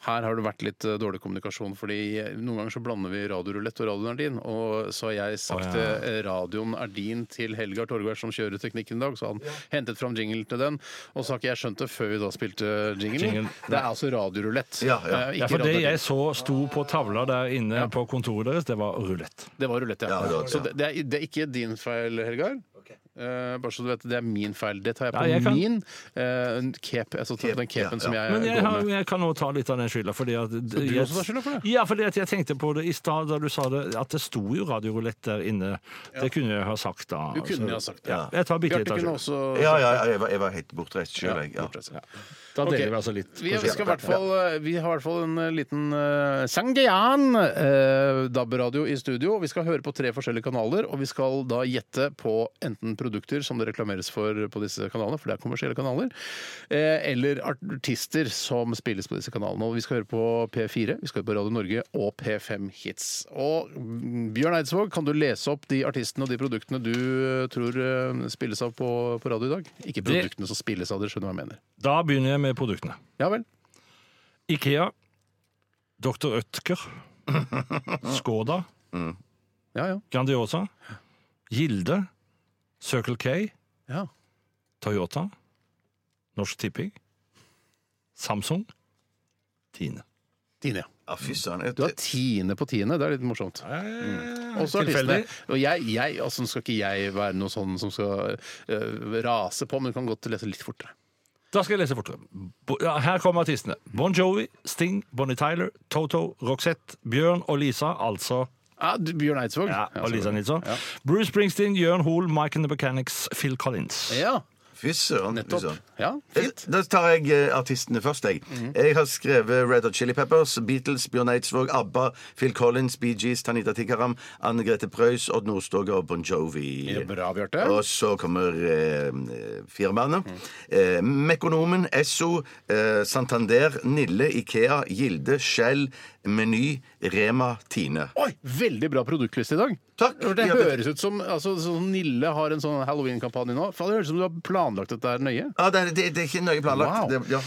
Speaker 4: Her har det vært litt eh, dårlig kommunikasjon, fordi eh, noen ganger så blander vi radiorulett og radioen er din. Og så har jeg sagt
Speaker 5: Å, ja.
Speaker 4: eh, radioen er din til Helgar Torgvær, som kjører teknikken i dag. Så han hentet fram jingle til den, og så har ikke jeg skjønt det før vi da spilte jingle.
Speaker 5: Jingle.
Speaker 4: Det er altså radiorulett.
Speaker 6: Ja, ja.
Speaker 4: Eh,
Speaker 5: Ja,
Speaker 4: ikke
Speaker 5: for
Speaker 4: radio
Speaker 5: Det
Speaker 4: er din.
Speaker 5: jeg så sto på tavla der inne på kontoret deres, det var rulett.
Speaker 4: Det var rulett, ja.
Speaker 6: Ja, det var det,
Speaker 4: Så
Speaker 6: ja.
Speaker 4: det, det, er, det er ikke din feil, Helgar. Eh, bare så du vet, Det er min feil. Det tar jeg på
Speaker 5: Ja, jeg kan-
Speaker 4: min eh, en cape. Altså, den capen som jeg
Speaker 5: Men jeg,
Speaker 4: går
Speaker 5: har,
Speaker 4: med.
Speaker 5: jeg kan også ta litt av den skylda. Fordi at,
Speaker 4: Så du
Speaker 5: jeg-
Speaker 4: også tar skylda for det?
Speaker 5: Ja, fordi at jeg tenkte på det i stad da du sa det, at det sto jo radiorulett der inne. Det kunne jeg ha sagt da.
Speaker 4: Du kunne
Speaker 5: altså.
Speaker 4: jo ha sagt det.
Speaker 5: Ja, jeg tar bitte litt
Speaker 4: Bjarte
Speaker 5: av
Speaker 4: kunne
Speaker 5: skylda.
Speaker 4: også
Speaker 6: Ja, ja, ja, jeg var, jeg var helt bortreist sjøl, jeg.
Speaker 4: Ja,
Speaker 6: Ja.
Speaker 4: bortsett.
Speaker 5: Da
Speaker 4: Ok.
Speaker 5: deler vi altså litt.
Speaker 4: Vi,
Speaker 5: på
Speaker 4: skal i
Speaker 5: skylda.
Speaker 4: hvert fall, vi har i hvert fall en eh, liten uh, Sangeyan eh, DAB-radio i studio. Vi skal høre på tre forskjellige kanaler, og vi skal da gjette på enten produkter som det reklameres for på disse kanalene, for det er kommersielle kanaler, eh, eller artister som spilles på disse kanalene. Og vi skal høre på P4, vi skal høre på Radio Norge og P5 Hits. Og mm, Bjørn Eidsvåg, kan du lese opp de artistene og de produktene du eh, tror eh, spilles av på, på radio i dag? Ikke
Speaker 5: Det-
Speaker 4: produktene som spilles av, dere skjønner hva jeg mener.
Speaker 5: Da begynner jeg med produktene.
Speaker 4: Ja vel.
Speaker 5: Ikea. Dr. Ødker. Skoda.
Speaker 4: Ja, ja.
Speaker 5: Grandiosa. Gilde. Circle K.
Speaker 4: Ja.
Speaker 5: Toyota. Norsk Tipping. Samsung. Tine.
Speaker 4: Tine, ja.
Speaker 6: Ja, fy søren. jeg-
Speaker 4: Du har tiende på tiende. Det er litt morsomt. Mm. Også artistene.
Speaker 5: Eh, Tilfeldig.
Speaker 4: Og jeg, jeg, altså, nå skal ikke jeg være noe sånn som skal eh, rase på, men du kan godt lese litt fortere.
Speaker 5: Da skal jeg lese fortere. Bo- Ja, her kommer artistene. Bon Jovi, Sting, Bonnie Tyler, Toto, Roxette, Bjørn og Lisa, altså
Speaker 4: Ja, du, Bjørn Eidsvåg.
Speaker 5: ja, og Lisa
Speaker 4: selvfølgelig.
Speaker 5: Nilsson. Bruce Springsteen, Jørn Hoel, Mike and the Mechanics, Phil Collins.
Speaker 4: Ja,
Speaker 6: Fy søren. fy
Speaker 4: nettopp.
Speaker 6: søren.
Speaker 4: Ja, fint. Mhm.
Speaker 6: Da tar jeg eh, artistene først, jeg. Jeg har skrevet Red Hot Chili Peppers, Beatles, Bjørn Eidsvåg, ABBA, Phil Collins, Bee Gees, Tanita Tikaram, Anne Grete Preus, Odd Nordstoga og Bon Jovi.
Speaker 4: Ja, bra, Bjarte. Mhm.
Speaker 6: Og så kommer eh, firmaene. Eh, Mekonomen, Esso, eh, Santander, Nille, Ikea, Gilde, Shell, Meny, Rema, Tine.
Speaker 4: Oi, veldig bra produktliste i dag.
Speaker 6: Takk.
Speaker 4: Det
Speaker 6: Ja, det-
Speaker 4: høres ut som altså, sånn Nille har en sånn Halloween-kampanje nå. Faen, Det høres ut som du har planlagt dette her nøye.
Speaker 6: Ja, det, det, det er ikke nøye planlagt.
Speaker 4: Wow.
Speaker 6: Det, ja.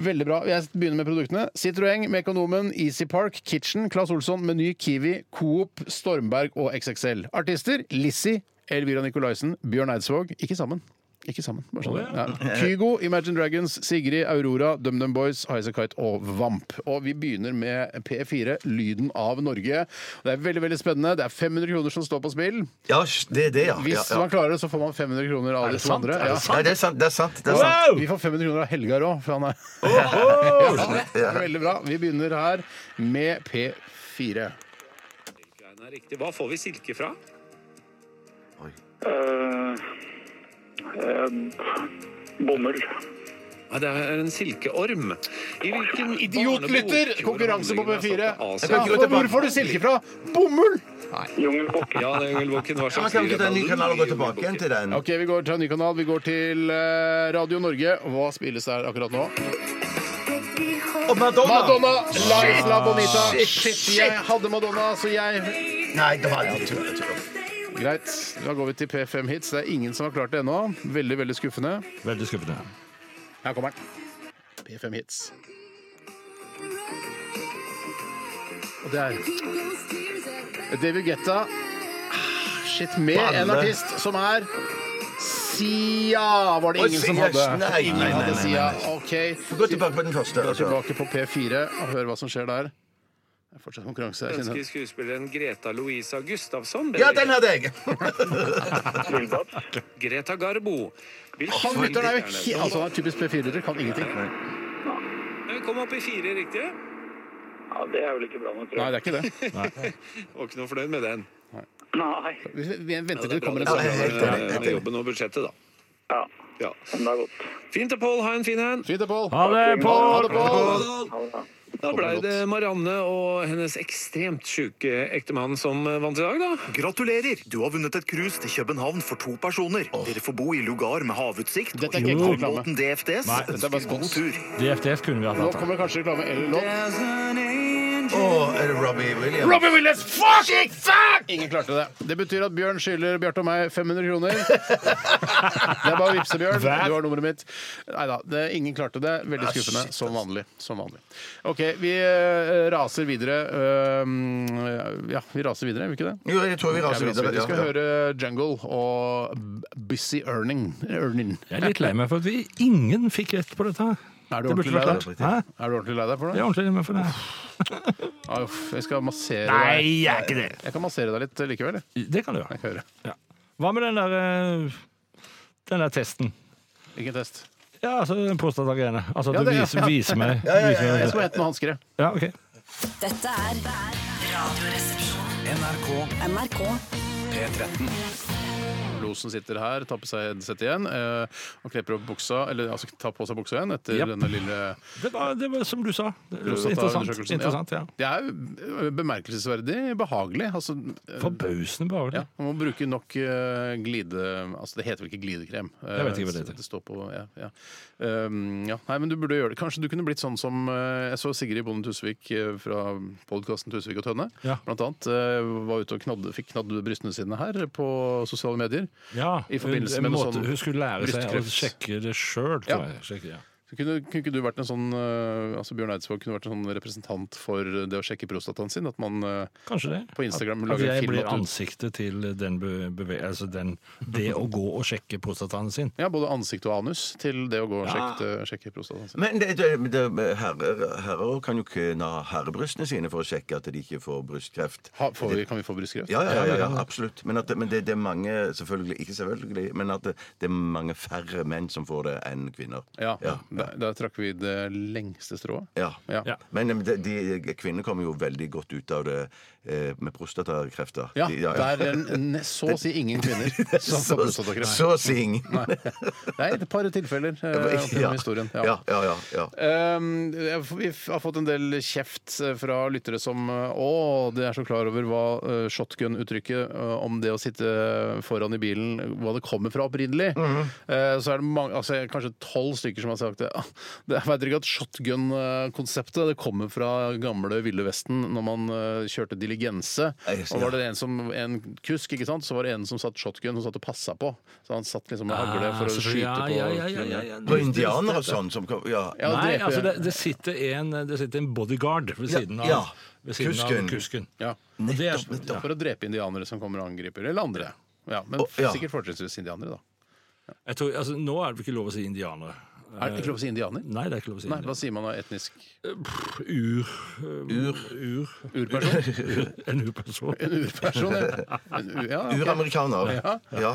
Speaker 4: Veldig bra. Jeg begynner med produktene. Citroën, Mekonomen, Easy Park, Kitchen, Claes Olsson, Meny, Kiwi, Coop, Stormberg og XXL. Artister Lissi, Elvira Nicolaisen, Bjørn Eidsvåg. Ikke sammen. Ikke sammen. Bare sånn. ja. Kygo, Imagine Dragons, Sigrid, Aurora, DumDum Boys, Highasakite og Vamp. Og vi begynner med P4, Lyden av Norge. Det er veldig veldig spennende. Det er 500 kroner som står på spill.
Speaker 6: ja, det er det, ja.
Speaker 4: Hvis
Speaker 6: ja, ja.
Speaker 4: man klarer det, så får man 500 kroner av
Speaker 5: Er
Speaker 4: de
Speaker 5: det
Speaker 4: to
Speaker 5: sant?
Speaker 4: andre.
Speaker 5: Er det
Speaker 4: Ja.
Speaker 5: sant?
Speaker 6: Nei, det er sant. Det er sant. Det er sant.
Speaker 5: Wow!
Speaker 4: Vi får 500 kroner av Helgar òg, for han er ja, det er veldig bra. Vi begynner her med P4.
Speaker 9: Greiene er riktig. Hva får vi silke fra? Eh,
Speaker 10: Bomull.
Speaker 9: Nei, det er en silkeorm. I hvilken
Speaker 4: Idiotlytter!
Speaker 9: barnebok
Speaker 4: Konkurranse på
Speaker 9: gjorde
Speaker 4: P4.
Speaker 9: handlingen av
Speaker 4: Ja,
Speaker 9: Asia?
Speaker 4: og hvor får du silke fra? Bomull!
Speaker 10: Jungelbukken.
Speaker 9: Ja, det er Jungelboken. Hva
Speaker 6: Men
Speaker 9: slags
Speaker 6: kan vi ikke ta en ny
Speaker 9: dyr er
Speaker 6: kanal og gå
Speaker 9: ballen i
Speaker 6: tilbake igjen til den?
Speaker 4: OK, vi går til en ny kanal. Vi går til eh, Radio Norge. Hva spilles der akkurat nå?
Speaker 6: Og Madonna!
Speaker 4: Madonna! La Isla Bonita. Shit, jeg hadde Madonna, så jeg
Speaker 6: Nei, det var litt tull. tull.
Speaker 4: Greit. Da går vi til P5 Hits. Det er ingen som har klart det ennå. Veldig, veldig skuffende.
Speaker 5: Veldig skuffende.
Speaker 4: Her kommer den. P5 Hits. Og det er David Guetta. Ah, Shit, med en
Speaker 6: Balle.
Speaker 4: artist som er Sia, var det
Speaker 6: Oi,
Speaker 4: ingen som
Speaker 6: Sia,
Speaker 4: hadde.
Speaker 6: nei, nei,
Speaker 4: Ingen
Speaker 6: nei, nei,
Speaker 4: hadde
Speaker 6: nei,
Speaker 4: Sia.
Speaker 6: nei.
Speaker 4: OK.
Speaker 6: Gå tilbake på den første. Altså.
Speaker 4: Tilbake på P4 og hør hva som skjer der. Det er fortsatt konkurranse. Jeg
Speaker 9: Danske
Speaker 4: kjenner.
Speaker 9: skuespilleren Greta Louisa Gustafsson.
Speaker 6: Ja, den hadde jeg!
Speaker 9: Greta Garbo. Hvilken
Speaker 4: Han lytteren er jo
Speaker 9: filmstjerne
Speaker 4: he- altså, han er typisk P4-er, kan ingenting. Nei,
Speaker 9: som- Kom opp i fire, riktig?
Speaker 10: Ja, det er vel ikke bra nok, tror jeg.
Speaker 4: det er ikke det.
Speaker 9: Var ikke noe fornøyd med den.
Speaker 10: Nei.
Speaker 4: Vi vi venter til
Speaker 9: Det er
Speaker 4: det kommer en
Speaker 9: bra, det
Speaker 4: sang.
Speaker 9: er
Speaker 6: helt
Speaker 9: bra
Speaker 6: enig, helt
Speaker 9: med
Speaker 6: enig.
Speaker 9: jobben og budsjettet, da.
Speaker 10: Ja,
Speaker 9: Ja.
Speaker 10: men det er godt.
Speaker 9: Fint til Pål. Ha en fin en.
Speaker 4: Fint, Pål.
Speaker 5: Ha det,
Speaker 4: Ha
Speaker 5: Pål!
Speaker 4: det, Pål.
Speaker 9: Da ble det Marianne og hennes ekstremt sjuke ektemann som eh, vant i dag, da.
Speaker 11: Gratulerer! Du har vunnet et cruise til København for to personer. Dere får bo i lugar med havutsikt.
Speaker 4: Dette er ikke ekte reklame.
Speaker 11: Båten DFDS
Speaker 5: Nei, dette
Speaker 4: er bare
Speaker 11: ønsker god
Speaker 4: spons.
Speaker 11: tur.
Speaker 5: DFDS kunne vi hatt.
Speaker 4: Nå
Speaker 5: dette.
Speaker 4: kommer kanskje reklame eller låt.
Speaker 6: Åh, er det Robbie Williams?
Speaker 4: Robbie Williams, fucking fuck! Ah! Ingen klarte det. Det betyr at Bjørn skylder Bjarte og meg 500 kroner. Det er bare å vippse, Bjørn. Du har nummeret mitt. Nei da, det, ingen klarte det. Veldig skuffende. Som vanlig. Som vanlig. OK, vi eh, raser videre. Øhm, ja, vi raser videre, gjør vi ikke det?
Speaker 6: Jo, jeg tror vi
Speaker 4: Ja,
Speaker 6: raser
Speaker 4: vi raser
Speaker 6: videre.
Speaker 4: videre. Vi skal
Speaker 6: Ja, ja.
Speaker 4: høre Jungle og B- Busy Earning. Earning.
Speaker 5: Jeg er litt lei meg for at vi ingen fikk rett på dette. her.
Speaker 4: Er du
Speaker 5: Det burde
Speaker 4: ordentlig lei
Speaker 5: vært
Speaker 4: deg?
Speaker 5: klart. Hæ?
Speaker 4: Er du ordentlig lei deg for
Speaker 5: Jeg
Speaker 4: det?
Speaker 5: er ordentlig lei meg for det.
Speaker 4: Ja, uff, jeg skal massere deg.
Speaker 5: jeg er ikke det.
Speaker 4: Jeg kan massere deg litt likevel. jeg.
Speaker 5: Det kan du gjøre.
Speaker 4: Jeg hører.
Speaker 5: Ja. Hva med den der, eh, den der testen?
Speaker 4: Hvilken test?
Speaker 5: Ja, altså den prostatagreiene. Altså,
Speaker 4: Ja,
Speaker 5: du
Speaker 4: det-
Speaker 5: viser,
Speaker 4: ja.
Speaker 5: viser meg
Speaker 4: Ja, ja, ja,
Speaker 5: viser meg-
Speaker 4: jeg skal hente noen hansker, jeg.
Speaker 5: Ja, ok.
Speaker 1: Dette er Radioresepsjonen.
Speaker 4: NRK
Speaker 1: NRK
Speaker 4: P13. Losen sitter her, tar på seg headset igjen eh, og klepper opp buksa, eller altså tar på seg buksa igjen etter
Speaker 5: Japp.
Speaker 4: denne lille
Speaker 5: Det var, det var som du sa. Det var Interessant.
Speaker 4: prostataundersøkelsen.
Speaker 5: interessant ja.
Speaker 4: Det er jo bemerkelsesverdig behagelig. Altså, eh,
Speaker 5: Forbausende behagelig.
Speaker 4: ja, man må bruke nok eh, glide... Altså, det heter vel ikke glidekrem? eh,
Speaker 5: Jeg vet ikke hva det heter.
Speaker 4: Det står på, ja, ja. Um, ja. Nei, men du burde gjøre det. Kanskje du kunne blitt sånn som eh, Jeg så Sigrid Bonde Tusvik eh, fra podkasten Tusvik og Tønne.
Speaker 5: Ja.
Speaker 4: Blant annet eh, var ute og knadde, fikk knadd brystene sine her på sosiale medier.
Speaker 5: Ja,
Speaker 4: I forbindelse
Speaker 5: en
Speaker 4: med noe
Speaker 5: måte
Speaker 4: sånn
Speaker 5: Hun skulle lære seg å
Speaker 4: brystkreft.
Speaker 5: sjekke det sjøl, tror
Speaker 4: Ja.
Speaker 5: jeg. Sjekke, ja.
Speaker 4: Så Kunne, kunne ikke du vært en sånn eh, altså Bjørn Eidsvåg kunne vært en sånn representant for eh, det å sjekke prostataen sin? At man eh,
Speaker 5: Kanskje det.
Speaker 4: på Instagram
Speaker 5: At, at
Speaker 4: lager en
Speaker 5: jeg
Speaker 4: film
Speaker 5: blir
Speaker 4: at du-
Speaker 5: ansiktet til den be, beve, altså den, det å gå og sjekke prostataen sin.
Speaker 4: Ja, både ansikt og anus til det å gå og
Speaker 6: Ja.
Speaker 4: sjekke, eh, sjekke prostataen sin.
Speaker 6: Men det, det, det, herrer, herrer kan jo ikke na herrebrystene sine for å sjekke at de ikke får brystkreft.
Speaker 4: Ha, får vi, kan vi få brystkreft?
Speaker 6: Ja, ja, ja, ja, ja absolutt. Men, at, det- men det, det er mange selvfølgelig, ikke selvfølgelig, men at det, det er mange færre menn som får det enn kvinner.
Speaker 4: Ja,
Speaker 6: Ja.
Speaker 4: Der, der trakk vi det lengste strået.
Speaker 6: Ja.
Speaker 4: Ja. Ja.
Speaker 6: Men eh, de, de, kvinner kommer jo veldig godt ut av det eh, med prostatakrefter. De-
Speaker 4: Der er n- n- så å si ingen kvinner som
Speaker 6: Så-
Speaker 4: får prostatakreft.
Speaker 6: så å si ingen.
Speaker 4: Nei. Det er et par tilfeller eh, opp
Speaker 6: Ja.
Speaker 4: gjennom historien. Ja.
Speaker 6: Ja, ja, ja, ja.
Speaker 4: Um, jeg f- vi f- har fått en del kjeft eh, fra lyttere som eh, Å, de er så klar over hva eh, shotgun-uttrykket eh, om det å sitte foran i bilen, hva det kommer fra opprinnelig.
Speaker 5: Mhm.
Speaker 4: Eh, Så er det mange, altså kanskje tolv stykker som har sagt det. «Ah, det jeg vet dere ikke at shotgun-konseptet det kommer fra gamle Ville Vesten, når man eh, kjørte diligense.
Speaker 6: Ja, just-
Speaker 4: Og var
Speaker 6: ja.
Speaker 4: det en som, en kusk, ikke sant, så var det en som satt shotgun, som satt og passa på. Så han satt liksom med hagle for å
Speaker 5: Ah, så-
Speaker 4: skyte på
Speaker 5: ja, ja, ja, ja, ja.
Speaker 6: Det var indianere og sånn som kom ja.
Speaker 4: Ja,
Speaker 5: Nei,
Speaker 4: drepe-
Speaker 5: altså det, det, sitter en, det sitter en bodyguard ved
Speaker 6: Ja,
Speaker 5: siden av,
Speaker 6: ja.
Speaker 5: Ved siden
Speaker 6: Kusken.
Speaker 5: av kusken.
Speaker 4: Ja.
Speaker 5: Og det er-
Speaker 6: Nettopp, nettopp.
Speaker 4: For å drepe indianere som kommer og angriper. Eller andre. Ja, men
Speaker 6: Å, ja.
Speaker 4: sikkert fortrinnsvis indianere, da.
Speaker 5: Jeg tror, altså, nå er det ikke lov å si indianere.
Speaker 4: Er det ikke lov å si indianer?
Speaker 5: Nei, det er ikke lov å si
Speaker 4: Nei, hva
Speaker 5: indianer.
Speaker 4: sier man da? Etnisk
Speaker 5: Ur.
Speaker 6: Ur.
Speaker 5: Ur.
Speaker 4: urperson?
Speaker 5: En urperson.
Speaker 4: En urperson, ja. En u- ja, ok.
Speaker 6: Uramerikaner.
Speaker 4: Ja.
Speaker 6: Ja.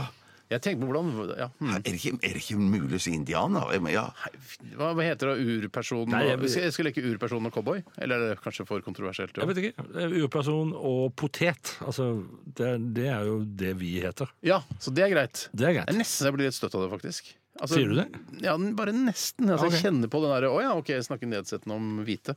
Speaker 4: Jeg tenker på hvordan ja. hmm.
Speaker 6: Er, det ikke, er det ikke mulig å si indianer? Jeg mener, Ja.
Speaker 4: Hva hva heter det? Urperson
Speaker 5: Nei, jeg-
Speaker 4: og- Skal jeg skal leke urperson og cowboy? Eller er det kanskje for kontroversielt? jo?
Speaker 5: Jeg vet ikke. Urperson og potet. Altså, det, det er jo det vi heter.
Speaker 4: Ja, så det er greit.
Speaker 5: Det er
Speaker 4: Det er
Speaker 5: greit.
Speaker 4: nesten jeg blir litt støtt av det, faktisk. Altså,
Speaker 5: Sier du det?
Speaker 4: Ja, den- bare nesten. Altså,
Speaker 5: Ok.
Speaker 4: Jeg kjenner på den derre Å ja, OK, jeg snakker nedsettende om hvite.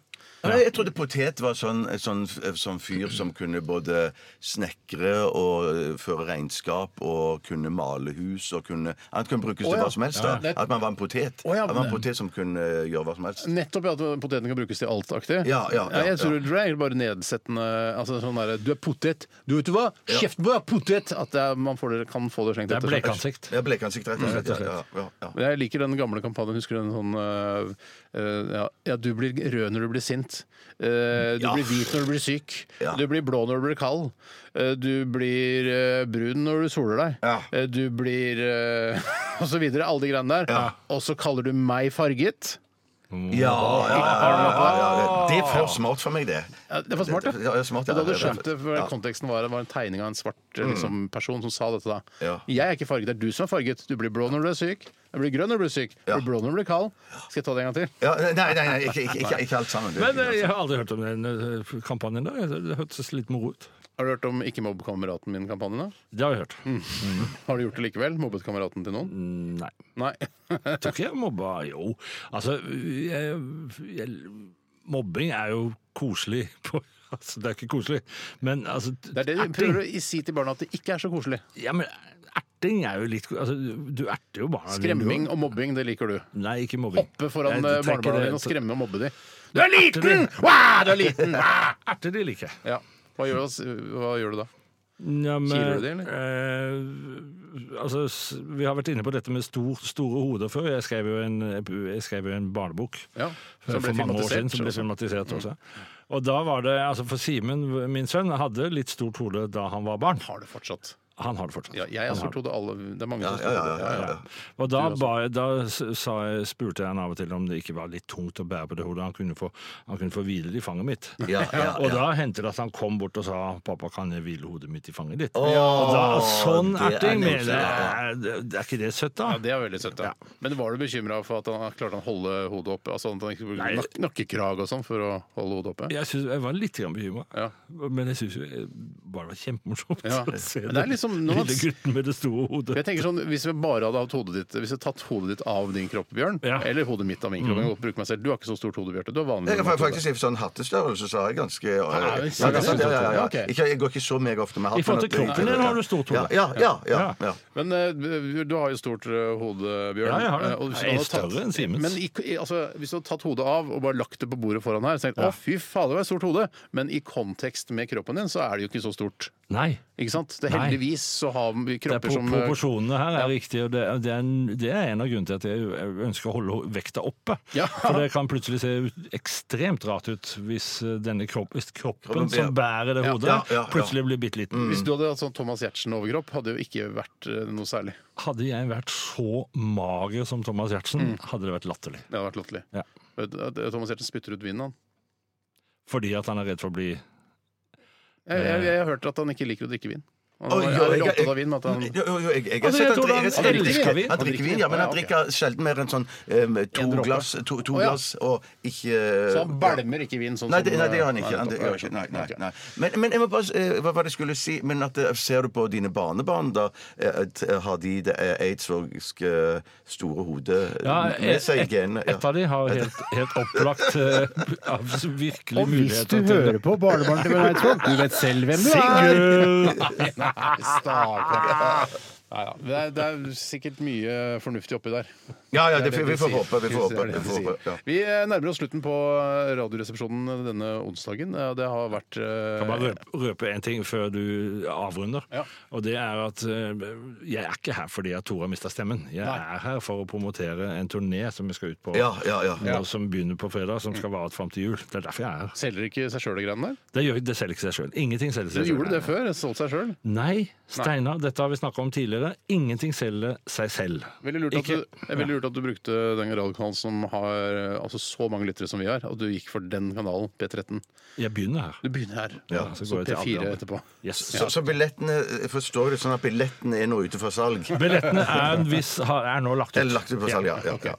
Speaker 6: Nei, Jeg trodde potet var sånn, sånn, sånn fyr som kunne både snekre og eh, føre regnskap og kunne male hus og kunne Han kunne
Speaker 4: Å,
Speaker 6: brukes til
Speaker 4: ja.
Speaker 6: hva som helst. da.
Speaker 4: Ja, ja.
Speaker 6: At man var en potet.
Speaker 4: Å, ja,
Speaker 6: At man var en
Speaker 4: men-
Speaker 6: potet som kunne eh, gjøre hva som helst.
Speaker 4: Nettopp ja, at poteten kan brukes til alt-aktig.
Speaker 6: Ja, ja, ja,
Speaker 4: Nei, jeg tror
Speaker 6: ja.
Speaker 4: det er egentlig bare nedsettende altså sånn der, Du er potet! Du vet du hva? Kjeft på deg, potet! At det er, man får det, kan få det slengt
Speaker 5: Det er
Speaker 4: etter seg.
Speaker 5: blekansikt.
Speaker 6: Ja, Blekansikt, rett og slett. Ja, ja, ja.
Speaker 4: Men Jeg liker den gamle kampanjen. Husker du den sånn øh, øh, ja, ja, du blir rød når du blir sint. Eh, du
Speaker 6: Ja.
Speaker 4: blir hvit når du blir syk.
Speaker 6: Ja.
Speaker 4: Du blir blå når du blir kald. Eh, du blir eh, brun når du soler deg.
Speaker 6: Ja.
Speaker 4: Eh, du blir eh, Og så videre. Alle de greiene der. Og så kaller du meg farget.
Speaker 6: Ja, ja, ja, ja, ja, ja. Det er for smart for meg, det.
Speaker 4: Ja, det var smart, ja.
Speaker 6: Det- ja, det er smart,
Speaker 4: Og
Speaker 6: ja.
Speaker 4: da hadde du
Speaker 6: Det er
Speaker 4: skjønt det, for
Speaker 6: derfor- ja.
Speaker 4: konteksten var, var en tegning av en svart liksom, person som sa dette da.
Speaker 6: Ja.
Speaker 4: Jeg er ikke farget, det er du som er farget. Du blir blå når du er syk. Du blir grønn når du blir syk. Du
Speaker 6: Ja.
Speaker 4: blir blå når du blir kald. Skal jeg ta det en gang til?
Speaker 6: Ja, nei, nei, nei ikke, ikke, ikke, ikke alt sammen.
Speaker 5: Men eh, jeg har aldri hørt om den eh, kampanjen der. Det hørtes litt moro ut.
Speaker 4: Har du hørt om Ikke mobb kameraten min-kampanjen? da?
Speaker 5: Det har jeg hørt.
Speaker 4: Mm. Har du gjort det likevel? Mobbet kameraten til noen?
Speaker 5: Nei.
Speaker 4: Nei.
Speaker 5: Jeg tror ikke jeg mobba Jo, altså jeg, jeg, Mobbing er jo koselig. På, altså, det er ikke koselig, men altså
Speaker 4: Det er det du prøver å si til barna, at det ikke er så koselig.
Speaker 5: Ja, men erting er jo litt altså, Du erter jo barna dine, du
Speaker 4: Skremming
Speaker 5: også.
Speaker 4: og mobbing, det liker du.
Speaker 5: Nei, ikke mobbing.
Speaker 4: Hoppe foran eh,
Speaker 5: Jeg tenker
Speaker 4: barnebarna
Speaker 5: det-
Speaker 4: dine og skremme og mobbe dem. Du er
Speaker 5: erter
Speaker 4: liten!
Speaker 5: de.
Speaker 4: Wow, du er liten! Wow!
Speaker 5: Ah, Erter de liker jeg.
Speaker 4: Ja. Hva gjør, du, hva gjør du da?
Speaker 5: Ja, men,
Speaker 4: Kiler du det,
Speaker 5: Eh, altså, s- vi har vært inne på dette med stor, store hoder før. Jeg skrev jo en, jeg skrev jo en barnebok
Speaker 4: Ja,
Speaker 5: for
Speaker 4: som ble
Speaker 5: mange år
Speaker 4: filmatisert, Mm.
Speaker 5: siden. Som ble
Speaker 4: så-
Speaker 5: filmatisert også. Og da var det, altså For Simen, min sønn, hadde litt stort hode da han var barn.
Speaker 4: Har du fortsatt?
Speaker 5: Han har det fortsatt.
Speaker 4: Ja, jeg har stort hode. Alle Det er mange som
Speaker 5: Ja,
Speaker 4: har
Speaker 5: ja,
Speaker 4: stort
Speaker 5: ja,
Speaker 4: hode.
Speaker 5: ja, ja. Og da, ba, da s- sa jeg, spurte jeg han av og til om det ikke var litt tungt å bære på det hodet. Han kunne få, han kunne få hvile det i fanget mitt.
Speaker 4: Ja, ja,
Speaker 5: og da hendte det at han kom bort og sa 'pappa, kan jeg hvile hodet mitt i fanget ditt'?
Speaker 4: Åh,
Speaker 5: og da, sånn
Speaker 4: det er
Speaker 5: erting
Speaker 4: nydelig,
Speaker 5: mener
Speaker 4: ja.
Speaker 5: jeg. Er- Er ikke det søtt, da?
Speaker 4: Ja, det er veldig søtt. da. Men var du bekymra for at han klarte å holde hodet oppe? Altså at han ikke brukte nak nakkekrag og sånn for å holde hodet oppe?
Speaker 5: Jeg, synes, jeg var litt bekymra, men jeg syns jo eh, bare det var kjempemorsomt
Speaker 4: Ja.
Speaker 5: å se
Speaker 4: Men det er liksom- når man-
Speaker 5: lille gutten med det store hodet.
Speaker 4: Jeg tenker sånn, Hvis vi bare hadde hatt hodet ditt Hvis jeg hadde tatt hodet ditt av din kropp, Bjørn, eller hodet mitt av min kropp
Speaker 5: Mm.
Speaker 4: jeg kan godt bruke meg selv. Du har ikke så stort hode, Bjarte. Du har vanlig
Speaker 6: Jeg har
Speaker 4: normalt hode.
Speaker 6: faktisk i sånn hattestørrelse så har jeg ganske eh, ja,
Speaker 4: men
Speaker 6: ganske-
Speaker 4: sier
Speaker 6: ja,
Speaker 4: du det?
Speaker 6: ja, ja, ja.
Speaker 4: Ok.
Speaker 6: Ikke, Jeg går ikke så meg ofte med hatt.
Speaker 4: I forhold til
Speaker 6: men-
Speaker 4: kroppen din har du stort hode.
Speaker 6: Ja, ja, ja, ja, ja.
Speaker 4: Men eh, du har jo stort eh, hode, Bjørn.
Speaker 5: Ja, jeg har det.
Speaker 4: Eh, og hvis
Speaker 5: Jeg er
Speaker 4: du hadde
Speaker 5: større enn Simens.
Speaker 4: Men i, i- altså, hvis du hadde tatt hodet av og bare lagt det på bordet foran her, så tenkte jeg, å fy fader, det var et stort hode. Men i kontekst med kroppen din, så er det jo ikke så stort.
Speaker 5: Nei.
Speaker 4: Ikke sant? Det,
Speaker 5: Nei.
Speaker 4: heldigvis så har vi
Speaker 5: Det er
Speaker 4: kropper
Speaker 5: pro-
Speaker 4: som eh,
Speaker 5: Proporsjonene her er riktige, og det er, det, er en, det er en av grunnene til at jeg jeg ønsker å holde vekta oppe. For det kan plutselig se ut- ekstremt rart ut hvis eh, denne kropp, hvis kroppen
Speaker 4: Kroppen blir-
Speaker 5: som bærer det
Speaker 4: Ja,
Speaker 5: hodet,
Speaker 4: ja, ja, ja.
Speaker 5: plutselig blir bitte
Speaker 6: Mm.
Speaker 5: liten.
Speaker 4: Hvis du hadde hatt sånn Thomas Giertsen-overkropp, hadde det jo ikke vært eh, noe særlig.
Speaker 5: Hadde jeg vært så mager som Thomas Giertsen,
Speaker 4: Mm.
Speaker 5: hadde det vært latterlig.
Speaker 4: Det hadde vært latterlig.
Speaker 5: Ja.
Speaker 4: Vet du at Thomas Giertsen spytter ut vinen, han.
Speaker 5: Fordi at han er redd for å bli
Speaker 4: Jeg, jeg, jeg har hørt at han ikke liker å drikke vin. Han
Speaker 6: Å,
Speaker 4: er
Speaker 6: jo,
Speaker 4: veldig
Speaker 6: jeg-
Speaker 4: opptatt av vin. men At han...
Speaker 6: Jo, jo, jo, jeg, jeg,
Speaker 4: Altså, jeg
Speaker 6: har sett
Speaker 4: tror
Speaker 6: at-
Speaker 4: han
Speaker 6: jeg, har sett at-
Speaker 4: elsker vin.
Speaker 6: Han drikker vin, ja, men han drikker sjelden mer enn sånn eh, to
Speaker 4: En dråpe.
Speaker 6: glass, to, to
Speaker 4: Å, ja.
Speaker 6: glass og ikke eh,
Speaker 4: Så han belmer ikke vin sånn
Speaker 6: Nei, det,
Speaker 4: som,
Speaker 6: nei, det gjør han
Speaker 4: eh,
Speaker 6: ikke. Han, det,
Speaker 4: nettopp, ja,
Speaker 6: gjør ikke. Nei, nei,
Speaker 4: ok.
Speaker 6: nei. Men, men jeg må bare, eh, hva var det jeg skulle si? Men at, eh, Ser du på dine barnebarn, da? eh, at, eh, Har de det eh, aidsorgske store hodet
Speaker 5: Ja,
Speaker 6: med seg i
Speaker 5: et-
Speaker 6: genene?
Speaker 5: Et av de har helt, helt opplagt eh, av virkelig
Speaker 12: Og hvis du
Speaker 5: muligheter
Speaker 12: hører på barnebarnet til Bjørn Eidsvåg, du vet selv hvem du er!
Speaker 4: Sigurd! Nei, stakkar. Nei da. Det, er- det er sikkert mye fornuftig oppi der.
Speaker 6: Ja, ja, det,
Speaker 4: er
Speaker 6: vi
Speaker 4: de
Speaker 6: får
Speaker 4: sier.
Speaker 6: håpe. Vi
Speaker 4: Det
Speaker 6: får
Speaker 4: er
Speaker 6: håpe.
Speaker 4: det
Speaker 6: Vi
Speaker 4: de
Speaker 6: får
Speaker 4: sier.
Speaker 6: håpe ja.
Speaker 4: Vi eh, nærmer oss slutten på Radioresepsjonen denne onsdagen. Eh, Det har vært eh,
Speaker 5: Kan bare røpe, røpe en ting før du avrunder. Og det er at eh, jeg er ikke her fordi at Tore har mista stemmen. Jeg er her for å promotere en turné som vi skal ut på,
Speaker 4: Ja, ja, ja.
Speaker 5: nå
Speaker 4: Ja.
Speaker 5: som begynner på fredag, som skal vare fram til jul. Det er derfor jeg er her.
Speaker 4: Selger ikke seg sjøl, de greiene der?
Speaker 5: Det, gjør, det selger ikke seg sjøl. Ingenting selger
Speaker 4: Du
Speaker 5: seg
Speaker 4: gjorde det
Speaker 5: selv.
Speaker 4: før? Solgte seg sjøl?
Speaker 5: Nei, Steinar, dette har vi snakka om tidligere. Ingenting selger seg selv.
Speaker 4: Veldig lurt,
Speaker 5: Ikke-
Speaker 4: at du, det er veldig lurt at du brukte den radiokanalen som har eh, altså, så mange lyttere som vi har, og du gikk for den kanalen, P13.
Speaker 5: Jeg begynner her.
Speaker 4: Du begynner her.
Speaker 6: Ja,
Speaker 4: så,
Speaker 6: så går jeg til
Speaker 4: P4
Speaker 6: Adrian.
Speaker 4: etterpå.
Speaker 6: Så, så billettene jeg Forstår det sånn at billettene er nå ute for salg?
Speaker 5: Billettene er, hvis, har- er nå lagt ut.
Speaker 6: Eller lagt ut på salg, ja. ja, ja.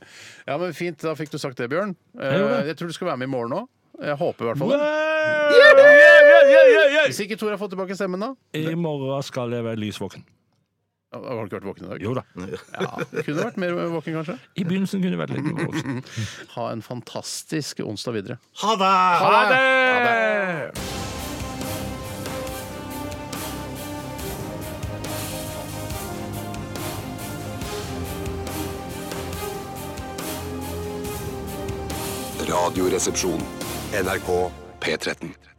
Speaker 4: Ja, men Fint, da fikk du sagt det, Bjørn.
Speaker 5: Jeg gjorde
Speaker 4: Eh,
Speaker 5: det.
Speaker 4: Jeg tror du skal være med i morgen òg. Jeg håper i hvert fall det. Hvis ikke Tor har fått tilbake stemmen, da?
Speaker 5: I morgen skal jeg være lys våken.
Speaker 4: Har du ikke vært våken i dag?
Speaker 5: Jo da.
Speaker 4: Ja, kunne vært mer våken, kanskje.
Speaker 5: I begynnelsen kunne jeg vært litt våken.
Speaker 4: Ha en fantastisk onsdag videre.
Speaker 6: Ha det!
Speaker 4: Ha det!
Speaker 2: Radioresepsjon. NRK P13.